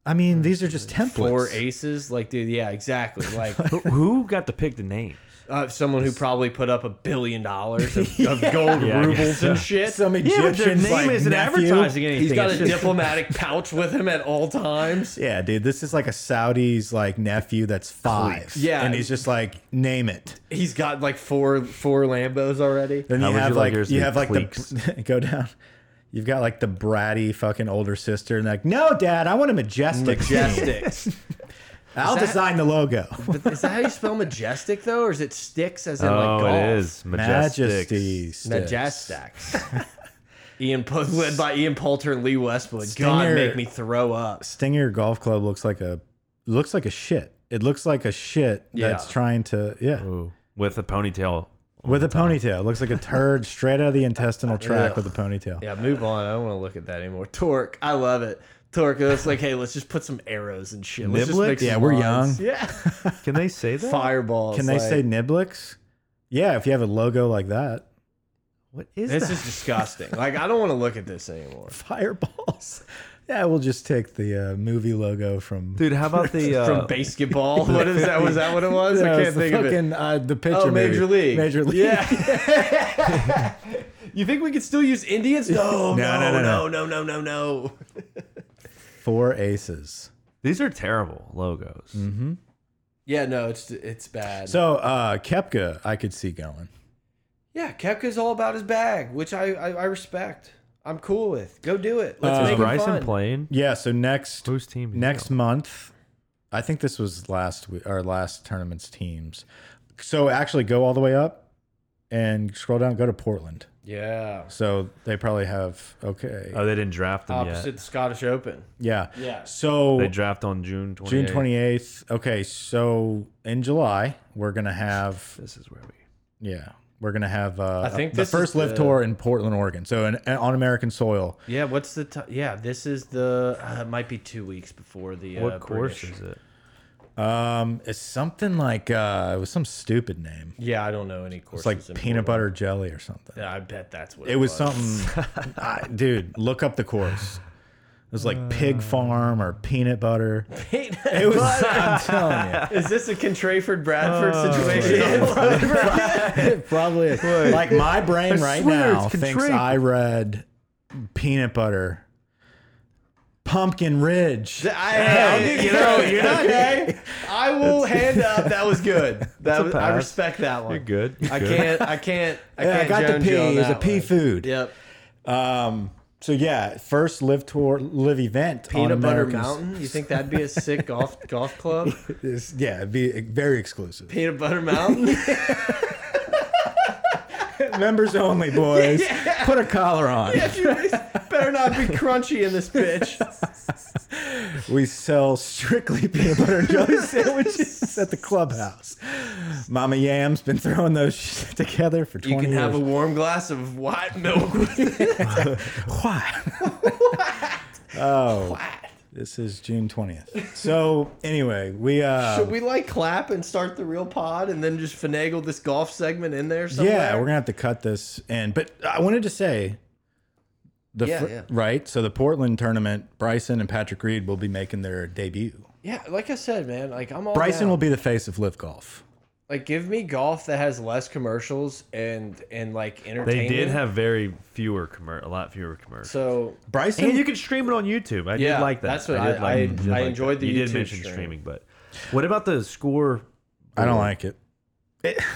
[SPEAKER 3] I mean, these are just templates.
[SPEAKER 1] Four aces, like dude. Yeah, exactly. Like
[SPEAKER 2] Who, who got to pick the name?
[SPEAKER 1] uh, someone who probably put up a billion dollars of, of gold
[SPEAKER 2] Yeah, I guess
[SPEAKER 1] rubles and shit.
[SPEAKER 3] Some Egyptian's like, nephew.
[SPEAKER 2] anything.
[SPEAKER 1] He's got
[SPEAKER 2] It's
[SPEAKER 1] a
[SPEAKER 2] just-
[SPEAKER 1] diplomatic pouch with him at all times.
[SPEAKER 3] Yeah, dude, this is like a Saudi's like nephew that's five.
[SPEAKER 1] Yeah.
[SPEAKER 3] and he's just like, name it.
[SPEAKER 1] He's got like four four Lambos already.
[SPEAKER 3] Then
[SPEAKER 2] How
[SPEAKER 3] you
[SPEAKER 2] would
[SPEAKER 3] have
[SPEAKER 2] you like
[SPEAKER 3] like,
[SPEAKER 2] yours to
[SPEAKER 3] you
[SPEAKER 2] be
[SPEAKER 3] have like the
[SPEAKER 2] Cleeks?
[SPEAKER 3] go down. You've got like the bratty fucking older sister, and like, no, dad, I want a majestic. team.
[SPEAKER 1] Majestics.
[SPEAKER 3] I'll
[SPEAKER 1] that-
[SPEAKER 3] design the logo.
[SPEAKER 1] is that how you spell majestic though, or is it sticks as in like
[SPEAKER 2] Oh,
[SPEAKER 1] golf?
[SPEAKER 2] it is majestic.
[SPEAKER 3] Majesty. sticks.
[SPEAKER 1] Majestics. Ian Pul- led by Ian Poulter and Lee Westwood. God
[SPEAKER 3] Stinger.
[SPEAKER 1] make me throw up.
[SPEAKER 3] Stinger Golf Club looks like a looks like a shit. It looks like a shit that's
[SPEAKER 1] Yeah.
[SPEAKER 3] trying to yeah.
[SPEAKER 2] Ooh, with a ponytail.
[SPEAKER 3] With a ponytail. It looks like a turd straight out of the intestinal tract with a ponytail.
[SPEAKER 1] Yeah, move on. I don't want to look at that anymore. Torque, I love it. Torque, it's like, hey, let's just put some arrows and shit. Let's just
[SPEAKER 2] Niblets?
[SPEAKER 1] make some
[SPEAKER 3] Yeah, we're
[SPEAKER 1] lines.
[SPEAKER 3] young.
[SPEAKER 1] Yeah,
[SPEAKER 2] Can they say that?
[SPEAKER 1] fireballs.
[SPEAKER 3] Can they
[SPEAKER 1] like-
[SPEAKER 3] say Niblix? Yeah, if you have a logo like that.
[SPEAKER 2] What is
[SPEAKER 1] This
[SPEAKER 2] that?
[SPEAKER 1] is disgusting. Like I don't want to look at this anymore.
[SPEAKER 3] Fireballs. Yeah, we'll just take the uh, movie logo from
[SPEAKER 2] Dude, how about the uh,
[SPEAKER 1] From basketball, what is that? Was that what it was?
[SPEAKER 3] Yeah,
[SPEAKER 1] I
[SPEAKER 3] it's
[SPEAKER 1] can't
[SPEAKER 3] the
[SPEAKER 1] think of it.
[SPEAKER 3] fucking, Uh, the picture
[SPEAKER 1] Oh, Major
[SPEAKER 3] movie.
[SPEAKER 1] League.
[SPEAKER 3] Major League.
[SPEAKER 1] Yeah. you think we could still use Indians? No, no, no, no, no, no, no, no, no.
[SPEAKER 3] Four aces.
[SPEAKER 2] These are terrible logos.
[SPEAKER 3] Mm-hmm.
[SPEAKER 1] Yeah, no, it's it's bad.
[SPEAKER 3] So uh Kepka, I could see going.
[SPEAKER 1] yeah, Kepka's all about his bag, which I I, I respect. I'm cool with. Go do it. Let's
[SPEAKER 2] Is
[SPEAKER 1] make it
[SPEAKER 2] Bryson
[SPEAKER 1] fun.
[SPEAKER 2] playing?
[SPEAKER 3] Yeah, so next
[SPEAKER 2] Whose team? is he
[SPEAKER 3] next
[SPEAKER 2] on?
[SPEAKER 3] month i think this was last week our last tournament's teams so actually go all the way up and scroll down go to portland
[SPEAKER 1] Yeah.
[SPEAKER 3] So they probably have okay.
[SPEAKER 2] Oh, they didn't draft them
[SPEAKER 1] Opposite
[SPEAKER 2] yet.
[SPEAKER 1] the Scottish Open.
[SPEAKER 3] yeah.
[SPEAKER 1] Yeah.
[SPEAKER 3] So
[SPEAKER 2] They draft on June 28th.
[SPEAKER 3] June 28th. Okay, so in July we're going to have
[SPEAKER 2] This is where we.
[SPEAKER 3] yeah, we're going to have uh
[SPEAKER 1] I think
[SPEAKER 3] the
[SPEAKER 1] this
[SPEAKER 3] first
[SPEAKER 1] is
[SPEAKER 3] live
[SPEAKER 1] the-
[SPEAKER 3] tour in Portland, Oregon. So in, on American soil.
[SPEAKER 1] Yeah. What's the time? Yeah. This is the. Uh, it might be two weeks before the. Uh,
[SPEAKER 2] What course
[SPEAKER 1] British.
[SPEAKER 2] is it?
[SPEAKER 3] Um it's something like uh it was some stupid name.
[SPEAKER 1] Yeah, I don't know any courses.
[SPEAKER 3] It's like
[SPEAKER 1] in Portland.
[SPEAKER 3] peanut butter jelly or something.
[SPEAKER 1] Yeah, I bet that's what
[SPEAKER 3] It was something I, dude, look up the course. It was like
[SPEAKER 1] Uh.
[SPEAKER 3] pig farm or peanut butter.
[SPEAKER 1] Peanut
[SPEAKER 3] It was
[SPEAKER 1] butter.
[SPEAKER 3] I'm telling you.
[SPEAKER 1] Is this a Contrayford Bradford situation?
[SPEAKER 3] It probably is. Like my brain right
[SPEAKER 2] swear
[SPEAKER 3] now
[SPEAKER 2] it's
[SPEAKER 3] thinks
[SPEAKER 2] contrary.
[SPEAKER 3] I read peanut butter, pumpkin ridge.
[SPEAKER 1] I, hey, you know, you're not okay. I will hand up. That was good. That was, I
[SPEAKER 2] pass.
[SPEAKER 1] respect that one.
[SPEAKER 2] You're good. You're
[SPEAKER 1] I
[SPEAKER 2] good.
[SPEAKER 1] can't. I can't. I
[SPEAKER 3] Yeah,
[SPEAKER 1] can't.
[SPEAKER 3] I got the
[SPEAKER 1] jones
[SPEAKER 3] pea.
[SPEAKER 1] you on
[SPEAKER 3] It was a
[SPEAKER 1] that
[SPEAKER 3] pea
[SPEAKER 1] one.
[SPEAKER 3] food.
[SPEAKER 1] Yep.
[SPEAKER 3] Um. So yeah, first live tour, live event. on
[SPEAKER 1] Peanut Butter
[SPEAKER 3] Americans-
[SPEAKER 1] Mountain. You think that'd be a sick golf golf club?
[SPEAKER 3] is- yeah, it'd be very exclusive.
[SPEAKER 1] Peanut Butter Mountain.
[SPEAKER 3] Members only, boys. Put a collar on.
[SPEAKER 1] Better not be crunchy in this bitch.
[SPEAKER 3] We sell strictly peanut butter and jelly sandwiches at the clubhouse. Mama Yam's been throwing those sh- together for
[SPEAKER 1] You
[SPEAKER 3] twenty
[SPEAKER 1] can
[SPEAKER 3] years.
[SPEAKER 1] have a warm glass of white milk. with it.
[SPEAKER 3] What? oh, this is June twentieth. So anyway, we uh,
[SPEAKER 1] Should we like clap and start the real pod and then just finagle this golf segment in there? Somewhere?
[SPEAKER 3] yeah, we're gonna have to cut this in. But I wanted to say, the
[SPEAKER 1] Yeah,
[SPEAKER 3] fir-
[SPEAKER 1] yeah.
[SPEAKER 3] right. So the Portland tournament, Bryson and Patrick Reed will be making their debut.
[SPEAKER 1] yeah. Like I said, man. Like I'm all
[SPEAKER 3] Bryson
[SPEAKER 1] down.
[SPEAKER 3] will be the face of Live Golf.
[SPEAKER 1] Like, give me golf that has less commercials and and like
[SPEAKER 2] They
[SPEAKER 1] entertainment.
[SPEAKER 2] did have very fewer commer a lot fewer commercials.
[SPEAKER 1] so
[SPEAKER 3] Bryson,
[SPEAKER 2] and you can stream it on YouTube. I
[SPEAKER 1] Yeah,
[SPEAKER 2] did like that.
[SPEAKER 1] that's what
[SPEAKER 2] did
[SPEAKER 1] I-
[SPEAKER 2] like-
[SPEAKER 1] I-
[SPEAKER 2] did
[SPEAKER 1] I
[SPEAKER 2] like
[SPEAKER 1] enjoyed
[SPEAKER 2] that.
[SPEAKER 1] the
[SPEAKER 2] You
[SPEAKER 1] YouTube
[SPEAKER 2] did mention
[SPEAKER 1] stream.
[SPEAKER 2] streaming, but what about the score?
[SPEAKER 3] I don't like it. It-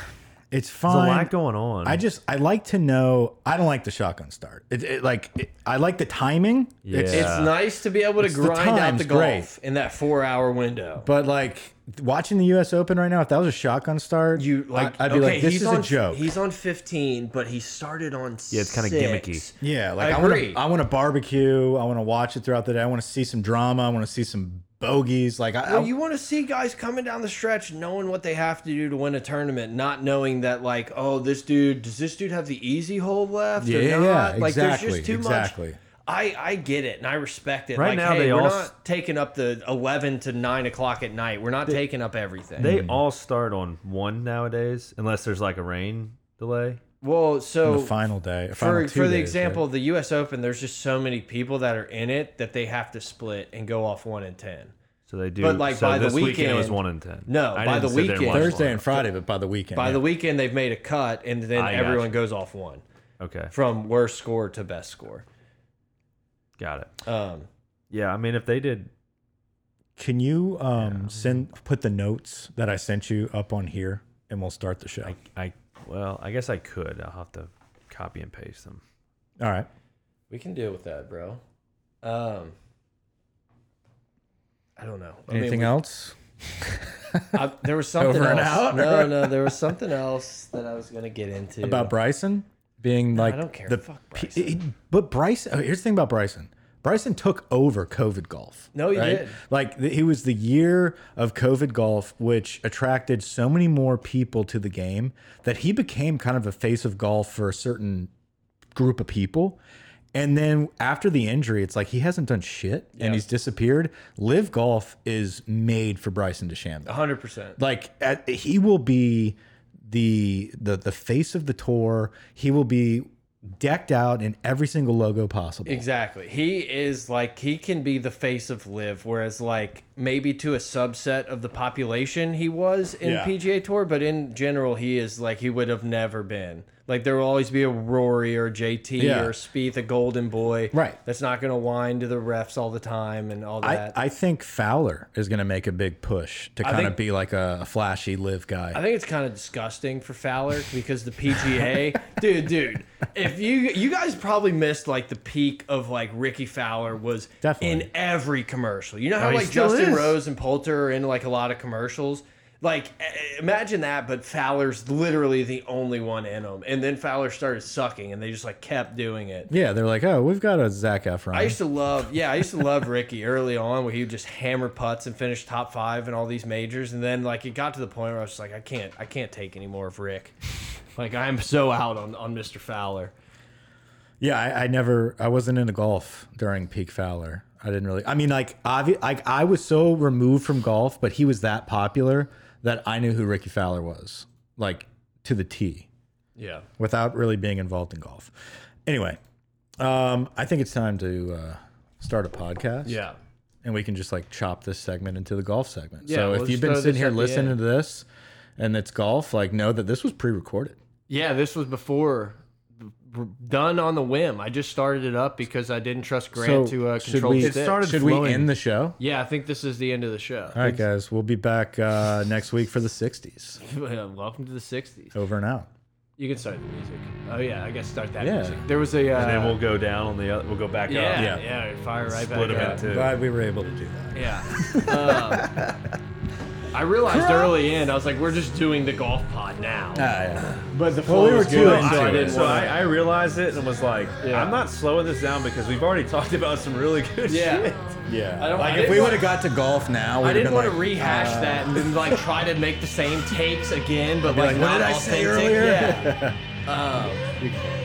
[SPEAKER 3] it's
[SPEAKER 2] There's a
[SPEAKER 3] fine.
[SPEAKER 2] lot going on.
[SPEAKER 3] I just I like to know. I don't like the shotgun start. It, it like it, I like the timing. It's,
[SPEAKER 2] Yeah.
[SPEAKER 1] it's nice to be able to
[SPEAKER 3] the
[SPEAKER 1] grind out the
[SPEAKER 3] time's
[SPEAKER 1] golf
[SPEAKER 3] great.
[SPEAKER 1] in that four hour window.
[SPEAKER 3] But like watching the U.S. Open right now, if that was a shotgun start,
[SPEAKER 1] You like
[SPEAKER 3] I, would be
[SPEAKER 1] okay,
[SPEAKER 3] like, this
[SPEAKER 1] he's
[SPEAKER 3] is
[SPEAKER 1] on,
[SPEAKER 3] a joke.
[SPEAKER 1] He's on 15, but he started on
[SPEAKER 2] Yeah, it's kinda
[SPEAKER 1] six.
[SPEAKER 2] gimmicky.
[SPEAKER 3] yeah, like
[SPEAKER 1] I
[SPEAKER 3] I, want
[SPEAKER 1] agree.
[SPEAKER 3] to. I want to barbecue. I want to watch it throughout the day. I want to see some drama. I want to see some bogeys. Like I,
[SPEAKER 1] Well,
[SPEAKER 3] I-
[SPEAKER 1] you want to see guys coming down the stretch knowing what they have to do to win a tournament, not knowing that like, oh, this dude does this dude have the easy hole left?
[SPEAKER 3] yeah,
[SPEAKER 1] or
[SPEAKER 3] yeah,
[SPEAKER 1] not?
[SPEAKER 3] yeah,
[SPEAKER 1] like
[SPEAKER 3] exactly,
[SPEAKER 1] there's just too
[SPEAKER 3] exactly.
[SPEAKER 1] much. I, I get it and I respect it.
[SPEAKER 2] Right
[SPEAKER 1] like,
[SPEAKER 2] now,
[SPEAKER 1] hey,
[SPEAKER 2] they
[SPEAKER 1] we're
[SPEAKER 2] all s-
[SPEAKER 1] not taking up the eleven to nine o'clock at night. We're not taking up everything.
[SPEAKER 3] Mm.
[SPEAKER 2] They all start on one nowadays, unless there's like a rain delay.
[SPEAKER 1] well, so
[SPEAKER 3] the final day
[SPEAKER 1] for
[SPEAKER 3] final two
[SPEAKER 1] for the
[SPEAKER 3] days,
[SPEAKER 1] example
[SPEAKER 3] right?
[SPEAKER 1] of the U.S. Open, there's just so many people that are in it that they have to split and go off one and ten.
[SPEAKER 2] So they do.
[SPEAKER 1] But, like,
[SPEAKER 2] so
[SPEAKER 1] by the
[SPEAKER 2] this it was
[SPEAKER 1] weekend-
[SPEAKER 2] one in ten.
[SPEAKER 1] No, by
[SPEAKER 2] didn't
[SPEAKER 1] the
[SPEAKER 2] sit there and
[SPEAKER 1] weekend-
[SPEAKER 2] watch one.
[SPEAKER 3] Thursday and Friday, but by the weekend.
[SPEAKER 1] By
[SPEAKER 3] yeah.
[SPEAKER 1] the weekend, they've made a cut, and then
[SPEAKER 2] I got
[SPEAKER 1] everyone
[SPEAKER 2] you.
[SPEAKER 1] goes off one
[SPEAKER 2] Okay,
[SPEAKER 1] from worst score to best score.
[SPEAKER 2] got it.
[SPEAKER 1] Um,
[SPEAKER 2] Yeah, I mean, if they did,
[SPEAKER 3] Can you um send put the notes that I sent you up on here and we'll start the show.
[SPEAKER 2] I well, I guess I could. I'll have to copy and paste them.
[SPEAKER 3] All right.
[SPEAKER 1] we can deal with that, bro. Um, I don't know. I mean,
[SPEAKER 3] Anything
[SPEAKER 1] we-
[SPEAKER 3] else?
[SPEAKER 1] I- there was something
[SPEAKER 3] Over and
[SPEAKER 1] else.
[SPEAKER 3] out?
[SPEAKER 1] No, no, there was something else that I was gonna get into
[SPEAKER 3] About Bryson being like
[SPEAKER 1] I don't care.
[SPEAKER 3] The,
[SPEAKER 1] Fuck
[SPEAKER 3] P-
[SPEAKER 1] Bryson.
[SPEAKER 3] he- but Bryson, oh, here's the thing about Bryson. Bryson took over COVID golf.
[SPEAKER 1] No, he did.
[SPEAKER 3] Like the, he was the year of COVID golf, which attracted so many more people to the game that he became kind of a face of golf for a certain group of people. And then after the injury, it's like he hasn't done shit and he's disappeared. Live golf is made for Bryson DeChambeau
[SPEAKER 1] hundred percent.
[SPEAKER 3] like at, he will be the the the face of the tour. He will be decked out in every single logo possible.
[SPEAKER 1] Exactly. He is like he can be the face of live, whereas like maybe to a subset of the population he was in
[SPEAKER 3] Yeah.
[SPEAKER 1] PGA Tour, but in general he is like he would have never been. Like there will always be a Rory or JT
[SPEAKER 3] Yeah.
[SPEAKER 1] or Spieth, a golden boy,
[SPEAKER 3] Right.
[SPEAKER 1] That's not going to whine to the refs all the time and all
[SPEAKER 3] I,
[SPEAKER 1] that. I,
[SPEAKER 3] I think Fowler is going to make a big push to kind
[SPEAKER 1] think-
[SPEAKER 3] of be like a, a flashy live guy.
[SPEAKER 1] think it's kind of disgusting for Fowler because the PGA, dude, dude. If you you guys probably missed like the peak of like Ricky Fowler was
[SPEAKER 3] Definitely.
[SPEAKER 1] in every commercial. You know how
[SPEAKER 2] Oh, he
[SPEAKER 1] like
[SPEAKER 2] still
[SPEAKER 1] Justin
[SPEAKER 2] is.
[SPEAKER 1] Rose and Poulter are in like a lot of commercials. Like, eh, imagine that, but Fowler's literally the only one in them. And then Fowler started sucking, and they just like kept doing it.
[SPEAKER 3] Yeah, they're like, oh, we've got a Zach Efron.
[SPEAKER 1] I used to love, yeah, I used to love Ricky early on, where he would just hammer putts and finish top five in all these majors, and then like it got to the point where I was just like, I can't, I can't take any more of Rick. Like I am so out on on Mr. Fowler.
[SPEAKER 3] yeah, I, I never, I wasn't into golf during peak Fowler. I didn't really. I mean, like, obvi- like I was so removed from golf, but he was that popular that I knew who Ricky Fowler was, like to the T,
[SPEAKER 1] Yeah,
[SPEAKER 3] without really being involved in golf. Anyway, um, I think it's time to uh, start a podcast.
[SPEAKER 1] yeah.
[SPEAKER 3] and we can just like chop this segment into the golf segment.
[SPEAKER 1] Yeah,
[SPEAKER 3] so
[SPEAKER 1] we'll
[SPEAKER 3] if
[SPEAKER 1] just
[SPEAKER 3] you've been
[SPEAKER 1] throw
[SPEAKER 3] sitting
[SPEAKER 1] this
[SPEAKER 3] here
[SPEAKER 1] at the
[SPEAKER 3] listening
[SPEAKER 1] end.
[SPEAKER 3] to this and it's golf, like know that this was pre-recorded.
[SPEAKER 1] Yeah, this was before done on the whim. I just started it up because I didn't trust Grant
[SPEAKER 3] So
[SPEAKER 1] to uh,
[SPEAKER 3] should
[SPEAKER 1] control
[SPEAKER 3] we
[SPEAKER 1] stick.
[SPEAKER 2] It started
[SPEAKER 3] should we
[SPEAKER 2] flowing.
[SPEAKER 3] end the show?
[SPEAKER 1] yeah, I think this is the end of the show.
[SPEAKER 3] All right, guys, we'll be back uh, next week for the '60s.
[SPEAKER 1] Welcome to the '60s.
[SPEAKER 3] Over and out.
[SPEAKER 1] You can start the music. Oh yeah, I guess start that
[SPEAKER 3] Yeah.
[SPEAKER 1] music. There was a. Uh,
[SPEAKER 2] and then we'll go down on the other. We'll go back
[SPEAKER 1] yeah,
[SPEAKER 2] up.
[SPEAKER 1] yeah,
[SPEAKER 3] Yeah.
[SPEAKER 1] fire right back
[SPEAKER 2] Split them
[SPEAKER 1] up.
[SPEAKER 2] in two.
[SPEAKER 3] Glad we were able to do that.
[SPEAKER 1] Yeah. Um, I realized early in, I was like, we're just doing the golf pod now.
[SPEAKER 3] Ah,
[SPEAKER 1] But the
[SPEAKER 3] Well, we were too into
[SPEAKER 1] so I
[SPEAKER 3] it.
[SPEAKER 1] didn't
[SPEAKER 2] So I,
[SPEAKER 1] want
[SPEAKER 2] I realized it and was like,
[SPEAKER 1] Yeah.
[SPEAKER 2] I'm not slowing this down because we've already talked about some really good
[SPEAKER 1] Yeah.
[SPEAKER 2] shit.
[SPEAKER 3] yeah.
[SPEAKER 1] I don't- I
[SPEAKER 3] like if
[SPEAKER 1] didn't
[SPEAKER 3] we
[SPEAKER 1] want-
[SPEAKER 3] would have got to golf
[SPEAKER 1] I
[SPEAKER 3] now, we'd have
[SPEAKER 1] didn't
[SPEAKER 3] been
[SPEAKER 1] want to
[SPEAKER 3] like, uh,
[SPEAKER 1] rehash that and then like try to make the same takes again, but
[SPEAKER 3] be
[SPEAKER 1] like,
[SPEAKER 3] like,
[SPEAKER 1] not
[SPEAKER 3] what did I say
[SPEAKER 1] authentic.
[SPEAKER 3] earlier?
[SPEAKER 1] Yeah. Um,